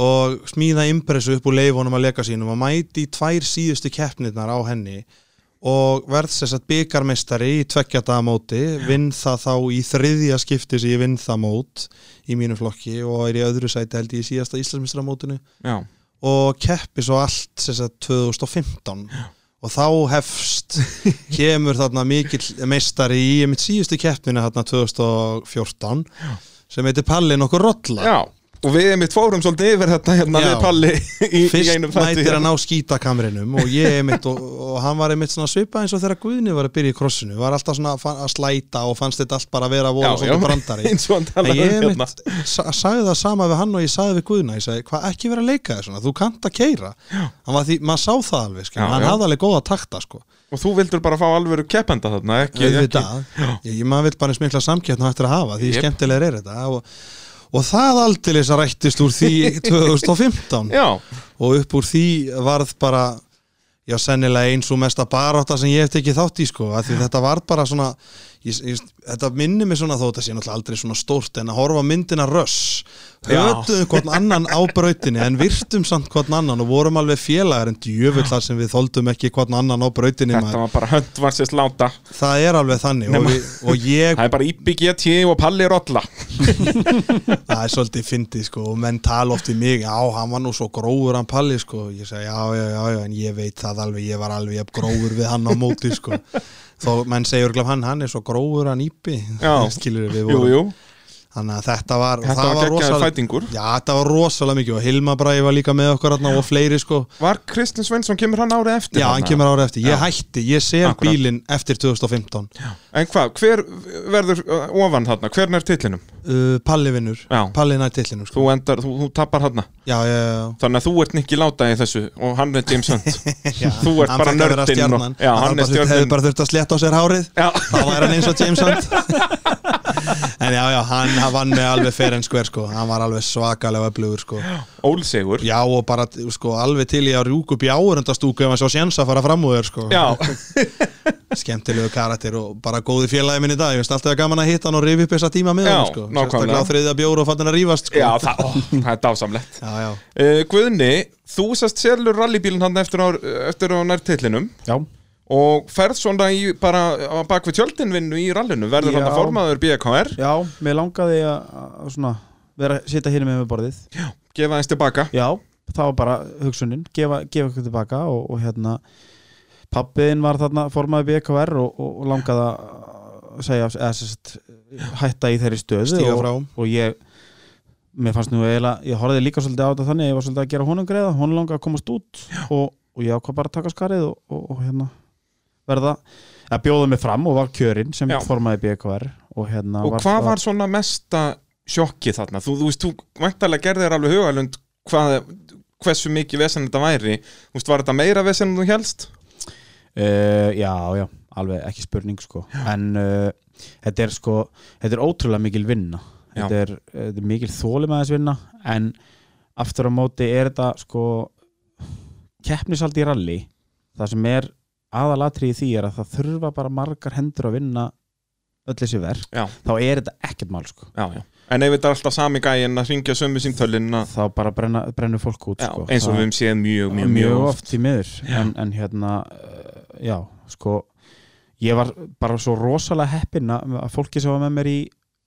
C: og smíða impressu upp úr leifunum á legasínum og mæti í tvær síðustu keppnirnar á henni og verð sem sagt byggarmeistari í tveggjadaða móti, vinn það þá í þriðja skipti sem ég vinn það mót í mínum flokki og er í öðru sæti held ég í síðasta Íslandsmeistaramótinu
A: Já,
C: og keppi svo allt sem sagt 2015 og þá hefst kemur þarna mikill meistari í mitt síðustu keppninu þarna 2014 sem heitir Palli nokkur Rolla
A: já Og við einmitt fórum svolítið yfir þetta hérna
C: Já.
A: við Palli í, í
C: Fyrst
A: einum þætti
C: mætir
A: hérna.
C: hann á skítakamrinum og ég einmitt og, og hann var einmitt svona svipa eins og þegar Guðni var að byrja í krossinu var alltaf svona að fa- að slæta og fannst þetta allt bara að vera
A: Já,
C: voða
A: já,
C: svona brandari
A: eins og hann
C: En
A: talaði
C: ég
A: um hérna
C: einmitt sa- sagði það sama við hann og ég sagði við Guðna ég sagði, hvað ekki vera að leika þér svona, þú kannt að keira hann var því, maður sá það alveg skil,
A: Já,
C: hann
A: já.
C: hafði alveg góða takta sko
A: Og þú vildur bara fá alvöru keppenda þarna ekki, ekki.
C: auðvitað, ég, ég maður vil bara eins mikla samkeppna hættir að hafa, því
A: Jep.
C: skemmtilegur er þetta og, og það aldeilis að rættist úr því 2015
A: Já,
C: og upp úr því varð bara já, sennilega eins og mesta barátta sem ég hef tekið þátt í sko, að því þetta var bara svona ég, ég, þetta minnir mig svona þó þetta sé náttúrulega aldrei svona stórt en að horfa á myndina röss
A: Já.
C: höfðum hvort annan á brautinni en virtum samt hvort annan og vorum alveg félagar en djöfull þar sem við þoldum ekki hvort annan á brautinni
A: þetta
C: maður.
A: var bara hönd var sérst láta
C: það er alveg þannig og,
A: Nema-
C: við, og ég
A: Það er bara Íbbi GT og Palli Rolla
C: það er svolítið fyndið sko og menn tala oft í mig, já hann var nú svo grófur hann Palli sko, ég segi já já já, já en ég veit það alveg, ég var alveg jafn grófur við hann á móti sko þó menn segir glöf hann, hann er svo grófur hann ípi
A: Já.
C: skilur við
A: Jú,
C: vorum
A: jú,
C: þannig að þetta var,
A: Þetta
C: það
A: var geggjaður
C: rosalega-
A: fætingur.
C: já þetta var rosalega mikið og Hilma Bræði var líka með okkur hann og fleiri sko
A: var Kristinn Svensson, kemur hann árið eftir?
C: já hann
A: þarna?
C: kemur árið eftir, ég hætti, ég sel
A: Akkurat.
C: bílinn eftir 2015
A: En hvað, hver verður uh, ofan þarna, hvern er titlinum?
C: uh, Palli vinnur,
A: Já.
C: Palli nær tillinum sko
A: Þú, endar, þú, þú tapar þarna
C: já já já
A: Þannig að þú ert Nicky Láta í þessu og hann er James Hunt
C: Já,
A: Þú ert
C: hann
A: bara
C: fékk að vera
A: nördinn
C: stjarnan.
A: og- Já,
C: Hann
A: hann er
C: bara þurft- hefði
A: stjörnin.
C: bara þurft að sletta á sér hárið
A: Já.
C: Þá væri hann eins og James Hunt En já, já, hann hann vann með alveg fair and square sko Hann var alveg svakalega öflugur sko
A: Ólsegur
C: Já, og bara sko, alveg til í að rjúka upp í áörundastúku ef hann svo sjens að fara fram úr þér sko
A: Já,
C: Skemmtilegu karakter og bara góði félagi minn í dag Ég finnst alltaf gaman að hitta hann og rifi upp þessa tíma með
A: Já,
C: hann sko
A: nákvæmlega.
C: Sérstaklega á þriðja bjóru og fattin að rífast sko
A: já það, ó, það er dásamlegt
C: já, já.
A: Uh, Guðni, þú sest selur rallybílinn hann eftir á, eftir á nærtillinum
B: Já,
A: og ferð svona í, bara á bak við tjöldinvinnu í rallinu verður
B: Já.
A: hann að formaður BKR
B: já, mér langaði að, að svona, vera, sita hér með með borðið
A: gefa eins tilbaka
B: Já, það var bara hugsunin gefa, gefa eitthvað tilbaka og, og hérna pappiðin var þarna formaði BKR og, og, og langaði að segja, eða sérst hætta í þeirri stöðu
C: Stíga
B: og,
C: frá.
B: og ég mér fannst nú eiginlega, ég horfði líka svolítið á þetta þannig að ég var svolítið að gera honum greiða, hún langaði að komast út og, og ég ákvað bara að taka skarið og, og, og hérna verða að bjóða mig fram og var kjörinn sem
A: Já.
B: formaði BKR og hérna
A: og hvað var svona mesta sjokki þarna, þú, þú veist, þú væntalega gerðir þér alveg hugalund hvað, hversu mikið vesen þetta væri þú veist, var þetta meira vesen en þú helst?
B: Uh, já, já, alveg ekki spurning sko. en uh, þetta er sko þetta er ótrúlega mikil vinna
A: Já.
B: þetta er, þetta er mikil þólimaðisvinna en aftur á móti er þetta sko keppnisaldi í rally það sem er aðalatri í því er að það þurfa bara margar hendur að vinna öll þessi verk
A: Já.
B: þá er þetta ekkert mál sko
A: Já, já. En ef þetta er alltaf sami gæin að ringja sömu símtölin að-
B: þá bara brenna, brennur fólk út
A: Já,
B: sko.
A: eins og
B: Það-
A: við höfum séð mjög, mjög,
B: mjög,
A: mjög
B: oft, í miður en, en hérna, uh, já, sko ég var bara svo rosalega heppinn að að fólki sem var með mér í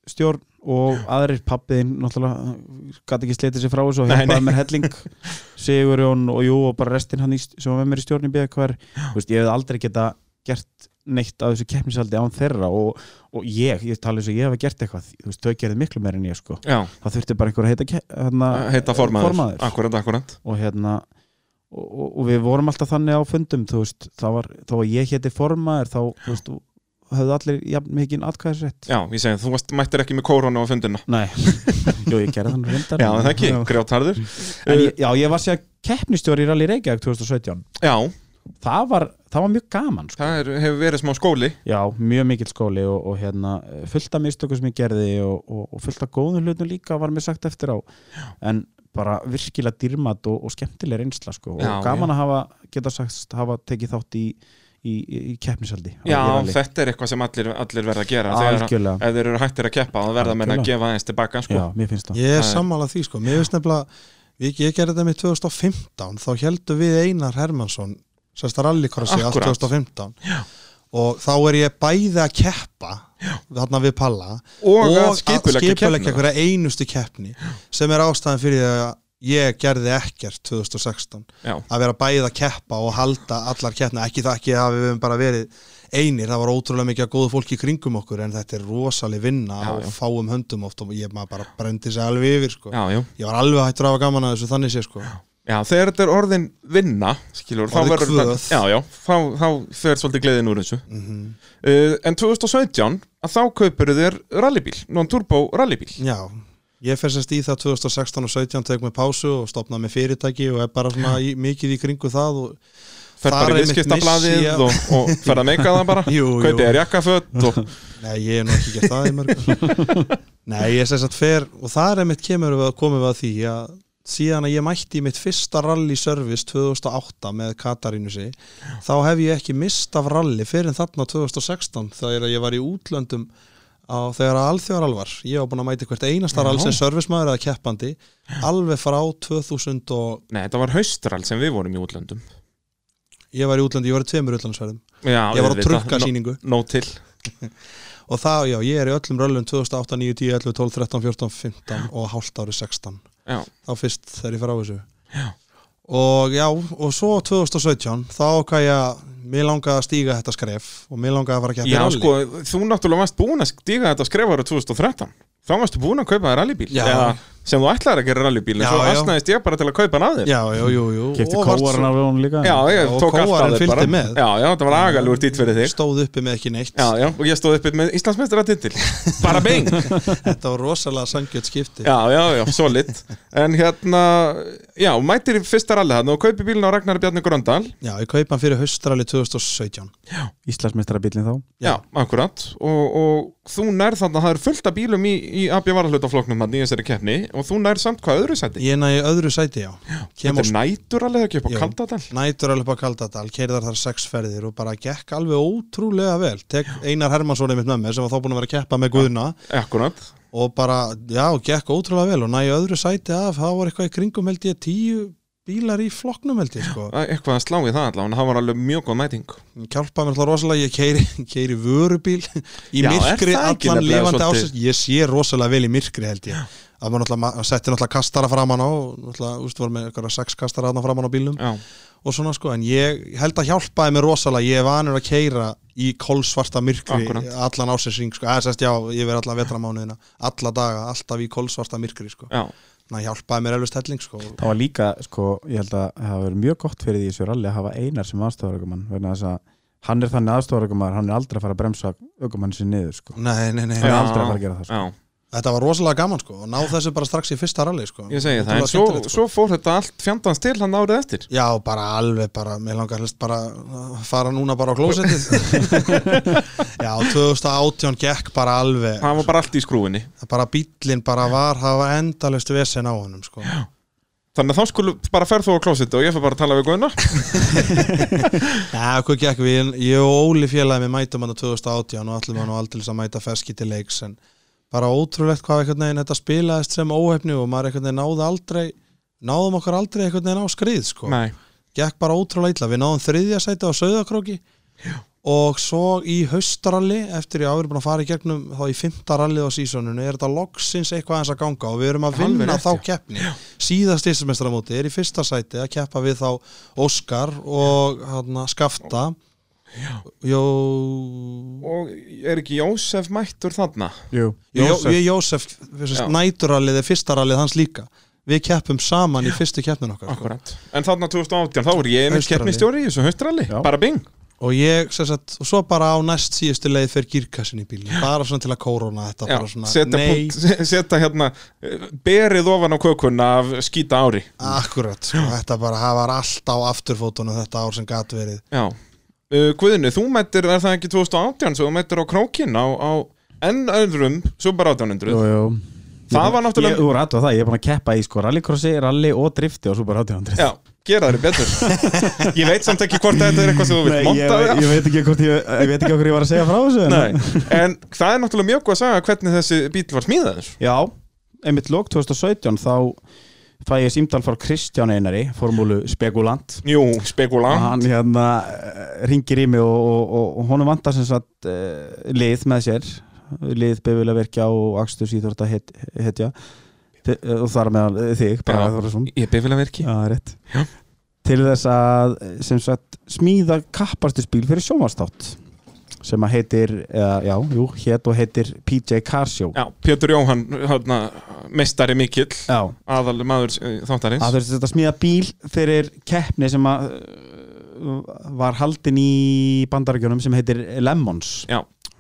B: stjórn og aðrir pappiðin náttúrulega gæti ekki slitið sér frá þessu og
A: Nei,
B: hjálpaði
A: nei.
B: mér helling Sigurjón og jú og bara restinn hann í, st- sem var með mér í stjórn í BKR Þú veist, ég hefði aldrei geta gert neitt á þessu keppnisaldi án þeirra og, og ég, ég tala eins og ég hefði gert eitthvað þú veist, þau gerði miklu meir en ég sko
A: Já,
B: það þurfti bara einhver að heita, ke- hérna,
A: heita formaður,
B: formaður
A: Akkurat, akkurat
B: og hérna og, og, og við vorum alltaf þannig á fundum þú veist, þá var, þá var ég héti formaður þá, þú veist, höfðu allir jafn mikið atkvæðisrétt
A: Já, ég segi, þú varst, mættir ekki með kórona á fundina
B: Nei, jú, ég gerði þannig reyndar
A: Já, það ekki, grjótharður
B: En ég, já, ég var sér keppnistjóri í Rally Reykjavík 2017
A: Já,
B: það var, það var mjög gaman sko.
A: það er, hefur verið smá skóli
B: Já, mjög mikill skóli og, og hérna, fullt af mistöku sem ég gerði og, og, og fullt af góðum hlutum líka var mér sagt eftir á en bara virkilega dýrmat og, og skemmtileg reynsla sko. og
A: Já,
B: gaman að hafa, geta sagt, hafa tekið þátt í, í, í, í keppnisaldi á
A: Já,
B: Írali.
A: þetta er eitthvað sem allir, allir verða að gera
B: Algjörlega.
A: Þegar ef þeir eru hættir að keppa þá verða menn að
B: Algjörlega.
A: gefa aðeins tilbaka sko.
B: Já, mér finnst það
C: Ég er
A: Það er-
C: sammála því sko, mér finnst nefnilega ég, ég gerði þetta með 2015 þá heldum við Einar Hermansson sérst að rallycrossi allt
A: Akkúrat.
C: 2015 Já. og þá er ég bæði að keppa Já. þarna við Palla
A: Og að skipuleggja keppnina.
C: einhverja einustu keppni sem er ástæðan fyrir því að ég gerði ekkert 2016
A: Já,
C: að vera bæðið að keppa og halda allar keppna, ekki það ekki að við höfum bara verið einir, það var ótrúlega mikið að góðu fólki í kringum okkur en þetta er rosaleg vinna
A: Já,
C: og
A: já.
C: fáum höndum oft og ég maður bara brendi sig alveg yfir sko.
A: já, já,
C: ég var alveg hættur að hafa gaman að þessu þannig sé sko.
A: já Þegar þetta er orðin vinna skilur, þá
C: Orðin
A: verður
C: kvöð.
A: þetta- Já, já, þá, þá fer svolítið gleðin úr þessu
C: mm
A: uh, En 2017, að þá kaupur þér rallybíl, non-turbo rallybíl
C: já, ég fer sérst í það 2016 og 17 tek mig pásu og stopnaði með fyrirtæki og er bara svona í, mikið í kringu það og
A: Fer
C: Þar
A: bara í
C: einmitt missi
A: viðskiptablaðið
C: ég-
A: og, og fer að meika það bara
C: jú, jú.
A: Kaupið þér jakkaföt og
C: Nei, ég hef nú ekki gert það í mörgum Nei, ég sess að fer og þar einmitt kemur við að komum við að því að síðan að ég mætti í mitt fyrsta rally service 2008 með Katarínusi þá hef ég ekki mist af rally fyrir en þarna 2016 þegar ég var í útlöndum á, þegar að alþjóðarall var ég var búin að mæti hvert einasta
A: Já.
C: rall sem servicemaður eða keppandi alveg frá 2000 og
A: Nei, þetta var haustrall sem við vorum í útlöndum
C: ég var í útlöndi, ég var í tveimur útlöndsverðum
A: já,
C: ég var á
A: auðvitað.
C: trukkasýningu
A: Nó no til
C: og þá, já, ég er í öllum röllum 2008, 9, 10, 11, 12, 13, 14, 15 og hálft ári 16
A: Já,
C: þá fyrst þegar ég fer á þessu og já, og svo 2017 þá okkar ég, mér langaði að stíga þetta skref og mér langaði að fara að keppa í
A: já
C: rally.
A: sko, þú náttúrulega varst búin að stíga þetta skref ára 2013 Þá varstu búin að kaupa þér rallybíl
C: Já.
A: Eða sem þú ætlaðir að gera rallybíl En
C: Já,
A: svo
C: já.
A: asnaðist ég bara til að kaupa hann að þér
C: já, já, jú, jú
B: Kipti
C: og varst
B: kóaran
C: svo-
B: alveg hún líka
A: já ég
C: Og
A: tók allt að
C: kóarinn
A: þér
C: fylgdi
A: bara
C: með.
A: Já, já, þetta var agalugur dýtt fyrir þig
C: stóð uppi með ekki neitt
A: Já, já, og ég stóð uppið með Íslandsmeistra titil Bara bein
C: þetta var rosalega sangjöld skipti
A: Já, já, já, solid En hérna, já, mætir í fyrsta rally þarna og kaupi bílinn á Ragnar Bjarni Gröndal
C: já, ég kaupa hann fyrir haustrali 2017
B: Íslandsmeistarabílinn þá
A: Já, akkurat og, og þú nær þarna, það er fullt af bílum í, í AB varalutafloknum hann í þessari keppni og þú nær samt hvað öðru sæti
C: ég næði öðru sæti, já, kem
A: Þetta
C: á
A: er nætur alveg ekki upp á
C: Jú.
A: Kaldadal
C: nætur alveg upp á Kaldadal, keirðar þar sex ferðir og bara gekk alveg ótrúlega vel tek Einar Hermannsson einmitt með mér sem var þá búin að vera að keppa með Guðna
A: Akkurat
C: og bara, já, gekk ótrúlega vel og næja öðru sæti af, það var eitthvað í kringum held ég tíu bílar í flokknum held ég sko,
A: Það er Eitthvað að slá í það allavega, en það var alveg mjög góð mæting
C: hjálpa mér alltaf rosalega ég keiri, keiri vörubíl í
A: Já, er
C: myrkri
A: það ekki
C: allan
A: nefnilega
C: lifandi
A: svolítið?
C: ásins ég sé rosalega vel í myrkri held ég að maður náttúrulega, maður setti náttúrulega kastara framan á og náttúrulega, úst, var með eitthvað sex kastara þarna framan á bílum
A: Já,
C: og svona sko, en ég held að hjálpaði mér rosalega, ég er vanur að keira í kolsvarta myrkri
A: Akkúrat.
C: allan ásinsring, sko, eða sérst já, yfir alla vetramánuðina, alla daga, alltaf í kolsvarta myrkri, sko
A: já,
C: Ná, hjálpaði mér alveg stelling sko.
B: Það var líka, sko, ég held að það hafa verið mjög gott fyrir því í þessu ralli að hafa einar sem aðstofarökumann vegna þess að hann er þannig aðstofarökumann hann er aldrei að fara að bremsa ökumann sér niður, sko
C: Nei, nei, nei,
B: Hann er
A: Já.
B: aldrei að fara að gera það, sko.
A: já
C: Þetta var rosalega gaman sko og náð þessu bara strax í fyrsta rally sko.
A: Ég segi það, en
C: Ótrúlega
A: svo,
C: skemmtilegt, sko.
A: svo fór þetta allt fjandans til hann árið eftir
C: Já, bara alveg bara, mér langar helst bara að fara núna bara á klósettið Já, 2018 gekk bara alveg
A: Það var bara allt í skrúinni
C: bara bíllinn bara var hafa endalust vesen á honum sko.
A: Þannig að þá skulum bara ferð þú á klósitt og ég fer bara að tala við Gunnar
C: Já, hvað gekk við, ég og Óli félagi við mætum hann á 2018 og allir hann og aldrei að mæta feski til leiks en bara ótrúlegt hvað einhvern veginn þetta spilaðist sem óhefni og maður einhvern veginn náði aldrei náðum okkur aldrei einhvern veginn á skrið sko.
A: Nei,
C: gekk bara ótrúlega illa, við náðum þriðja sæti á Sauðakróki og svo í haustralli eftir ég áður búin að fara í gegnum þá í fymta rallið á sísoninu er þetta loksins eitthvað eins að ganga og við erum að
A: Alveg
C: vinna
A: rétt,
C: þá
A: já.
C: keppni síðast íslumestramóti er í fyrsta sæti að keppa við þá Óskar og hana, Skafta Jó
A: og er ekki Jósef mættur þarna?
B: Jú,
C: Jósef,
A: Jósef.
C: Jó, Jósef
A: Já.
C: næturallið er fyrsta rallið hans líka við keppum saman í fyrstu keppnin okkar sko.
A: Akkurat En þarna 2018, þá er ég einmitt
C: Haustrally.
A: keppnistjóri í þessu haustralli
B: Já.
A: Bara bing
C: og ég, sem sagt, og svo bara á næst síðustu leið fyrir girkassin í bílinn, bara svona til að kórona þetta,
A: Já,
C: bara svona,
A: setja,
C: nei,
A: punkt, se- setja hérna eh, berið ofan á kökunna af skýta ári
C: akkurat sko, þetta bara, það var allt á afturfótunum þetta ár sem gat verið,
A: Já uh, Guðinu, þú mættir, er það ekki 2018 svo þú mættir á krókin á, á enn öðrum, svo bara 1800
B: jú, jú
A: Það var náttúrulega-
B: Ég, Þú voru aðtöða það, ég er búin að keppa í, sko, rallycrossi, rally og drifti og svo bara 1800
A: Já, gera þeir betur Ég veit samt ekki hvort þetta er eitthvað sem þú
B: Nei,
A: vilt
B: ég,
A: monta
B: ég veit ekki hvort ég, ég veit ekki okkur ég var að segja frá þessu en-
A: Nei, en það er náttúrulega mjög góð að sagja hvernig þessi bíl var smíðaður
B: Já, einmitt lók 2017 þá fæ ég símtal frá Kristján Einari, formúlu spekulant
A: Jú, spekula
B: og hann hérna eh, ringir í mig og, og, og, og honum vantar sem sagt eh, uh, lið með sér lið befilega verkja og akstur síþórta hetja Þi- eh, og þar meðal eh, þig Braga
A: Já.
B: Þórðarsson
A: Í bifilverki
B: Já, rétt
A: Já.
B: Til þess að sem sagt smíða kappastuspíl fyrir sjónvarstátt sem að heitir, eða, já, jú, hét og heitir PJ Carshow
A: Já, Pétur Jóhann, hana, meistari mikill
B: Já,
A: aðal maður eh, þáttarins
B: að þurfti að smíða bíl fyrir keppni sem að uh, var haldin í bandarækjunum sem heitir Lemons
A: Já.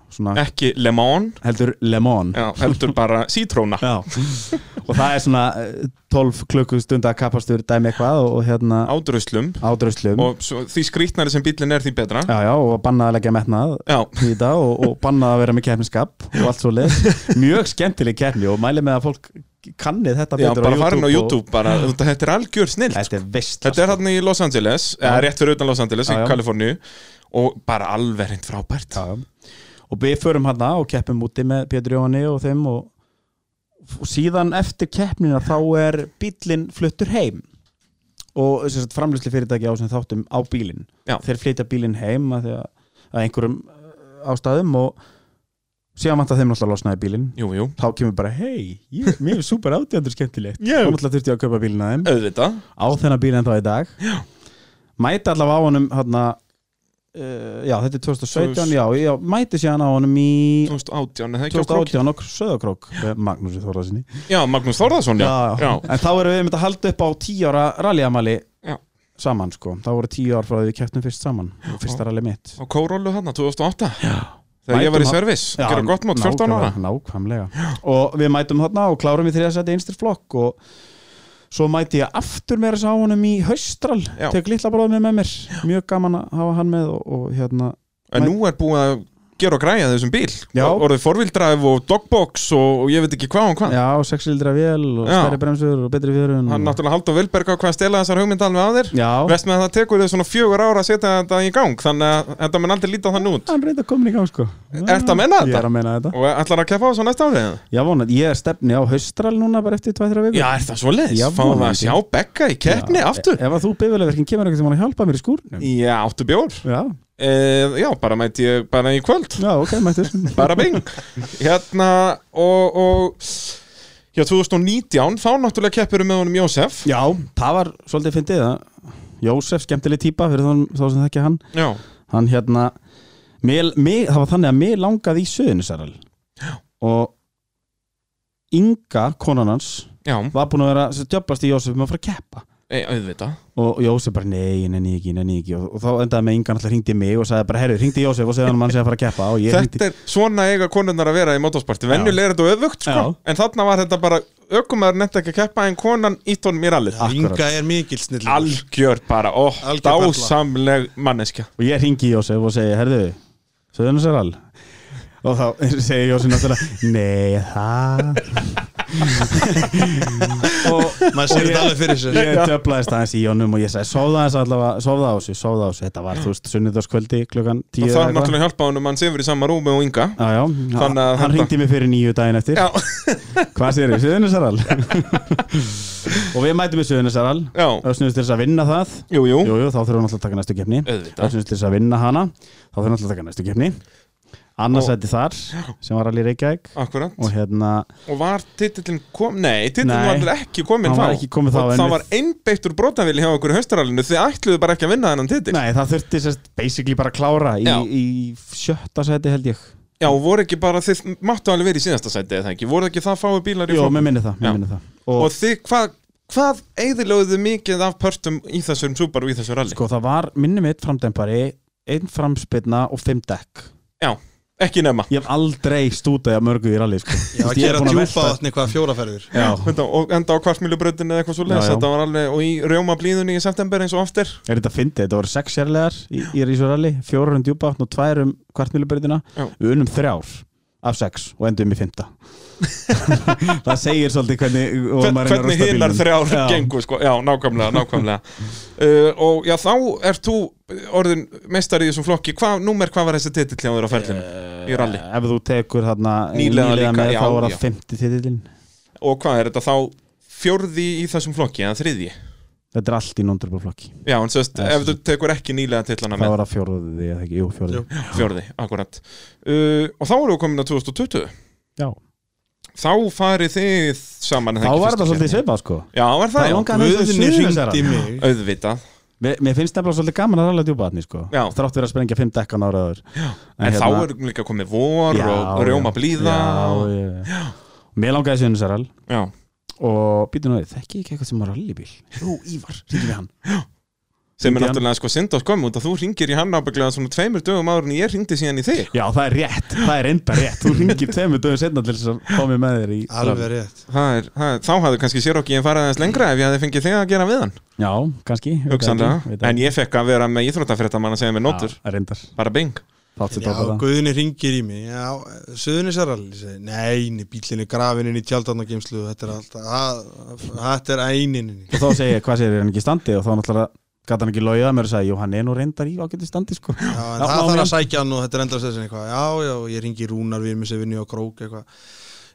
B: Svona
A: ekki lemón
B: heldur Lemon
A: já, heldur bara sítróna
B: Já. og það er svona eh, 12 klukkustunda kappastur dæmi eitthvað og, og hérna
A: ádröslum
B: ádröslum
A: og svo, því skrýtnari sem bílinn er því betra
B: Mm. Já, já, og bannað að leggja metnað
A: Já.
B: í þetta og, og bannað að vera með keppniskap og allt svo leið Mjög skemmtileg keppni og mæli með að fólk kannið þetta
A: Já,
B: betur
A: bara farin á
B: og-
A: YouTube bara, þetta þetta er algjör snill
B: Þetta er veist
A: Þetta er hann í Los Angeles, eða rétt fyrir utan Los Angeles
B: Já, já.
A: í Kaliforníu og bara alveg hreint frábært
B: já, já. Og við förum hann og keppum úti með Pétur Jóhanni og þeim og, og síðan eftir keppnina þá er bílinn fluttur heim og framlýsli fyrirtæki á sem þáttum á bílinn
A: Já.
B: þeir flytja bílinn heim að, að, að einhverjum eh, ástæðum og síðan vant að þeim náttúrulega losnaði bílinn
A: Jú, jú,
B: þá kemur bara hei, ég- mér er super átjöndur skemmtilegt
A: Já.
B: þá náttúrulega þurfti ég að kaupa bílinn að þeim
A: auðvitað
B: á þennan bíl ennþá í dag já. mæti allavega á honum hana, uh, já þetta er 2017 já, já, mæti síðan á honum í
A: 2018, eða ekki á Króki
B: 2018 og Söðakrók eh, Magnúsi Þorðarsinni
A: Já, Magnús Þórðarsson, já, já.
B: en þá erum við einmitt að halda upp á 10 ára rallyamali
A: Já.
B: saman sko, þá voru 10 ár frá því við kepptum fyrst saman og fyrsta rally mitt
A: á Kórólu hann, 2008 já. Þegar ég
B: Mætum
A: var í
B: að-
A: service,
B: Já,
A: gera gott mót 14 ára
B: nákvæmlega, nákvæmlega. og við mætum þarna og klárum við þriða seti einstir flokk og svo mæti ég aftur meira sá honum í haustral
A: Já.
B: tek litla bróðum með mér mjög gaman að hafa hann með og, og hérna
A: En nú er búið að gera og græja þessum bíl
B: Já.
A: Og- Orðið forvildræf og dogbox og, og ég veit ekki hvað og hvað
B: já, sexlildra vél og
A: Já.
B: stærri bremsur og betri fjörun
A: Hann
B: og...
A: náttúrulega Haldur Vilberg á hvað að stela þessar hugmynd alveg að þér
B: já,
A: Vest með að það tekur þau svona fjögur ára að setja þetta í gang Þannig að þetta mun aldrei líta þann út
B: hann reynda komin í gang sko
A: Ertu að menna
B: ég
A: þetta?
B: er að menna þetta
A: Og ætlar að keppa á þessu næsta árið?
B: já, vona, ég er stefni á haustral núna bara eftir 2-3 vikur
A: Já, er það svo leiðis?
B: Já,
A: Fáum við að
B: vonandi.
A: sjá Begga í keppni aftur?
B: ef að þú bifilegverkin kemur einhvern tímann að hjálpa mér í skúrnum
A: Já, áttu bjór
B: já,
A: e, Já, bara mæti ég bara í kvöld
B: já ok, mættur
A: Bara bing Hérna og, og Já, 2019, þá náttúrulega keppur við með honum Jósef
B: Já, það var svolítið fyndið að Jósef, skemmtileg típa fyrir þá, þá sem þekkja hann
A: Já,
B: hann hérna mér, mér, það var þannig að mér langaði í söðunisarall og Inga, konan hans
A: já,
B: var búin að vera að djöflast í Jósef með að fara að keppa
A: e, auðvitað
B: og Jósef bara nei, nenni ekki, nenni ekki og, og þá endaði með Inga náttúrulega hringdi í mig og sagði bara herru, hringdi í Jósef og segði hann að hann sé að fara að keppa og ég hringdi
A: Þetta er svona eiga konunnar að vera í motorsporti Venjulega er þetta öfugt, sko
B: Já.
A: En þarna var þetta bara ökumæður netta ekki að keppa En konan ítt honum í rallið
B: Akkurat.
C: Inga er mikil snill
A: Algjör bara, ó,
C: Algjör perla.
A: dásamleg manneskja
B: og ég hringi í Jósef og segi, herðu söðunisarall og þá segi Jósef náttúrulega nei, það og
C: Maður sér þetta alveg fyrir sér
B: ég döblaðist aðeins í honum og ég sagði sofða aðeins allavega, sofða á þessu, sofða á þessu þetta var, þú veist, sunnudagskvöldi klukkan tíu
A: Og það
B: eða
A: er
B: eitthvað.
A: náttúrulega hjálpa honum Hann sefur í sama rúmi og Inga
B: Já, já,
A: Þannig
B: hann,
A: að
B: hann
A: þetta-
B: ringdi mig fyrir nýju daginn eftir
A: Já,
B: Hvað sér þið, Suðunasaral? og við mætum við Suðunasaral
A: já,
B: Össnumst til þess að vinna það
A: jú, jú
B: Jú, jú, þá þurfum við náttúrulega að taka næstu keppni
A: Auðvitað
B: Össnumst til þess að vinna hana Þá þurfum við náttúrulega að taka næstu keppni
A: Og-
B: Annars ætti þar, sem var allir Reykjavík
A: Akkurat
B: Og hérna,
A: Og var titillin kom, nei, titillin
B: Nei.
A: var alveg ekki komin
B: Hann
A: þá
B: var ekki kominn þá,
A: Og
B: en
A: það
B: við-
A: var einbeittur brotavili hjá okkur í haustaralinu Þið ætluðu bara ekki að vinna þennan titill
B: nei, það þurfti sérst basically bara að klára í,
A: Já.
B: í sjötta seti held ég
A: Já, og voru ekki bara, þið máttu alveg verið í síðasta sæti eða ekki Voru ekki það fáið bílar í
B: Jú,
A: flokkum?
B: mér minni það,
A: Já.
B: mér minni það
A: Og, þið, hvað, hvað eigðilögðu mikið af pörtum í þessum Subaru, í þessu rally?
B: Sko það var minni mitt framdempari einn framspilna og fimm dekk
A: Ekki nema
B: Ég hef aldrei stútaði að mörgu í rally sko.
C: Já,
B: Þú veist,
C: að
B: ég er
C: gera
B: búinn að
C: djúpa
B: velta-
C: vatni hvað fjóraferður
B: Já.
A: Þetta, og enda á kvartmýlubröðinu eða eitthvað svo leys
B: Já, já.
A: Þetta var alveg, og í rjóma blíðunni í september eins og aftur
B: Er þetta fyndið? Þetta voru sex sérlegar í, í þessu rally fjórar um djúbátn og tvær um kvartmýlubreytina
A: Já.
B: Við unum þrjár af sex og endum í fymta Það segir svolítið hvernig og
A: Hvern-
B: maður reynir að
A: hvernig
B: rústa
A: hinnar
B: bílnum.
A: þrjár
B: Já.
A: gengur sko. já, nákvæmlega, nákvæmlega. uh, og já, þá ert þú orðin meistar í þessum flokki Hva, númer hvað var þessi titill hjá þér á ferlinu
B: Eh,
A: í rally
B: Ef þú tekur þarna
A: Nýliða líka,
B: með
A: já,
B: þá var
A: já.
B: það 50 titilinn
A: og hvað er þetta þá fjórði í þessum flokki eða þriðji
B: Þetta er allt í non-drupalflokki
A: já, en sérst,
B: Já,
A: ef
B: sem-
A: þú tekur ekki nýlega tillana
B: Það
A: með
B: var það fjóruði, eða ekki, jú fjóruði
C: Jú.
A: fjórði, akkurat uh, og þá erum við komin að 2020
B: Já.
A: þá farið þið saman er það
B: Þá
A: ekki
B: var
A: fyrsta
B: þetta
A: keppnin?
B: svolítið svipað sko
A: Já, er það,
B: Þá
A: já,
B: langaði- Hann er svo
C: Guðni
B: Suðurnesjara.
C: ringdi mig
A: auðvitað
B: Mér, mér finnst nefnilega svolítið gaman að rála djúpaðni sko
A: Já.
B: Þrátt verið að sprengja fimm dekkan ára öður En, hérna-
A: En þá er líka komið vor og rjóma blíða
B: Já,
A: og,
B: já, já. Mér langaði Sunnusarall
A: já.
B: og býtum við, þekki ég ekki eitthvað sem var rallybíl Jú, Ívar, ringið við hann
A: sem er
B: Hringdi hann?
A: náttúrulega sko synd á skömmu út að þú ringir í hann ábygglega svona tveimur dögum áður en ég ringdi síðan í þig
B: Já, það er rétt, það er enda rétt Þú ringir tveimur dögum setna til þess að fá mig með þér í
C: Alveg rétt
A: það er, það er, þá hafðu kannski sér okki en farið aðeins lengra ef ég hafði fengið þig að gera við hann
B: Já, kannski veit ekki,
A: hugsanlega,
B: veit ekki.
A: en ég fekk að vera með íþróttafréttamann að segja mér nótur,
B: Já, reyndar,
A: bara bing
B: þátt sér
C: Já,
B: tópa það
C: Guðni ringir í mig Já, Suðunisaralli Nei, nei, bíllinn er grafinn inn í tjaldarnageimslu Þetta er alltaf að- Þetta er ænin
B: Og þá segi ég, hvað segir hann ekki í standi og þá náttúrulega gæti hann ekki logið að mér og sagði, jú, hann er nú reyndar í ágæti standi sko
C: Já,
B: Já,
C: en það
B: ná,
C: þarf að
B: menn.
C: sækja hann og þetta er endast þessin eitthvað Já, já, ég ringi Rúnar við mér sem vinni á krók eitthvað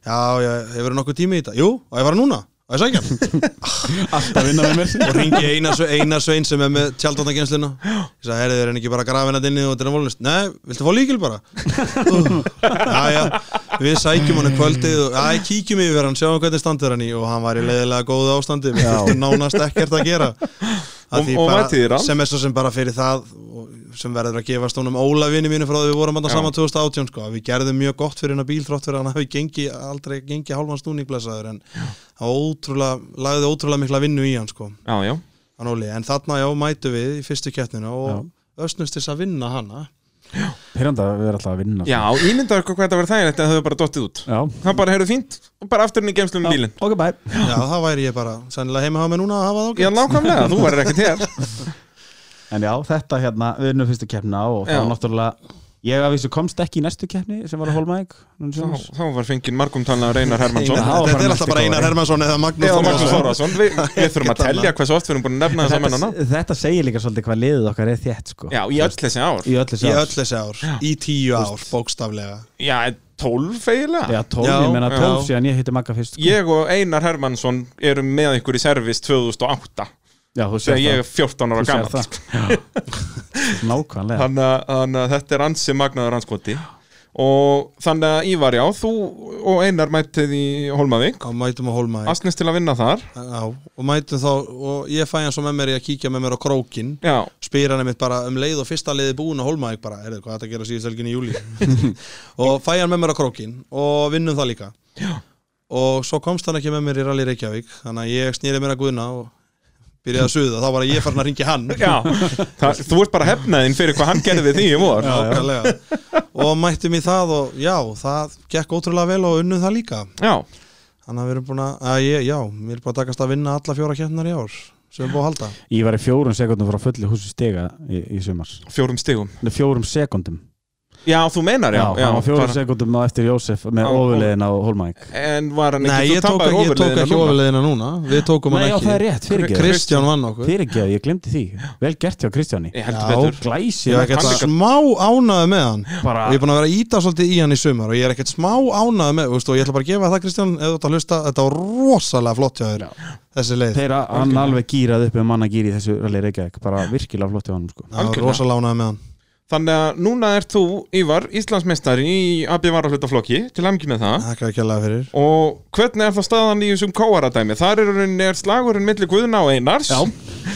C: Já, já, hefur það nokkuð tími í þetta? Jú, á ég að fara núna, á ég að sækja hann
B: Alltaf vinna með mér
C: og ringi Einar Sve- Einar Svein sem er með tjaldóttagensluna ég sagði, herri, þeir eru ekki bara grafin að hérna inni og þetta er volnist, nei, viltu fá líkil bara já, já við sækjum hann um kvöldið og já, kíkjum yfir hann, sjáum hvernig standur hann í og hann var í leiðilega góðu ástandi við
B: Já.
C: þurftum nánast ekkert að gera Af
A: Og-
C: því
A: og
C: bara-
A: mætið þér á?
C: sem er svo sem bara fyrir það og sem verður að gefast honum Ólavinni mínu frá því við vorum hann
A: Já.
C: saman 2018 sko, að við gerðum mjög gott fyrir hennar bíl þrótt fyrir að hann hafi gengi, aldrei gengi hálfan snúningblæsaður en það ótrúlega, lagði ótrúlega mikla vinnu í hann sko
A: já, já,
C: hann Óli, en þarna já mætu við í fyrstu keppninu og ösnust þess að vinna hana
B: Pyrranda, við erum alltaf að vinna sko.
A: já, ímyndaðu hvað þetta verið þægilegt en það hefur bara dottið út
B: Já.
A: það bara heyrðu fínt og bara aftur inn í geimslu með bílinn
B: Ok, bye
C: já, það væri ég bara sennilega heima hafa mig núna að hafa þá
A: Já, nákvæmlega, þú verður ekkert hér
B: En já, þetta hérna, við erum fyrstu keppna og
A: Já.
B: það er náttúrulega Ég að vissu komst ekki í næstu keppni sem var að Holmæk
A: Þá, þá var fengið margumtalna Reynar Hermansson
B: Einar-
A: Já,
B: það var
C: þetta
B: bara
C: er alltaf bara
B: næsti
C: Einar
B: góður.
C: Hermansson eða Magnús
A: og Magnús
C: Þórðarson.
A: Þórðarsson Við, við þurfum að telja hversu oft við erum búin að nefna þessa mennana
B: þetta, þetta segir líka svolítið hvað liðið okkar er þétt sko.
A: Já, í öll þessi ár
B: í öllu
C: í
B: sér
C: öll þessi ár, í tíu ár bókstaflega
A: Já, tólf eiginlega
B: Já, tólf,
C: Já,
B: ég menna
A: já.
B: tólf síðan ég hitti Magga fyrst sko.
A: Ég og Einar Hermansson erum með ykkur í servis 2008
B: Já, þú
A: þegar
B: sér
A: ég er sko.
B: það,
A: 14 ára
B: þú sér
A: gammal
B: það. Já. Nákvæmlega
A: þannig að- þannig að þetta er ansi magnaður anskoti og þannig að Ívar já, þú og Einar mættið í Holmavík
C: og mætum að holma
A: Asnes til að vinna þar
C: já, og mætum þá og ég fæ hann svo með mér í að kíkja með mér á krókin
A: já,
C: spyr hann einmitt bara um leið og fyrsta leiði búin að holma bara, er hvað þetta gera síðust helgin í júli og fæ hann með mér á krókin og vinnum það líka
A: Já.
C: og svo komst hann ekki með mér í Rally Reykjavík þannig að ég snýri mér að guðna og byrjaði að suða, þá var ég farin að ringi hann
A: já. Það, þú ert bara hefnaðinn fyrir hvað hann gerði við því í vor já,
C: Nákvæmlega. og mættum í það og já, það gekk ótrúlega vel og unnum það líka þannig að við erum búin að, að ég, já, við erum búin að takast að vinna alla fjóra kjarnar í ár sem við búin að halda
B: Ég var í fjórum sekundum frá fulli húsi stiga í, í sumars
A: fjórum stigum
B: Nei, Fjórum sekundum
A: já, þú meinar já, já,
B: hann var fjórum
A: bara-
B: sekundum á eftir Jósef
A: Já,
B: með ofulegin á Holmæk
A: en var hann
C: Nei,
A: ekki,
C: ég tók,
A: tapaðir
C: ég tók
A: ofurliðina
C: ekki
A: núna.
C: ofurliðina núna Við tókum
B: Nei,
C: hann
B: já, það er
C: ekki
B: rétt, fyrirgeðu
C: Kristján vann okkur
B: Fyrirgeðu, ég glemdi því Vel gert hjá Kristjáni
A: ég heldur
C: Já.
A: betur
B: Glæsi
C: Ég er ekkert
A: Hann-
C: smá ánaði með hann
B: bara,
C: og ég er búin að vera að íta svolítið í hann í sumar og ég er ekkert smá ánaði með veist, og ég ætla bara að gefa það Kristján ef þú ert að hlusta þetta var rosalega flott hjá þér
B: Já.
C: þessi leið
B: Þeirra, hann alveg gýrað upp með manna gýri í þessu rally Reykjavík Bara virkilega flott hjá hann sko.
C: það var
A: algjörlega.
C: rosalega ánaði með hann
A: þannig að núna ert þú, Ívar, Íslandsmeistari í AB Varahlutaflokki, til amgi með það
C: Þakka ekki alveg fyrir
A: Og hvernig er það staðan í þessum kóaradæmi? Þar er, rauninni- er slagurinn milli Guðna og Einars
B: Já.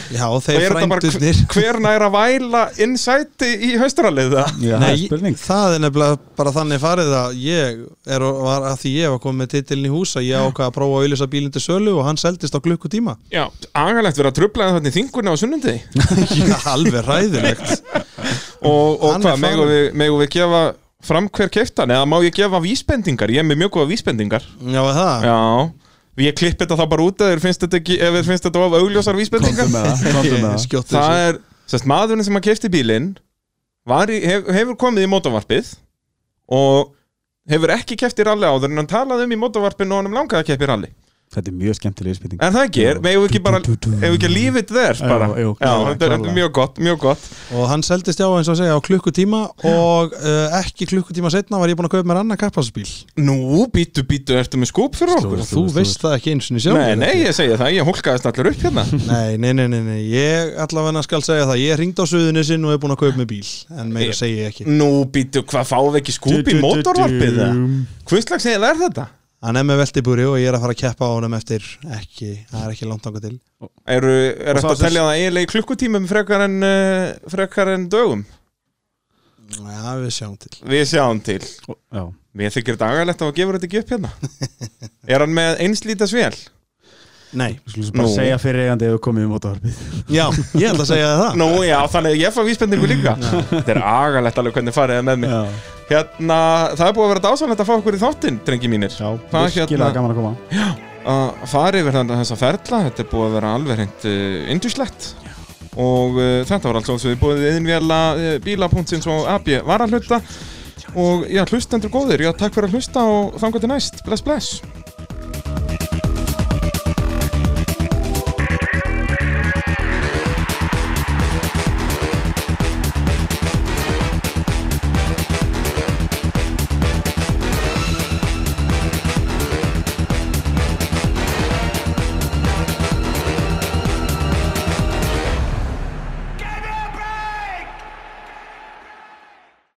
C: Já,
A: Og
C: þeir
A: er þetta bara
C: frændurnir
A: hver, hver nær að væla innsæti í haustaraliða?
B: Já, það er
C: Nei,
B: spurning
C: það er nefnilega bara þannig farið að ég er, var að því ég var komið með titilin í hús að ég ákvað að prófa að auðlýsa bílinn til sölu og hann seldist á klukkutíma
A: Já, agalegt verið að trublaði þannig þingunni á sunnundi
C: Já, alveg ræðilegt
A: Og, og
C: Hann er
A: hvað, megum
C: farinn.
A: við, megum við gefa fram hver keftan? Eða má ég gefa vísbendingar? Ég er með mjög góða vísbendingar
C: Já, var það
A: Já, ég klipp þetta þá bara út ef þér finnst þetta, ekki, ef þér finnst þetta of augljósar vísbendingar
B: Komdu með það, komdu með það
C: Skjóttu
A: Það
C: þessu
A: er, sérst, maðurinn sem að kefti bílinn var í, hef, hefur komið í mótavarpið og hefur ekki kefti ralli áður en hann talaði um í mótavarpinu og hann langaði að keppi ralli
B: Þetta er mjög skemmtileg spurning
A: En það ekki, er, megum við ekki bara hefur ekki lífið þér bara
B: Jú, jú,
A: Já,
B: jú,
A: þetta er- þetta
B: klárlega.
A: er mjög gott, mjög gott
C: og hann seldist já eins og að segja á klukkutíma og uh, ekki klukkutíma setna var ég búin að kaupa mér annað kappasbíl
A: Nú, býtu, býtu, ertu með skúp fyrir okkur?
B: Stór.
C: og þú
B: Stór,
C: veist það ekki eins og sjálf
A: Nei, nei, ég segja það, ég hólkaðist allir upp hérna
C: nei, nei, nei, nei, nei, ég allavega skal segja það ég ringd á suðunisinn og er búin að kaupa mér bíl en meira
A: Ég-
C: segi ég ekki
A: Nú, býtu, hvað fáum við ekki skúp í mótorvarpið? eða? Hvers slags eða er þetta?
C: hann er með veltibúri og ég er að fara að keppa á honum eftir ekki, það er ekki langt ánga til
A: Eru, er
B: Og
A: þetta
B: sá
A: að
B: sem-
A: telja það eiginlega í klukkutímum frekar en, uh, frekar en dögum?
C: Já, við sjáum til
A: Við sjáum til.
B: Já.
A: Mér þykir dagalegt að gefur þetta ekki upp hérna. er hann með einslítas vel?
C: Nei,
B: Skulum svo bara
A: Nú.
B: segja fyrir eigandi ef við komum í mótavarpið
C: já, ég held að segja þér það
A: Nú, já, þannig að ég fá vísbendingu líka. þetta er agalegt alveg hvernig farið það með mig. Hérna, það er búið að vera dásanlegt að fá okkur í þáttinn, drengi mínir.
B: Já,
A: Hvað
B: virkilega
A: hérna?
B: gaman að koma
A: að fara yfir þannig þessa ferla þetta er búið að vera alveg hreint uh, indjuslegt og uh, þetta var alls alls við búið innvjala uh, bíla.sins og AB var að hluta og já, hlustendur góðir, já, takk fyrir að hlusta og þangar til næst, bless bless